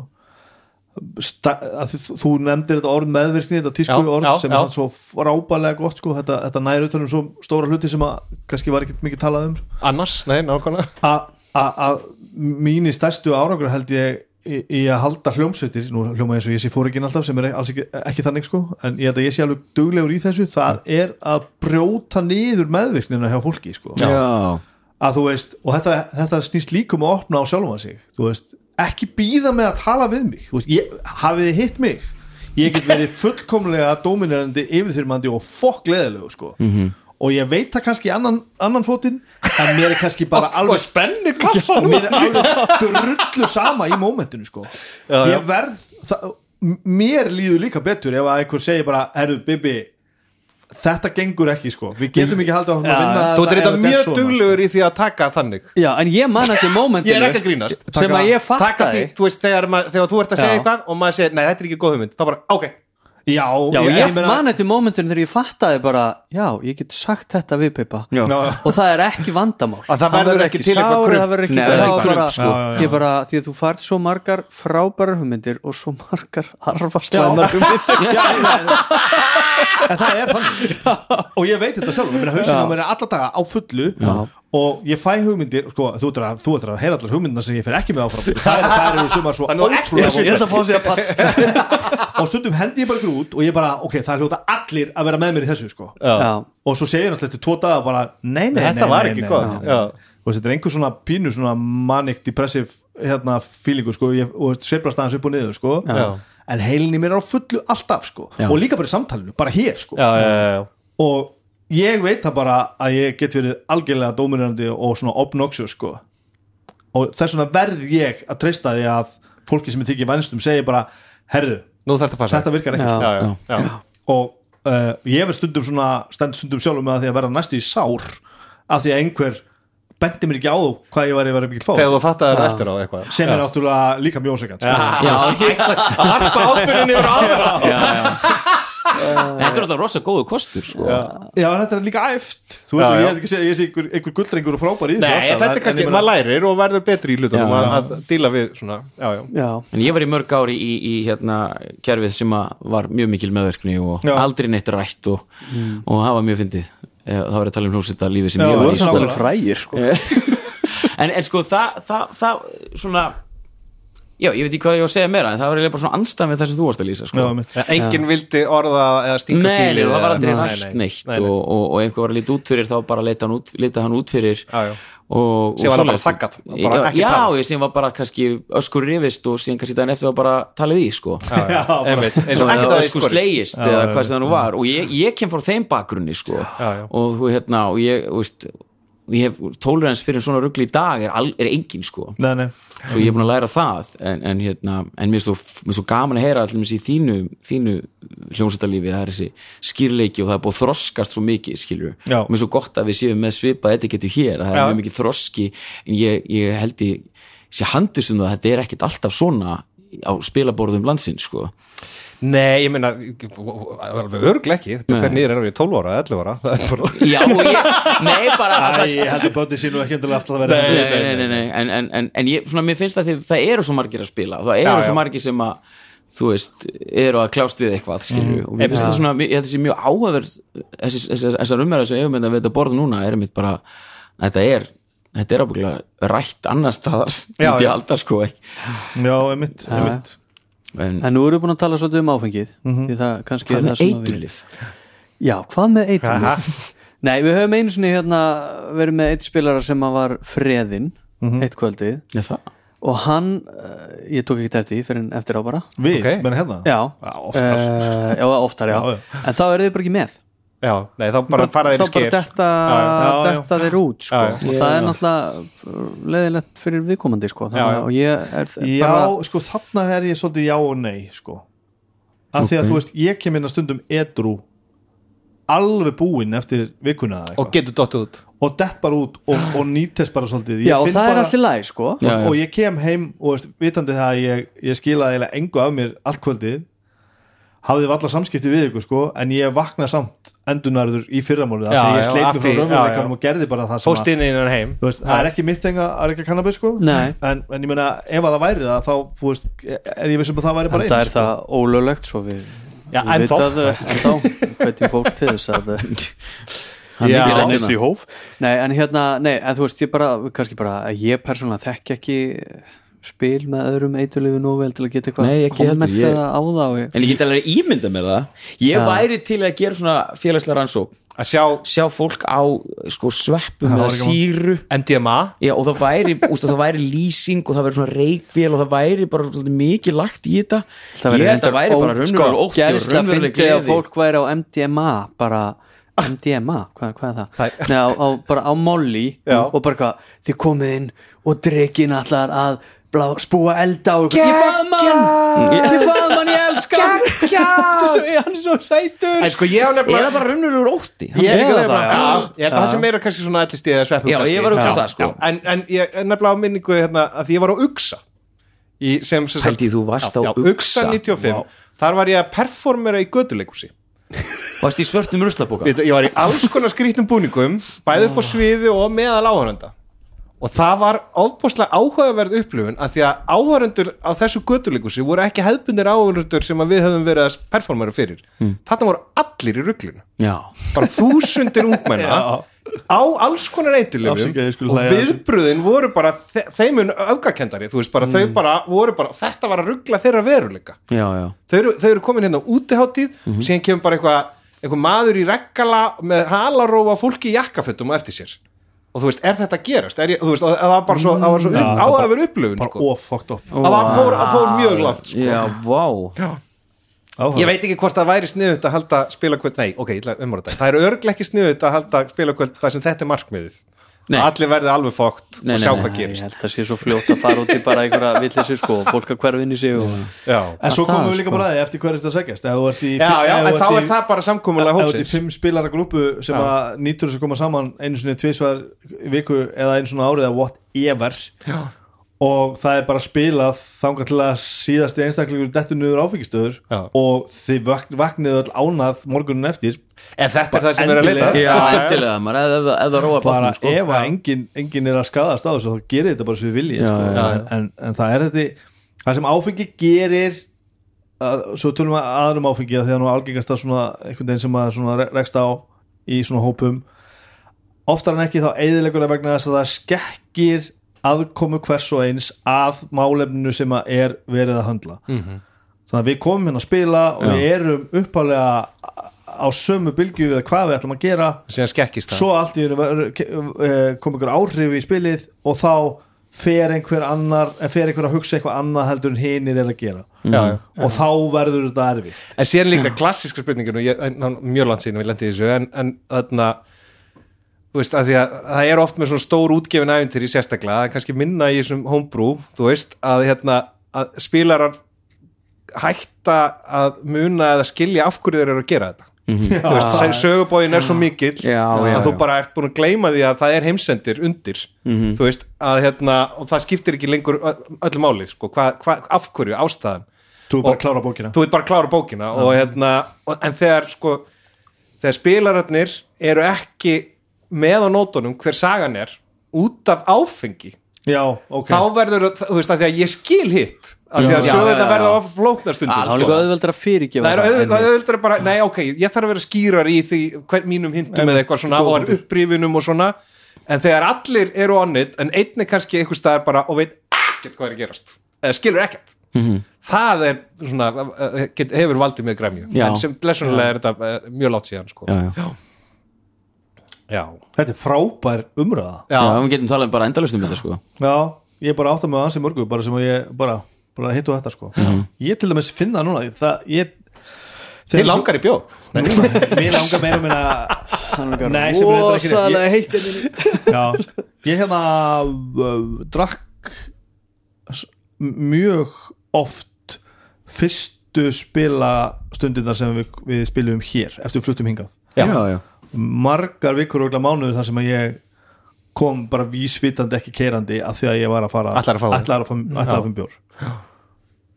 S4: Sta, að þú, þú nefndir þetta orð meðvirkni þetta tísku
S2: Já,
S4: orð
S2: já,
S4: sem
S2: já.
S4: er samt svo frábælega gott sko, þetta, þetta næri utan um svo stóra hluti sem að kannski var ekkert mikið talað um sko.
S2: annars, nei, nákvæmlega
S4: A- a- að mínir stærstu árangur held ég í, í að halda hljómsveitir nú hljóma eins og ég sé fóringin alltaf sem er alls ekki, ekki þannig sko, en ég held að ég sé alveg duglegur í þessu, það er að brjóta niður meðvirknina hjá fólki sko.
S1: já.
S4: um að þú veist, og þetta, þetta snýst líkum að opna á sjálfan sig, þú veist ekki býða með að tala við mig Þú veist, ég, hafið þið hitt mig ég get verið fullkomlega dominerandi yfirþyrmandi og fokk leðilegu sko.
S2: Mhm.
S4: -hmm. og ég veit það kannski í annan, annan fótinn en mér er kannski bara alveg
S2: spenni kassa
S4: mér er alveg drullu sama í mómentinu sko. ég verð það, mér líður líka betur ef að einhver segir bara, herru Bibi þetta gengur ekki sko við getum ekki haldið áfram að vinna
S2: Mm. Þú ert
S4: ef
S2: þetta
S4: er
S2: mjög
S4: svona,
S2: duglegur í því að taka þannig
S3: Já, en ég man eftir momentinu
S2: (laughs) Ég er ekki að grínast.
S3: Sem að ég
S2: Taka því,
S3: fattaði
S2: þú veist, þegar, maður- þegar þú ert að segja
S3: Já.
S2: eitthvað og maður segir, nei, þetta er ekki góð hugmynd þá bara, ok,
S4: sko. já,
S3: Já, ég,
S4: meina-
S3: man eftir momentinu þegar ég fattaði bara Já, ég get sagt þetta við Pippa
S1: Já.
S3: Og það er ekki vandamál
S2: Að það verður ekki til eitthvað
S3: sár,
S2: krump.
S3: Það verður ekki
S1: Nei,
S3: það
S1: það er
S3: var
S1: krump,
S3: bara,
S4: sko. Já, já, já.
S3: Ég bara, því að þú færð svo margar frábærar hugmyndir Og svo margar (laughs) arfarslæmar
S2: (laughs)
S3: hugmyndir
S4: já, ég meina- en það er þannig og ég veit þetta sjálf, ég meina hausinn á mér er alla daga á fullu og ég fæ hugmyndir sko, þú ert að, þú ert að heyra allar hugmyndina sem ég fer ekki með áfram það eru er, er sumar svo ótrúlega
S3: ætla að fá sér að passa
S4: (laughs) og stundum hendi ég bara ykkur út og ég bara, ok, það er hljóta allir að vera með mér í þessu sko.
S3: Já,
S4: og svo segir náttúrulega eftir tvo daga bara nei, nei,
S2: þetta
S4: nei,
S2: var
S4: nei,
S2: ekki
S4: nei,
S2: gott
S4: nei, nei. og þetta er einhver svona pínu svona manic depressive hérna feelingu sko ég, og sveiflast aðeins upp og niður sko
S2: Já.
S4: en heilinni mér er á fullu alltaf sko
S1: Já.
S4: og líka bara í samtalinu, bara hér sko
S2: já, já, já, já.
S4: og ég veit það bara að ég get verið algjörlega dóminirandi og svona obnoxious sko og þess vegna verð ég að treysta því að fólki sem ég þykir vænstum segir bara herðu,
S2: Nú þarf þetta að passa
S4: þetta virkar ekki
S3: Já.
S4: sko.
S2: já, já, já.
S4: og uh, ég verð stundum svona stend stundum sjálfum með að því að vera næstu í sár af því að einhver bendi mér ekki á hvað ég var að vera mikil fór
S2: Þegar þú fattar það eftir á eitthvað
S4: sem er náttúrulega líka mjög ósækjant sko.
S1: Já,
S2: að harpa ábyrðin (laughs) yfir á aðra
S1: þetta er alltaf rosa góðu kostur sko.
S4: já, en þetta er líka æft þú veist,
S2: Já,
S4: já,
S2: já.
S4: ég er ekki að segja, ég sé einhver, einhver gulldrengur og frábær í þessu
S2: Nei,
S4: alltaf,
S2: þetta er
S4: en-
S2: kannski,
S4: en ég meina-
S2: maður lærir og verður betri í hlutunum
S1: Já,
S2: að,
S1: já.
S2: að díla við svona, já, já
S3: já,
S1: En ég var í mörg ári í, í hérna kerfið sem að var mjög mikil meðverkni og
S4: Já.
S1: aldrei neitt rætt og,
S2: Mm.
S1: og það var mjög fyndið Eh, þá var ég að tala um hlúsita lífi sem
S4: Já,
S1: ég
S4: voru
S1: var í
S4: sammála.
S1: sko.
S3: alveg frægir sko
S1: (laughs) en, en sko það, það, það svona já, ég veit ekki hvað ég var að segja meira en það var eiginlega bara svona anstæðan við það sem þú varst að lýsa sko.
S4: Já, mitt.
S2: Enginn vildi orða eða stinga
S1: Nei, nei,
S2: bílið
S1: það var aldrei
S2: eða-
S1: rætt neitt
S2: Nei, nei.
S1: Og, og, og einhver var að lita út fyrir þá bara leita hann út, leita hann út fyrir
S2: Já, (laughs) já.
S1: og, og
S2: Síðan var það bara
S1: svoleiðis.
S2: þaggað, bara
S1: já,
S2: ekki
S1: já,
S2: talað.
S1: ég sem var bara kannski öskur rifist og síðan kannski daginn eftir var bara talið í sko
S2: Já, já, einmitt, eins og
S1: Svona
S2: ekkert
S1: eða
S2: að því
S1: öskur slegist eða hvað sem það nú var og ég, ég kem frá þeim bakgrunni sko
S2: já.
S1: og þú, hérna og ég, þú veist ég hef tólerans fyrir svona rugli í dag er, al, er engin sko
S4: Nei, nei.
S1: svo ég er búin að læra það en, en, hérna, en mér er svo, mér er svo gaman að heyra allir í þínu, þínu hljómsættalífi það er þessi skýrleiki og það er búið að þroskast svo mikið skilur
S4: Já.
S1: mér er svo gott að við séum með svipa þetta getur hér, það er
S2: Já.
S1: mjög mikið þroski en ég, ég held ég sé handis um það að þetta er ekkert alltaf svona á spilaborðum landsins sko.
S2: Nei, ég meina, alveg örglega ekki Þetta fer nýður erum við 12 ára, 11 ára Það er bara-
S1: já og (laughs) ég, nei bara að
S4: Æ,
S1: það
S4: ég held að bötið sé nú ekki endilega aftur að vera hérna.
S1: nei, nei, nei, nei, nei. En, en, en, en ég, svona, mér finnst að þið, það eru svo margir að spila og það eru
S2: Já, já.
S1: svo margir sem að þú veist, eru að klást við eitthvað skilju, og mér finnst það svona, mér- ég held að sé mjög áhverð þessi, þessi, þessar umræður sem eigum við þetta borð núna er mitt bara þetta er, þetta er ábyggulega rætt annar staðar,
S2: Já,
S1: myndi
S2: já.
S1: ég alltaf sko ekki.
S4: já, einmitt, einmitt.
S1: en
S3: En nú erum við búin að tala svolítið um áfengið Því það kannski
S1: hvað
S3: er
S1: með
S3: það sem að við-
S1: eiturlif?
S3: Já, hvað með eiturlif? (laughs) Nei, við höfum einu sinni hérna verið með eitt spilara sem að var freðin eitt kvöldið
S1: Já, það,
S3: og hann, uh, ég tók ekki eftir því fyrir en eftir á bara
S4: við,
S2: Ok.
S4: menn hérna
S3: Já,
S4: Já, oftar.
S3: Eh, já, oftar, já.
S4: Já, já.
S3: En þá eru þið bara ekki með
S2: Já, nei, þá bara fara þeir
S3: Þá
S2: í skil
S3: bara detta,
S4: já, já.
S3: detta þeir út sko.
S2: Já, já.
S3: og það er náttúrulega leðilegt fyrir viðkomandi sko. Þannig
S2: Já, já.
S3: að- og ég er
S4: Já,
S3: bara
S4: sko þarna er ég svolítið já og nei sko. af því að þú veist, ég kem inn að stundum edru alveg búinn eftir vikuna eða
S2: Og
S4: eitthvað.
S2: getur dottið út
S4: og dett bara út og, og nýtest bara svolítið Ég
S3: Já, og
S4: finn
S3: það er
S4: bara-
S3: allir læg sko.
S1: Já, já.
S4: og ég kem heim og veist, vitandi það að ég, ég skilaði eiginlega engu af mér allt kvöldið hafði valla samskipti við ykkur sko en ég vakna samt endunarður í fyrramálið af
S2: Já,
S4: því að
S2: já,
S4: ég sleit
S2: af
S4: mig frá
S2: því- já, já.
S4: raunveruleikanum og gerði bara það sem að-
S2: Fóst inn í hennan heim
S4: þú veist, það er ekki mitt þeng að að reyka kannabis sko
S3: Nei.
S4: en, en ég meina ef að það væri það þá þú veist, er ég vissum að það væri bara
S3: Þetta er
S4: eins sko.
S3: það ólöglegt svo við
S2: Já,
S3: við
S2: ennþá.
S3: vitað, eh, ennþá hvernig fólk til þess að
S2: (laughs)
S1: hann
S2: Já.
S1: er ekki
S3: neyslu
S1: rættina
S3: í hóf Nei, en hérna, nei, en þú veist ég bara, kannski bara að ég persónulega þekki ekki spil með öðrum eiturlifu nú vel til að geta
S1: Nei,
S3: eitthvað
S1: ekki heldur, ég-
S3: kommentaða á þá
S1: en ég get alveg ímynda með það ég væri til að gera svona félagslega rannsók
S2: að sjá
S1: sjá fólk á sko, sveppum eða síru
S2: MDMA
S1: Já, og það væri, (laughs) úst, það væri lýsing og það væri svona reikvél og það væri bara svolítið mikið lagt í þetta
S3: Það væri
S1: Ég,
S3: reyndar
S1: þetta væri bara
S3: ó-
S1: raunveruleg ótti og
S3: Gæðsla
S1: raunveruleg
S3: fyndi að
S1: gleði
S3: fólk væri á MDMA bara MDMA, hvað, hvað er það?
S2: Það
S3: Nei, á, á, bara á molly
S2: Já.
S3: og bara hvað, þið komið inn og drekkin allar að blá, spúa elda og eitthvað, ég faðmann ég faðmann, ég elska hann
S1: (laughs)
S3: Þetta er svo- hann er svo sætur
S2: En sko ég á
S1: eða
S2: nefnilega
S1: bara raunverulegur ótti Hann
S3: Ég-
S1: er líka
S3: eða
S1: verið
S3: það,
S1: bara,
S3: já.
S2: Ég held að það sem meira kannski svona ætlist eða sveppum
S1: Já,
S2: kannski.
S1: ég var að hugsa það, sko.
S2: En, en ég er nefnilega á minningu hérna að því ég var á Uxa í, sem, sem
S1: Held ég þú varst á
S2: já,
S1: Uxa.
S2: Uxa 95, þar var ég að performera í göduleikúsi
S1: varst í svörtum ruslabóka
S2: Ég var í alls konar skrýtnum búningum
S4: Ah.
S2: bæði upp á sviði og meðal áhörenda og það var ofbúslega áhugaverð upplifun að því að áhörendur á þessu göduleikúsi voru ekki hefbundir áhörendur sem að við höfum verið að performera fyrir
S4: Hmm.
S2: þarna voru allir í rugglinu
S1: Já,
S2: bara þúsundir
S4: (laughs)
S2: ungmenna á alls konar eitilöfum
S4: Afsakaðu, ég skulle
S2: og
S4: hlæja að þessu.
S2: viðbröðin voru bara þe þeim mun öfgakendari, þú veist bara
S4: Hmm.
S2: þau bara voru bara, þetta var að ruggla þeirra veruleika
S1: já, já
S2: þau eru, þau eru komin hérna á útiháttíð
S1: Mhm.
S2: og síðan kemur bara eitthvað einhver maður í reggala með halarófa fólki í jakkafötum á eftir sér og þú veist, er þetta að gerast? Er ég, þú veist, og það var bara svo, það var svo upp, áhafur upplöfun
S4: Mm. bara
S2: sko.
S4: ofokkt upp
S2: það var, fór, fór mjög langt sko.
S1: Já, vá
S2: Ég veit ekki hvort það væri sniðut að halda spilakvöld Nei, ok, ég ætla að umvara þetta Það er örglega ekki sniðut að halda spilakvöld þar sem þetta er markmiðið
S1: Nei.
S2: Allir verði alveg
S1: Nei,
S2: fókt og
S1: nei,
S2: sjá
S1: nei.
S2: hvað
S3: Ég
S2: gerist
S3: held að það sé svo fljótt að fara út í bara einhverja villið sér sko, og fólk að hverfa inn í sig og
S2: Já,
S4: En svo
S3: Allt
S4: komum
S3: það,
S4: við líka
S3: sko.
S4: bara að því eftir hverju þetta segjast Ef þú ert í
S2: já, já
S4: ef þú
S2: en þá
S4: ert í-
S2: er það bara samkomulega
S4: Ef þú ert í
S2: hópsins
S4: fimm spilara grúpu sem að nýtur þess að koma saman einu svona tvisvar í viku eða einu svona árið eða whatever já. og það er bara spilað þangað til að síðasti einstaklingur dettur niður áfengistöður
S2: Já.
S4: og þið vak- vaknið öll ánað morgunun eftir
S2: En þetta er það sem er
S4: Bara
S2: að leita
S4: endilega.
S1: Já, endilega, maður, ef- ef- ef það róa
S4: bara
S1: bátnum, sko
S4: ef að enginn engin er að skadast á þessu þá gerir þetta bara svo við vilja
S1: Já,
S4: sko.
S1: já,
S4: En, en það er þetta það sem áfengi gerir að, svo tölum við aðrum áfengi að því að nú algengast það svona einhvern veginn sem að svona re- rekst á í svona hópum oftar en ekki þá eðileguna vegna þess að það skekkir aðkomu hvers og eins að málefninu sem að er verið að höndla þannig að við komum hérna að spila og við erum uppálega á sömu bylgju við hvað við ætlum að gera
S2: Síðan skekkist það
S4: svo allt í einu var- ke- eh, kom einhver áhrif í spilið og þá fer einhver annar eh, fer einhver að hugsa eitthvað annað heldur en hinir er að gera
S2: já, já.
S4: og þá verður þetta erfitt
S2: En síðan líka klassíska spurningin og ég, en, ná, mjög langt síðan við lendið þessu en, en þarna þú veist, að því að það er oft með svona stór útgefin æfintir í sérstaklega, það er kannski minna í þessum homebrew, þú veist, að, hérna, að spilarar hætta að muna eða skilja af hverju þeir eru að gera þetta þú veist, sem sögubóðin er svo mikill
S1: Já,
S2: að
S1: já,
S2: þú
S1: já.
S2: bara ert búin að gleyma því að það er heimsendir undir þú veist, að hérna og það skiptir ekki lengur ö- öllu máli sko, hva, hva, af hverju, ástæðan
S4: þú er bara
S2: Og-
S4: að klára bókina
S2: þú veit bara að klára bókina og hérna, og, en þegar sko þegar spilararnir eru ekki með á nótunum hver sagan er út af áfengi
S4: já, ok
S2: þá verður, þú veist, að því að ég skil hitt af því að
S3: Já,
S2: sögur
S3: já,
S2: þetta
S3: já.
S2: verða of flóknar
S3: það er
S2: stundum
S3: líka
S2: sko.
S3: auðveldur að fyrirgefa
S2: það er auðvitað- það er auðvitað bara, nei ok ég þarf að vera skýrar í því hvern mínum hintum eða eitthvað svona og er uppbrífinum og svona en þegar allir eru onnit en einn er kannski einhvers staðar bara og veit ekkert hvað er að gerast eða skilur ekkert
S1: Mhm.
S2: það er svona, eh, get, hefur valdið með græmju
S1: Já.
S2: en sem blessunlega er þetta eh, mjög látt síðan sko.
S1: Já, já.
S2: já.
S4: þetta er frábær umræða
S1: Já, við getum talað um bara endalustum þetta, sko
S4: já, ég bara átta mig á ansi mörgu bara sem að ég bara, bara hittu þetta sko ég til dæmis finna núna það, ég,
S2: þið langar í bjó
S4: mér langar meira minna nei, sem er reyndar ekki rétt. Ég-
S3: Ósalega heitt er minni
S4: Já, ég hérna uh, drakk s- mjög oft fyrstu spila stundina sem við, við spilum hér eftir við fluttum hingað
S1: Já, já,
S4: margar vikur og mánuður þar sem að ég kom bara vísvitandi ekki keirandi af því að ég var að fara
S2: Ætlar að fá þér.
S4: ætlar að fá, ætlar að fá bjór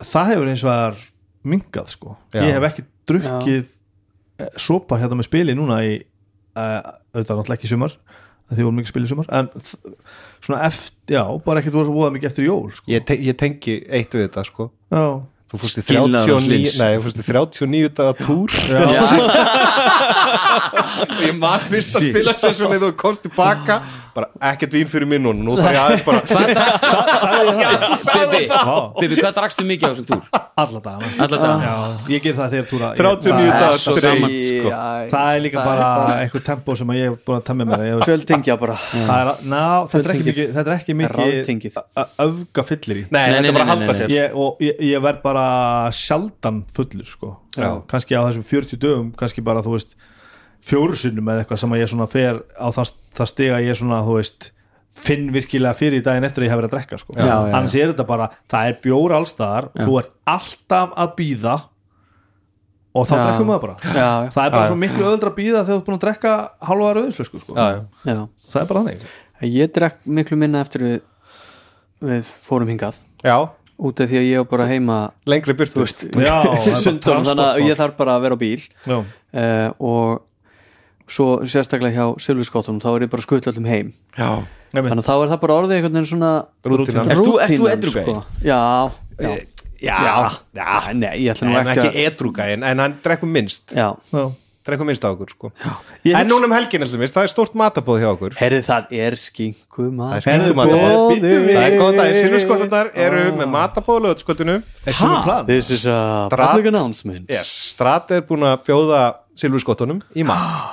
S4: það hefur eins og að mingað sko,
S2: Já.
S4: ég hef ekki drukkið Já. sopa hérna með spili núna í, uh, auðvitað náttúrulega ekki í sumar af því við vorum mikið spil í sumar en þ- svona eftir, já, bara ekkert voru voða mikið eftir jól sko.
S2: ég, te ég tengi eitt við þetta sko
S4: já,
S2: þú fórst í
S1: Skilaðu
S2: 39
S1: slins.
S2: nei, þú fórst í 39 daga túr
S4: já.
S2: og (laughs) ég maður fyrst að spila sér svo leið og komst tilbaka bara ekkert vín fyrir minn og nú þarf ég aðeins bara
S1: Hvað drakstu?
S4: Sagði ég það?
S1: Bibi,
S4: Vá.
S1: Bibi, hvað drakstu mikið á þessum túr?
S4: Alla daga
S1: Alla daga.
S4: Já, Ég ger það þegar túra
S2: 39
S4: Það-
S2: dagar
S1: svo
S2: streit
S1: gaman.
S2: sko.
S3: Æ,
S4: Það er líka bara eitthvað tempo sem að ég hef búin að temja mér ég,
S3: Fjöltingja bara
S4: það er, að- ná, þetta, er ekki
S3: Fjöltengið.
S4: mikið, þetta er ekki
S3: Ráðtengið.
S4: mikið öfga fyllir í
S2: Nei,
S1: Nei,
S2: þetta
S1: nei,
S2: er bara
S1: nei,
S2: að halda
S1: nei,
S2: sér
S4: ég, og ég, ég verð bara sjaldan fullur sko.
S2: Já.
S4: kannski á þessum 40 dögum kannski bara þú veist fjórusinnum eða eitthvað sem að ég svona fer á það, það stiga ég svona þú veist finn virkilega fyrir í daginn eftir að ég hef verið að drekka sko.
S3: Já, já, já.
S4: annars er þetta bara, það er bjór allstaðar þú ert alltaf að býða og þá
S3: Já.
S4: drekkum maður bara
S3: Já,
S4: það er bara svo miklu öðuldra að býða þegar þú ert búin að drekka halvaðar auðslu sko.
S2: Já, já.
S3: já.
S4: það er bara þannig
S3: Ég drakk miklu minna eftir við, við fórum hingað
S2: já,
S3: út af því að ég var bara heima
S2: lengri burt
S3: þú veist,
S4: Já, það er bara
S3: sundum, þannig að
S4: transportmál.
S3: ég þarf bara að vera á bíl
S4: Já.
S3: uh, og svo sérstaklega hjá Silvurskóttunum þá er ég bara skutt öllum heim
S2: já.
S3: þannig að þá er það bara orðið einhvern veginn svona
S2: Rútínan. sko.
S1: Ert þú- ert þú
S3: rútínan, sko.
S1: edrú gæi?
S3: Já, já,
S2: já, já.
S3: já Nei, ég ætla
S2: Nei,
S3: nú
S2: hann er
S3: ekki að
S2: ekki edrúgæin en hann drekkum minnst
S3: Já,
S4: Já.
S2: drekkum minnst á okkur sko.
S4: Ég
S2: en núna um helgin allir minnst, það er stórt matabóð hjá okkur
S3: herrið það er skinku
S2: það
S3: maður
S2: er skengum að
S4: góður.
S2: það er góð dagir, sinnurskottarnar sko eru með matabóð löðskottinu
S4: ekki með plan
S3: This is a
S2: Drat-
S3: public announcement
S2: yes, Strat er búin að bjóða silfurskottunum í mat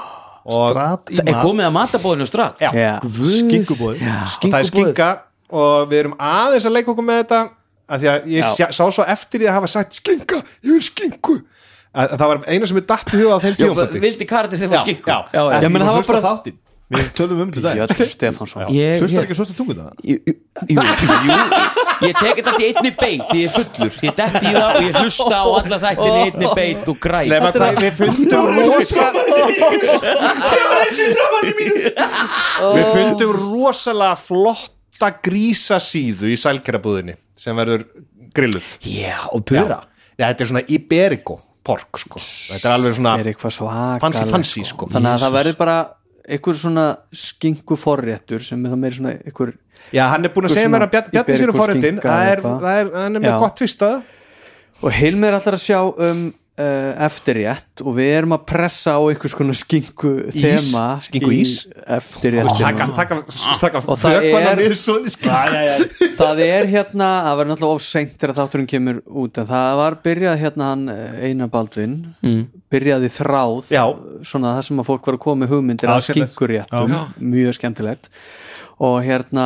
S2: og
S4: Drat í
S1: Það er
S4: mat,
S1: komið að matabóðinu stratt
S2: Já.
S3: Já.
S4: skinkubóð
S2: það er skinka og við erum aðeins að leika okkur með þetta af því að ég
S3: Já.
S2: sjá, sá svo eftir því að hafa sagt skinka, ég vil skinku að, að það var eina sem er datt í huga á þeim tíumfótti
S1: Vildi karakter þegar fór skinku
S2: já.
S1: já, já.
S3: Ég meina, það var bara-
S4: þáttinn Við tölum um þetta
S3: Björn Stefánsson
S1: Ég-
S4: Hlustar
S1: ég-
S4: ekki svörstu tungu það?
S1: Jú, jú, jú, jú. Ég tek þetta allt í einni beit Því ég er fullur, ég detti í það og ég hlusta á alla þættin í einni beit og græt
S2: Nefna hvað við fundum rosa Við fundum rosalega flotta grísasíðu í sælkerabúðinni sem verður grilluð
S1: Já, og pura
S2: Já, þetta er svona Iberico pork sko. Þetta er alveg svona
S3: er eitthvað svakar
S2: Fancy, fancy, sko.
S3: þannig að það
S2: Jesus.
S3: verður bara einhver svona skingu forréttur sem er það meiri svona einhver
S2: Já, hann er búin
S3: Eitthvað
S2: að segja mér
S3: svona
S2: að Bjarni- Bjarni sér um
S3: Iberico
S2: forritin
S3: skinka
S2: Það er,
S3: eitthvað.
S2: það er, hann er með
S3: Já.
S2: gott tvistað
S3: og Hilmi er alltaf að sjá um uh, eftirrétt og við erum að pressa á einhvers konar skingu
S2: Ís,
S3: þema
S2: skingu
S3: í
S2: ís. Taka,
S3: eftirrétt
S2: taka, taka
S3: Og það
S2: vökvann
S3: er-
S2: niður svona í skikk
S3: það er hérna, það verður náttúrulega of seint þegar þátturinn kemur út en það var byrjað hérna hann eh, Einar Baldvin mm. byrjaði þráð
S2: Já.
S3: svona það sem að fólk var að koma með hugmyndir að
S4: Aðskemmtilegt.
S3: skingur réttum, mjög skemmtilegt og hérna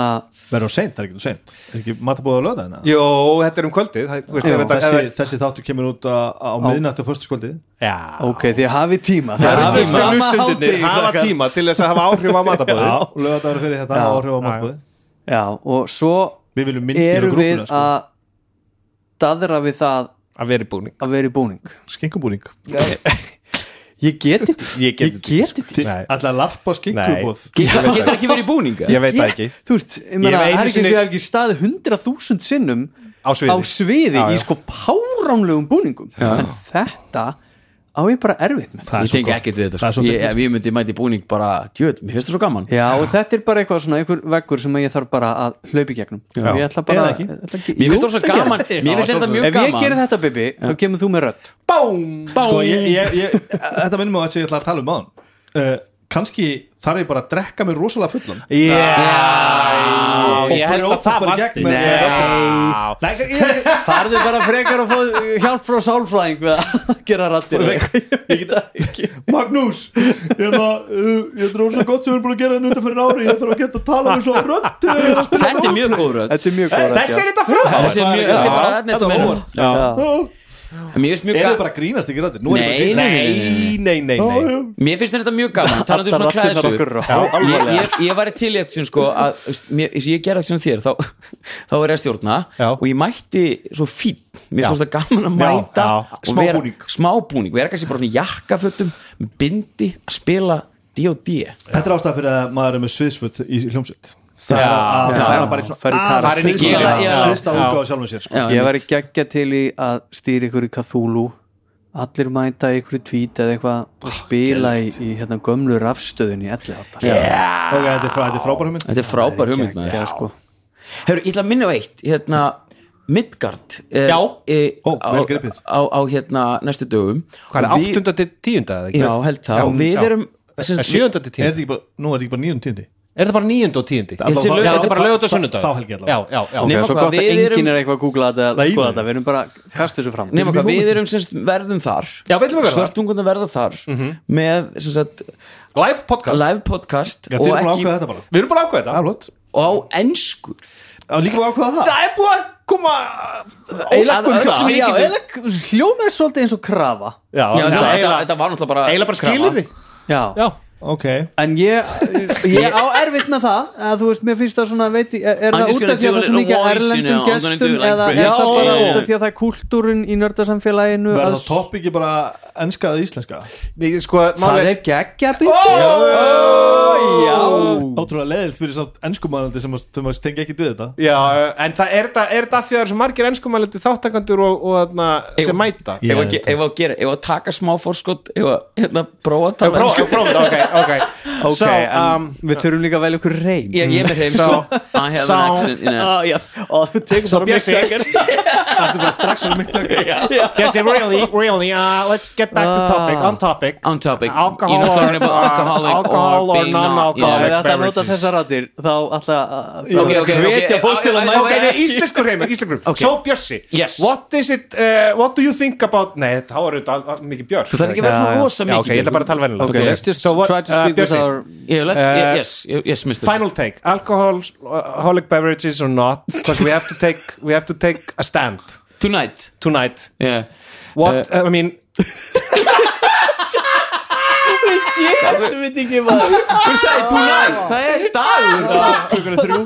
S4: Verður það seint, það er ekki þú seint Er ekki matabóð að löða hérna?
S2: Jó, þetta er um kvöldið það- þú veist, ef þetta-
S4: Þessi,
S2: ef-
S4: þessi þáttu kemur út á, á miðnættu og föstuskvöldi
S2: Já
S3: ok, því að hafi tíma
S2: Það eru
S3: hafi
S2: tíma.
S3: fram að
S2: Hlustundirnir
S3: hádegi,
S2: hafa
S3: krakkar.
S2: tíma til þess að hafa
S3: (laughs)
S2: áhrif á matabóðið
S4: Löðadagur fyrir þetta
S3: Já.
S4: áhrif á matabóði
S3: Já, og svo
S4: Við viljum myndir
S3: erum
S4: og
S3: við
S4: grúpuna sko.
S3: að daðra við það
S2: að vera í búning
S3: að vera í búning
S4: Skinkubúning
S3: ég get þetta ekki.
S2: Ég get sko.
S3: ég get þetta ekki.
S2: Nei.
S4: Alltaf að larpa á skinkubúð
S1: Getur getur ekki verið í búninga
S2: Ég veit það ekki
S3: Ég- þú veist, ég meina,
S2: Ég hef
S3: það
S2: einu
S3: er ekki
S2: sinni-
S3: sinni... sem ég hef ekki staðið 100.000 sinnum
S2: Á sviði.
S3: á sviði
S2: Já, já.
S3: í sko páránlegum búningum en þetta á ég bara erfitt með
S4: Það er
S1: Ég
S4: svo
S1: tengi
S4: gott.
S1: ekkert við
S4: Það
S1: þetta
S4: er svo
S1: sko. ég,
S4: gott.
S1: ef ég myndi mæti í búning bara, tjöð, mér finnst það svo gaman
S3: Já, og þetta er bara eitthvað svona, einhver veggur sem ég þarf bara að hlaupa í gegnum já. Ég ætla bara
S4: Eða ekki.
S3: ég ætla ekki-
S1: Mér
S3: Jú,
S1: finnst það svo
S3: gera
S1: gaman Mér finnst þetta mjög
S3: Ef ég gerir
S1: gaman
S3: þetta, Bibi, þá kemur þú með rödd
S4: Sko, ég, ég, ég, þetta minnum á þetta sem ég ætla að tala um án uh, Kanski þarf ég bara að drekka mig rosalega fullan
S2: Já,
S4: Og
S2: ég held að
S4: brjótast
S2: það
S4: bara í
S2: vanti
S4: gegn með-
S2: Já.
S4: Nei, ég, ég,
S3: Farðu bara frekar og fóð hjálp frá sálfræðing við að (laughs) gera rattir
S4: ég get ekki Magnús, hérna, uh, ég þetta er ósað gott sem við erum búin að gera en undan fyrir ári ég þarf að geta að tala um svo rödd þegar ég er að spila
S1: Þetta er mjög góð rödd
S3: Þetta er mjög góð
S2: Þessi er þetta frá
S1: Þetta er mjög, þetta er bara, þetta er
S4: þetta var
S1: meira.
S4: óvart
S3: Já.
S1: Mér finnst mjög
S4: Er þið
S1: gaman
S4: bara að grínast ekki röddir? Nú er ég bara að grínast.
S2: Nei, nei, nei, nei
S1: Mér finnst þetta mjög gaman, talandi um svona
S3: raddirnar
S1: klæðisögur
S3: okkar eru há-
S1: ég, ég, ég var í tiljökt sem sko að, veist, mér, eins og ég gerði ekki sem þér þá, (laughs) þá var ég að stjórna
S2: Já.
S1: og ég mætti svo fín mér
S2: Já.
S1: fannst það gaman að
S2: Já,
S1: mæta
S2: já.
S1: og
S4: Smá
S1: vera-
S4: búning.
S1: smá búning, vera kannski bara svona í jakkafötum með bindi að spila D&D
S4: Þetta er ástæða fyrir að maður er með sviðsfut í hljómsveit Það er að-
S1: Já.
S4: það er að bara í
S3: Fer í
S1: Ah,
S4: svona
S3: karast.
S4: aðeins
S1: Já,
S4: fyrsta-
S1: já.
S4: fyrsta útgáfa sjálfum sér sko.
S1: Já,
S3: Ég
S1: einmitt.
S3: væri geggja til í að stýra ykkur í Cthulhu Allir mæta ykkur í tweet eða eitthvað og spila í, í hérna gömlu rafstöðunni elli áttar
S4: Ok, þetta er frá- þetta er frábær hugmynd
S1: Þetta er frábær hugmynd maður
S3: sko.
S1: Hefur, ég ætla að minna á eitt hérna, Midgard er,
S2: Já.
S1: er,
S4: Ó,
S1: á,
S4: vel gripið.
S1: á, á hérna næstu dögum
S2: Hvað
S1: Og
S2: er
S1: við-
S2: 8. til 10. eða ekki?
S1: Já, held það
S2: Já,
S1: og við
S2: já.
S1: erum sem
S2: Eh,
S1: sagt,
S2: 7. til 10.
S4: Er þetta ekki bara, nú er þetta ekki bara nýjum tíndi
S2: Er þetta bara 9. og 10.
S4: Alla
S1: sé
S4: vega-
S1: laug-
S2: Já, þetta er bara
S4: Þá-
S2: lögut og
S4: þá-
S2: sunnudag
S4: þá helgi allavega.
S2: Já, já, já
S3: Ok,
S1: Nema
S3: svo
S1: hvað,
S3: gott að
S1: við
S3: enginn
S1: erum-
S3: er eitthvað að googla þetta eða
S4: Nei,
S3: skoða
S4: nei.
S3: þetta, við erum bara kastu þessu fram
S1: nema hvað við erum semst, verðum þar
S2: Já, við ætlum að vera þar.
S1: svörtunguna verða þar
S4: Mhm.
S1: með sem sagt,
S2: Live podcast
S1: live podcast
S4: Já,
S1: og,
S4: þið erum búin að
S1: ekki,
S4: ákveða þetta bara
S2: Við erum bara að ákveða
S4: Það
S2: þetta
S4: er flott
S1: og á ensku
S4: Já, líka búin að ákveða það
S2: Það er búið að koma
S1: Að
S2: Ólakum
S1: öllum
S2: það
S1: líkindum.
S3: Hljómaði svolítið eins og krafa
S2: Já,
S1: Já, þetta, þetta,
S2: eiginlega-
S1: þetta var náttúrulega bara
S2: eiginlega bara skilir því
S3: Já,
S2: Já,
S4: Ok
S3: en ég, ég á erfitt með það að þú veist, mér finnst það svona veit, ég- er, er
S1: I'm
S3: það
S1: just
S3: út af
S1: gonna do
S3: því að það
S1: a
S3: er svo
S1: little
S3: mikið
S1: voice,
S3: erlendum
S1: you know, I'm gonna do
S3: gestum
S1: like
S3: eða er
S1: this.
S3: það
S4: Já,
S3: bara út
S4: já, já.
S3: af því að það er kultúrin í nördarsamfélaginu
S4: Verða
S3: að-
S4: þá topp ekki bara enska eða íslenska
S2: Nei, sko,
S3: það
S2: máli
S3: er geggja bíl
S4: Ótrúlega leðilt fyrir samt enskumælandi sem að- sem að tengja ekki við þetta
S2: Já, en það er þetta er þetta af því að það eru svo margir enskumælandi þáttakandur og, og þarna sem mæta
S4: Ég
S1: Ef að
S4: held
S1: ge-
S4: að-
S1: ef að gera, ef að taka smá fórskot ef að hérna, prófa að tala
S2: Prófa,
S1: ensku
S2: prófa, þetta,
S1: (laughs)
S2: ok, ok
S3: Ok,
S2: So,
S3: en
S2: um,
S3: við þurfum líka að velja okkur reyn
S1: ég, ég er með þeim
S2: Sá-
S1: sko. I have an
S2: sá-
S1: accent you know.
S3: Já, og þú tekur
S2: So
S3: bara mjög
S2: Bjössi
S3: segir
S1: (laughs)
S2: Yes, really, really, uh, let's get back to topic On topic
S1: Ah, on topic
S2: Alcohol
S1: you know, talking
S2: or- uh,
S1: about alcoholic
S2: alcohol or
S1: or, being not, you know.
S2: non-alcoholic.
S3: Ef þetta nota
S2: beverages.
S3: þessar rættir þá alltaf
S1: ok, ok,
S3: hvetja
S1: ok,
S3: fólk til
S1: ok,
S3: að
S1: ok,
S3: mæta
S2: Nei, íslenskur heimur, íslenskur
S1: Ok.
S2: So Bjössi,
S1: Yes.
S2: what is it uh, What do you think about Nei, þá er þetta al- al- mikið Björn
S1: Þú þarf ekki að vera
S3: Já,
S1: svona
S3: já.
S1: rosa
S2: Já,
S1: mikið
S2: ok, ég ætla bara að tala vennilega
S3: Ok, let's just
S2: so what,
S3: try to
S2: uh,
S3: speak with
S2: Bjössi,
S3: our
S1: yeah, let's,
S2: Eh,
S1: yes, yes, mister
S2: Final take, alcohol, alcoholic beverages or not Because we have to take We have to take a stand
S1: tonight
S2: tonight
S1: yeah.
S2: What,
S1: Eh,
S2: I mean
S3: Þú veit ekki hvað
S1: Þú sagði tonight, það er dagur
S4: Klukkan er þrjú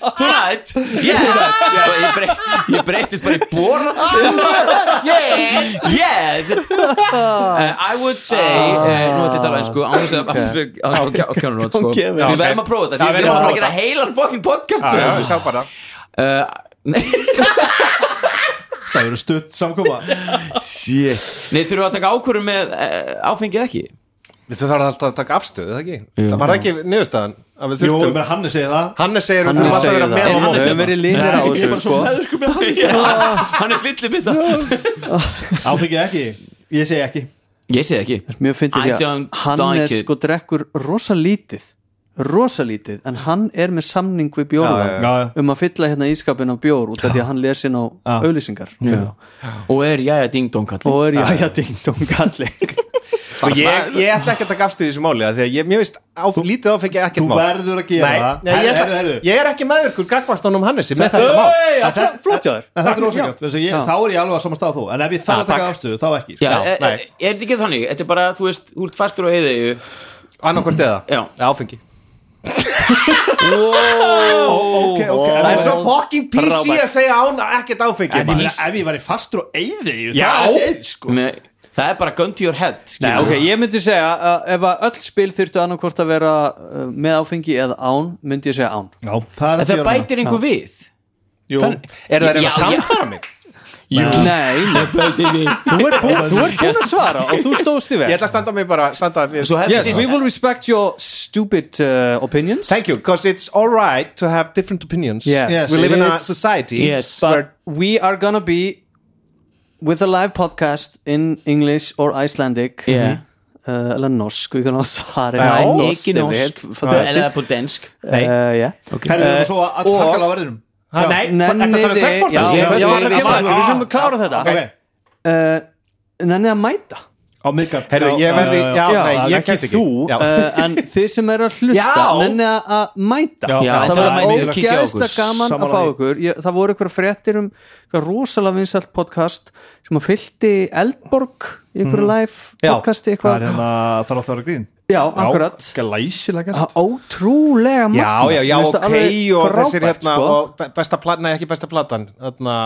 S1: Tonight, yes Bara Ég, brey, ég breytist bara í bóra Yes Yes uh, I would say uh, Nú þetta er alveg sko Án þess að- án þess að- án þess að kjánur nót sko
S3: Ok,
S1: Við
S3: ok.
S1: verðum að prófa þetta
S2: Já,
S1: því
S2: við
S1: Við verðum
S2: verðum að
S1: bara að
S2: prófa
S1: gera heilan fucking podcast
S2: Já,
S1: með
S2: já,
S1: þessu.
S2: sjá bara
S1: Uh, Nei,
S4: Það eru stutt samkoma
S1: nei, þurfum við að taka ákvörum með uh, áfengið ekki
S2: Þú þarf alltaf að taka afstöðu, það ekki? Það var ekki niðurstaðan að
S4: Jú,
S2: við
S4: ég
S2: þurftum
S4: meina Hannes segir það
S2: Hannes segir að við
S3: Hannes
S2: þurfum alltaf að
S3: segir
S2: vera
S1: Hannes
S3: það. En
S2: með á móti.
S3: Við höfum verið línir á
S4: Nei, Ég er
S3: þessu
S4: bara svo
S3: sko
S4: meðursku með Hannes
S1: Hann er fyllið mitt
S4: Áfengið ekki Ég segi ekki
S1: Ég segi ekki
S3: Mér
S1: I
S3: finnst ekki að
S1: don't
S3: Hannes
S1: like it.
S3: sko drekkur rosa lítið rosa lítið, en hann er með samning við bjóruðan
S4: Já, já.
S3: um að fylla hérna ískapin á bjór út af því að hann lesin á auðlýsingar fyrir þá.
S1: Og er jæja ding dong kall
S3: og er jæja dingdóm (laughs) kalli
S2: Og ég, ég ætla ekki að taka afstöðu í þessu máli af Því að ég, mér veist, á, lítið áfengi ekkert
S4: Þú
S2: mál
S4: verður að gera
S2: Nei,
S4: það
S2: nei ég,
S4: Herðu,
S2: ætla,
S4: herðu
S2: ég er ekki meður ykkur gagvartanum Hannessi með þetta mál
S3: Það er flott hjá þér
S4: En þetta er ósakant, þá er ég alveg að samast að þú En ef ég þarf að taka afstöðu, þá ekki sko.
S1: Já,
S2: Já,
S1: er,
S2: nei.
S1: er, er þetta ekki þannig? Þetta er bara, þú veist, þú ert fastur á eðegu
S2: Annarkvort eða,
S1: Já.
S2: eða áfengi
S4: Ok, ok, en
S2: Það er
S4: ef-
S2: svo fucking PC að segja án ekkert áfengi
S4: En ég meina, ef ég væri fastur og eyði
S2: Já.
S4: Það er eins, sko
S1: Nei, það er bara gun to your head
S3: Nei,
S1: skilur
S3: ok,
S1: við.
S3: ég myndi segja að ef að öll spil þyrftu annarkvort að vera uh, með áfengi eða án, myndi ég segja án
S4: Já, það
S1: En það bætir einhver við
S4: Jú,
S2: Er það reyna
S1: Já,
S2: að samfara mig?
S3: Jú. Nei, nei.
S1: Bætir við
S3: þú ert búin, þú ert búin að svara og þú stóðst í
S2: Ég
S3: veg
S2: ætla að standa mig bara standa við.
S1: Svo hefði
S3: Yes, we will respect your stupid uh, opinions
S2: Thank you, because it's alright to have different opinions
S3: Yes. Yes.
S2: We live in a
S3: It is-
S2: society
S1: Yes.
S3: But we are gonna be with a live podcast in English or Icelandic
S1: Yeah.
S3: uh, Eller norsk, vi kan også ha det
S2: Ja,
S3: Nei,
S1: Ekki
S3: det er helt
S1: norsk
S3: fantastisk.
S1: Eller på dansk
S2: Nei.
S3: Uh, yeah.
S4: herri, við erum svo að
S3: og-
S4: hakala á verðinum
S2: Ha, Nei,
S3: Nenni
S2: þetta er talað um
S3: þið-
S2: festborta
S3: Já,
S4: Já,
S3: já,
S4: já,
S3: já,
S4: já, já.
S3: Við sem klára þetta
S4: Ok,
S3: uh, Nenni að mæta
S4: á miðgard
S2: Herðu, ég verði, já,
S3: já,
S2: nei, ég
S3: ekki
S2: get ekki
S3: þú
S2: Já.
S3: uh, en þið sem eru að hlusta
S2: Já.
S3: nenni að- að mæta
S4: Já,
S1: Já, en
S4: það
S3: það
S1: það er
S4: var
S3: var
S1: mætið að kíkja á
S3: ógæðslega
S1: okkur
S3: gaman að
S4: Sammála
S3: fá
S4: því.
S3: ykkur ég, það voru ykkur fréttir um ykkur rosalega vinsælt podcast sem að fylgti Eldborg í ykkur live
S2: Já.
S3: podcasti
S4: Það er
S3: eitthvað
S4: hérna, það er alltaf að vera grín
S3: já, akkurat
S4: Skal læsilega
S3: Það
S4: gert
S3: er ótrúlega
S2: Já,
S3: magnað.
S2: já, já,
S3: Mér finnst
S2: ok
S3: það alveg
S2: og
S3: frábært,
S2: þessir hérna
S3: sko.
S2: og be- besta platan, nei ekki besta platan þarna,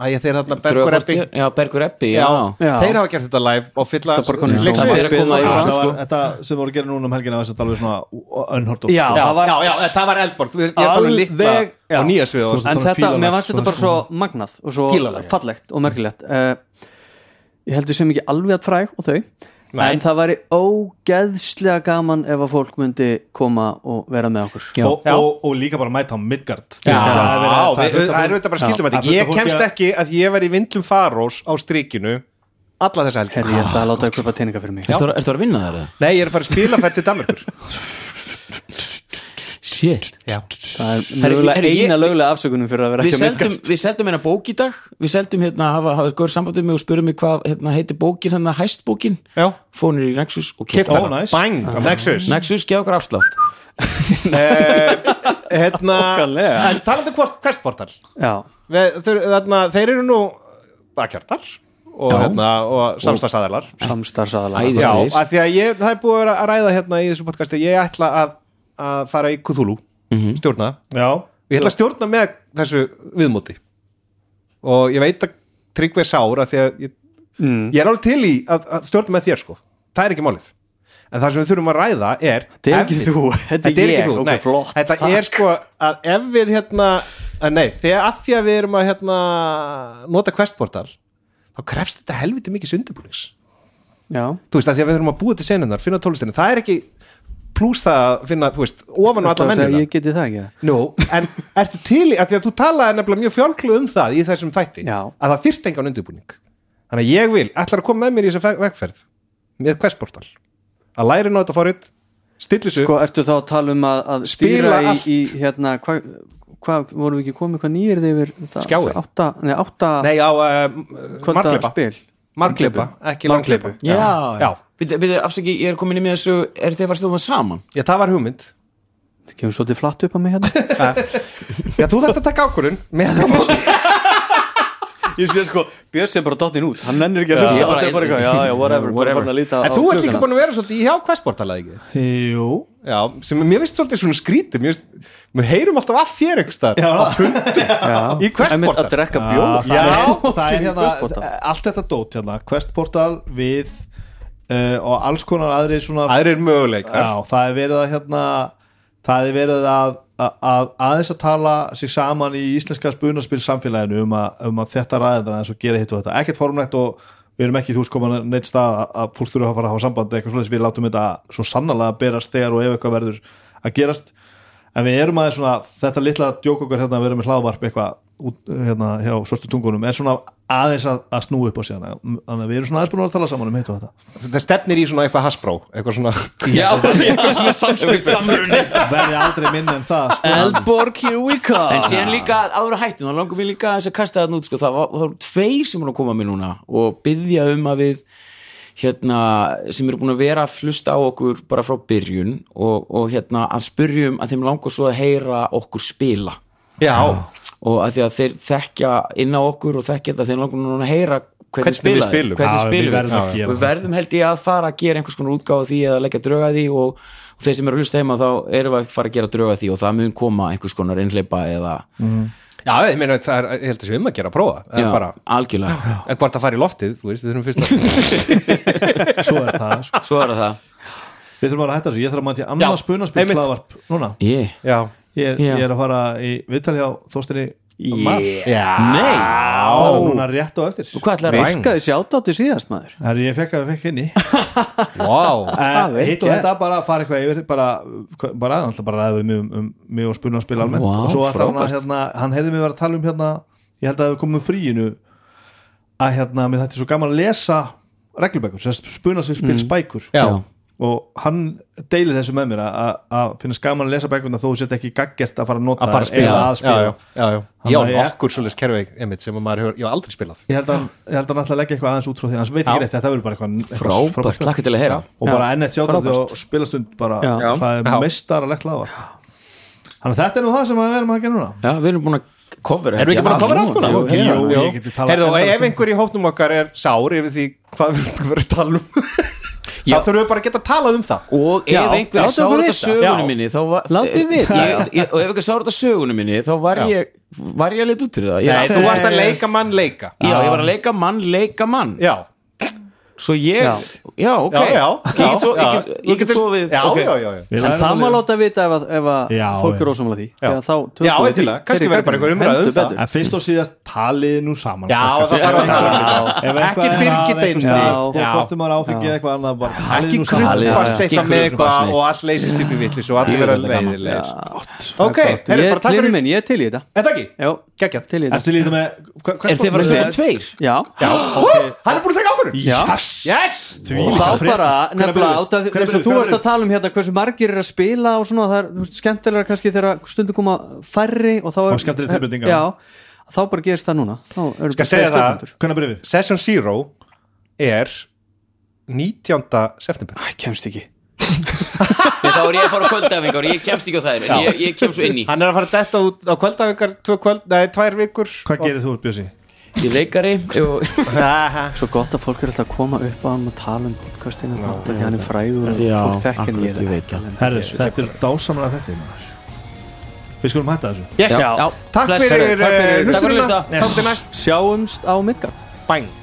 S2: að ég þeir hérna Bergur
S1: Drögfast-
S2: Eppi
S1: Já, Bergur Eppi, já
S2: Já,
S3: Já.
S2: þeir hafa gert þetta live og fylla
S3: Það er bara komin í
S2: leiksviðið.
S1: Það er að koma í
S4: Já, það
S1: rann
S4: var
S1: sko
S4: Þetta sem voru að gera núna um helgina var þetta alveg svona sko. unhort
S3: Já,
S2: Já,
S3: það var-
S2: já, já, það var Eldborg Ég er talað um litla
S3: Alveg- já.
S2: og nýja svið
S4: Svo-
S2: og
S3: en
S4: Þetta var
S3: þetta,
S4: fílalegt,
S3: mér fannst þetta
S4: svona
S3: bara svo magnað og Eh, svo
S2: Fílalegt.
S3: fallegt og merkilegt uh, ég heldur sem ekki alveg að fræg og þau en það væri ógeðslega gaman ef að fólk myndi koma og vera með okkur
S1: Já.
S4: og, og, og líka bara mæta á Midgard það er
S2: Já,
S4: verið að-
S2: við-
S4: fullt af-
S2: það er auðvitað bara skildum
S4: Já,
S2: að
S4: það er fullt
S2: ég
S4: af fólki
S2: kemst
S4: að-
S2: ekki að ég var í vindlum farós á strikinu alla þessa helgi
S3: herri ég ætla að láta ykkur bara teininga fyrir mig
S1: Ertu að, ertu að vinna það?
S2: nei, ég er að fara að spila fætt til Danmarkur
S1: Shit
S3: það er
S1: Herri,
S3: mögulega
S1: herri, ég-
S3: eina lögulega afsökunum fyrir að vera
S1: Við
S3: ekki að mynda
S1: seldum, við seldum hérna bók í dag Við seldum hérna, hafa, hafa góður sambandið mig og spurðum mig hvað hérna, heiti bókin hérna hæstbókin
S2: já,
S1: Fónir í Nexus og
S2: kipta
S1: kipta
S4: Keypti
S2: hana,
S4: nice.
S2: bang, Nexus
S1: Nexus geða okkar afslátt
S2: hérna, en talandi um kvestportal
S3: já,
S2: þeir, þarna, þeir eru nú bakkjartar og,
S1: Já.
S2: hérna, og samstagsæðalar
S3: samstarfsaðalega
S1: Æði.
S2: já,
S1: Ísleir.
S2: af því að ég, það er búið að vera að ræða hérna í þessu podcasti, ég ætla að, að fara í Cthulhu,
S4: Mhm.
S2: stjórna það.
S4: já,
S2: ég ætla að stjórna með þessu viðmóti og ég veit að Tryggvi er sár að því að ég,
S3: Mm.
S2: ég er alveg til í að, að stjórna með þér sko það er ekki málið en það sem við þurfum að ræða er
S3: Þetta er ekki
S2: ef-
S3: þú, þetta er ég, ok,
S2: nei,
S3: flott,
S2: þetta
S3: takk.
S2: er sko að ef við hérna að nei, þegar að því að við erum að hérna, nota questportal þá krefst þetta helviti mikið sundubúnings
S3: já,
S2: þú veist að því að við þurfum að búa til senunar finna tólestinu, það er ekki pluss það að finna, þú veist, ofan á
S3: Ertu
S2: alla
S3: að segja,
S2: mennina
S3: ég geti það ekki það?
S2: Nú, en ertu til í, af því að þú talaði nefnilega mjög fjálklu um það í þessum þætti
S3: Já.
S2: að það þyrft engan undirbúning þannig að ég vil, ætlar að koma með mér í þessa vegferð með questportal að læri nú þetta forrið, stilli sig
S3: sko,
S2: sko,
S3: ertu þá að tala um að, að
S2: Spila
S3: spila í,
S2: allt.
S3: í hérna hvað hva, vorum við ekki komið hvað nýjir þið yfir það?
S2: Skjáin.
S3: átta, nei, átta
S2: Nei, á uh,
S3: Sko, kvölda
S2: margleipa
S3: spil
S2: margleipa, ekki
S3: Margleipu.
S2: langleipa Já.
S1: Byrju, byrju, afsaki, ég er komin í með þessu Er þið að fara stofan saman?
S2: Já, það var hugmynd
S3: það kemur svolítið flatt upp að mig hérna
S2: Já, þú þarft að taka ákvörun með það
S3: ég sé sko, Björns er bara dottin út hann nennir ekki
S1: að hlusta, þetta er bara eitthvað, já, já, whatever, bara farin að
S3: líta
S2: En þú ert líka búin að vera svolítið í hjá questportal eða ekki?
S4: jú
S2: Já, sem mér finnst svolítið svona skrítið mér finnst, við heyrum alltaf af þér einhvers staðar á fundum í
S3: að
S2: questportal
S3: drekka bjór
S4: það
S2: Já,
S4: er, það er
S3: Questportal.
S4: hérna allt þetta dót hérna, questportal við uh, og alls konar aðri svona
S2: Aðrir möguleikar
S4: já, það er verið að hérna það er verið að að- að aðeins að tala sig saman í íslenska spunaspil samfélaginu um að, um að þetta ræða þess og gera hitt og þetta ekkert formlegt og við erum ekki þú sko neitt stað að- að fólk þurfa að fara að hafa samband eða eitthvað svoleiðis, við látum þetta svo sannarlega berast þegar og ef eitthvað verður að gerast en við erum aðeins svona þetta litla djók okkur hérna að vera með hláðvarp eitthvað út, hérna hjá svörstu tungunum er svona aðeins að, að snúa upp á síðan þannig að við erum svona aðeins búin að vera að tala saman um hitt og þetta
S2: þetta stefnir í svona eitthvað hasbró eitthvað svona
S1: Já, eitthvað svona samstöðu
S4: verði aldrei minn en það sko.
S3: Eldborg, here we come
S1: En síðan líka áður að hættum, þá langum við líka aðeins að kasta það út sko, það var, það var tveir sem voru að koma mér núna og byggja um að við hérna, sem eru búin að vera að flusta á okkur bara frá byrjun og, og hérna að spyrjum að þeim langar svo að heyra okkur spila
S2: já,
S1: og að því að þeir þekkja inn á okkur og þekkja þetta þeir langar núna að heyra
S2: Hvernig
S1: hvernig,
S2: við
S1: spila þeir,
S2: spilum.
S1: hvernig
S4: Já, við
S1: spilum
S4: verðum að
S1: við.
S4: gera
S1: og við verðum held ég að fara að gera einhvers konar útgáfa af því eða leggja dröga því og, og þeir sem eru að hlusta heima þá erum við að fara að gera dröga því og það mun koma einhvers konar innleipa eða
S2: já, ég meina það er, ég held að sé um að gera að prófa það
S1: já,
S2: er bara,
S1: algjörlega
S2: en hvort það fari í loftið þú veist, við þurfum fyrst að
S4: svo er það sko.
S1: svo er það
S4: Við þurfum að hætta þessu, ég þarf að mæta í annað
S2: Já,
S4: spunaspil
S2: einmitt.
S4: hlaðvarp núna
S1: yeah.
S2: já,
S4: ég er,
S1: Já.
S4: ég er að fara í viðtal hjá Þóstinni Mar
S2: já,
S1: nei,
S4: bara núna rétt á eftir
S1: og hvað ætlar það?
S3: virkaði sjátátti síðast maður
S4: Það er ég fekk að við fekk (laughs) henni
S2: wow
S4: en
S3: vel
S4: hitt og
S3: gert.
S4: þetta bara að fara eitthvað yfir bara, hvað- bara alltaf bara ræðum um, um mig og spunaspil almennt
S1: Vá,
S4: og svo ætlar hann að
S1: frábært.
S4: hérna, hann heyrði mig vera að tala um hérna ég held að við komum fríinu að hérna, mér þetta er svo gaman að lesa reglubækur, spunaspil mm. spækur
S2: já,
S4: og hann deilir þessu með mér að- að að finnast gaman að lesa bækuna þó þú sett ekki gaggert að fara að nota
S2: að fara að
S4: þær eða
S2: spila
S4: að spila.
S2: já, já, já, já,
S4: Þannig að
S2: já
S4: ég-
S2: okkur svoleiðis kerfi einmitt sem að maður hefur, já, aldrei spilað
S4: Ég held að hann, ég held að hann ætla að leggja eitthvað aðeins út frá því hans veit ekki rétt, þetta verður bara eitthvað eitthvað
S1: frábært, lakka til að heyra
S4: og bara enn eitt sjátt og spilastund bara,
S3: Já.
S4: það er
S2: Já.
S4: meistaralegt lavar Þannig að þetta er nú það sem við erum að gera núna
S1: já, við erum búin að cover
S2: erum við ekki bara að kofra allt núna?
S1: Jú,
S4: Jú,
S1: hérna.
S4: ég
S2: Jú.
S4: geti talað
S2: Heyrðu, og
S4: endalaust
S2: ef
S4: um-
S2: einhver í hópnum okkar er sár yfir því hvað við erum verið að tala um þá þurfum við bara að geta talað um það
S1: og
S2: Já,
S1: ef einhver
S2: látið
S1: sá
S2: okkur
S1: þetta
S2: vita.
S1: sögunum
S2: Já.
S1: minni þá var
S3: Látið
S1: ég,
S3: vita.
S1: ég, og ef einhver sá þetta sögunum minni þá var
S2: Já.
S1: ég var ég að leit út fyrir það ég,
S2: Nei, þú varst að leika mann leika
S1: já, ég var að leika mann, leika mann
S2: já,
S1: Svo ég, já,
S3: Já.
S1: ok
S2: já, já,
S1: Ég get svo-
S2: já,
S1: ég get- ég get sofið
S2: já,
S1: ok.
S2: já, já, já.
S4: Við
S3: en
S4: lærum
S3: það má
S4: alveg-
S3: láta vita ef að, ef að
S4: Já,
S3: fólk
S4: já.
S3: er ósamlega því
S2: Já.
S3: Þegar þá tökum
S2: Já,
S3: við því
S2: endilega. Kannski
S3: fyrir
S2: verður bara
S3: gagnrýni.
S2: einhver umræða um
S3: Heldur
S2: það.
S3: betur.
S4: En fyrst og síðast talið nú saman
S2: Já,
S4: krakkar.
S2: það þarf að tala um
S4: Ef eitthvað
S2: þetta. Ekki
S4: er að
S2: Birgit
S4: hafa einhvers
S2: Einstein.
S4: staðar,
S2: Já.
S4: Hvort um að áfengi eða eitthvað annað bara talið
S2: ekki
S4: nú saman.
S1: Talið,
S2: krumpast
S1: já.
S2: eitthvað
S1: Ekki
S2: með
S1: krumpast neitt.
S2: eitthvað og allt leysist upp í villis og allir
S1: Ég
S2: vera
S1: veit þetta gaman.
S2: leiðilegir ok, herri
S3: Ég,
S2: bara takk
S3: klifur
S2: fyrir
S3: minn, ég er til í þetta
S2: Er það ekki?
S3: Já,
S2: geggjað
S3: til í þetta
S4: Ertu líka með hva- hvað-
S1: Er þið bara stofið tveir?
S3: Já,
S2: já, okay. hann er búin að taka ákvörðun
S3: já
S2: yes
S3: og þá bara nefnilega át að
S4: Hvernig
S3: þess að þú varst að tala um hérna hversu margir er að spila og svona það er þú veist, skemmtilega kannski þegar stundu koma færri og þá er
S4: Og skemmtilegri tilbreytingar.
S3: já, þá bara gerist það núna þá eru
S2: Skal
S3: bara
S2: segja
S3: tveir
S2: það-
S3: stjórnendur.
S4: Hvernig brefið?
S2: session zero er 19. september
S3: Æ, kemst ekki
S1: Nei, Þá er ég að fara á kvöldæfingar og ég kemst ekki á þær en ég, ég kemst svo inn í
S2: hann er að fara að detta út á kvöldafingar tvö kvöld, nei, tvær vikur
S4: Hvað gerir þú, Bjössi?
S1: Ég er leikari og
S2: Aha.
S3: svo gott að fólk er alltaf að koma upp á hann og tala um podcastinu no, því að hann er fræður og
S1: Já,
S3: fólk þekkin
S1: akkurat, ég veit það.
S4: Herðis, þetta er dásamlega hrættið Við skulum hætta þessu
S2: yes
S1: Já. Já.
S2: takk
S1: Bless.
S2: fyrir
S1: Takk Takk
S2: eh,
S1: fyrir
S2: hlustunina
S1: hlusta.
S2: þá til næst
S3: sjáumst á Midgard
S2: bang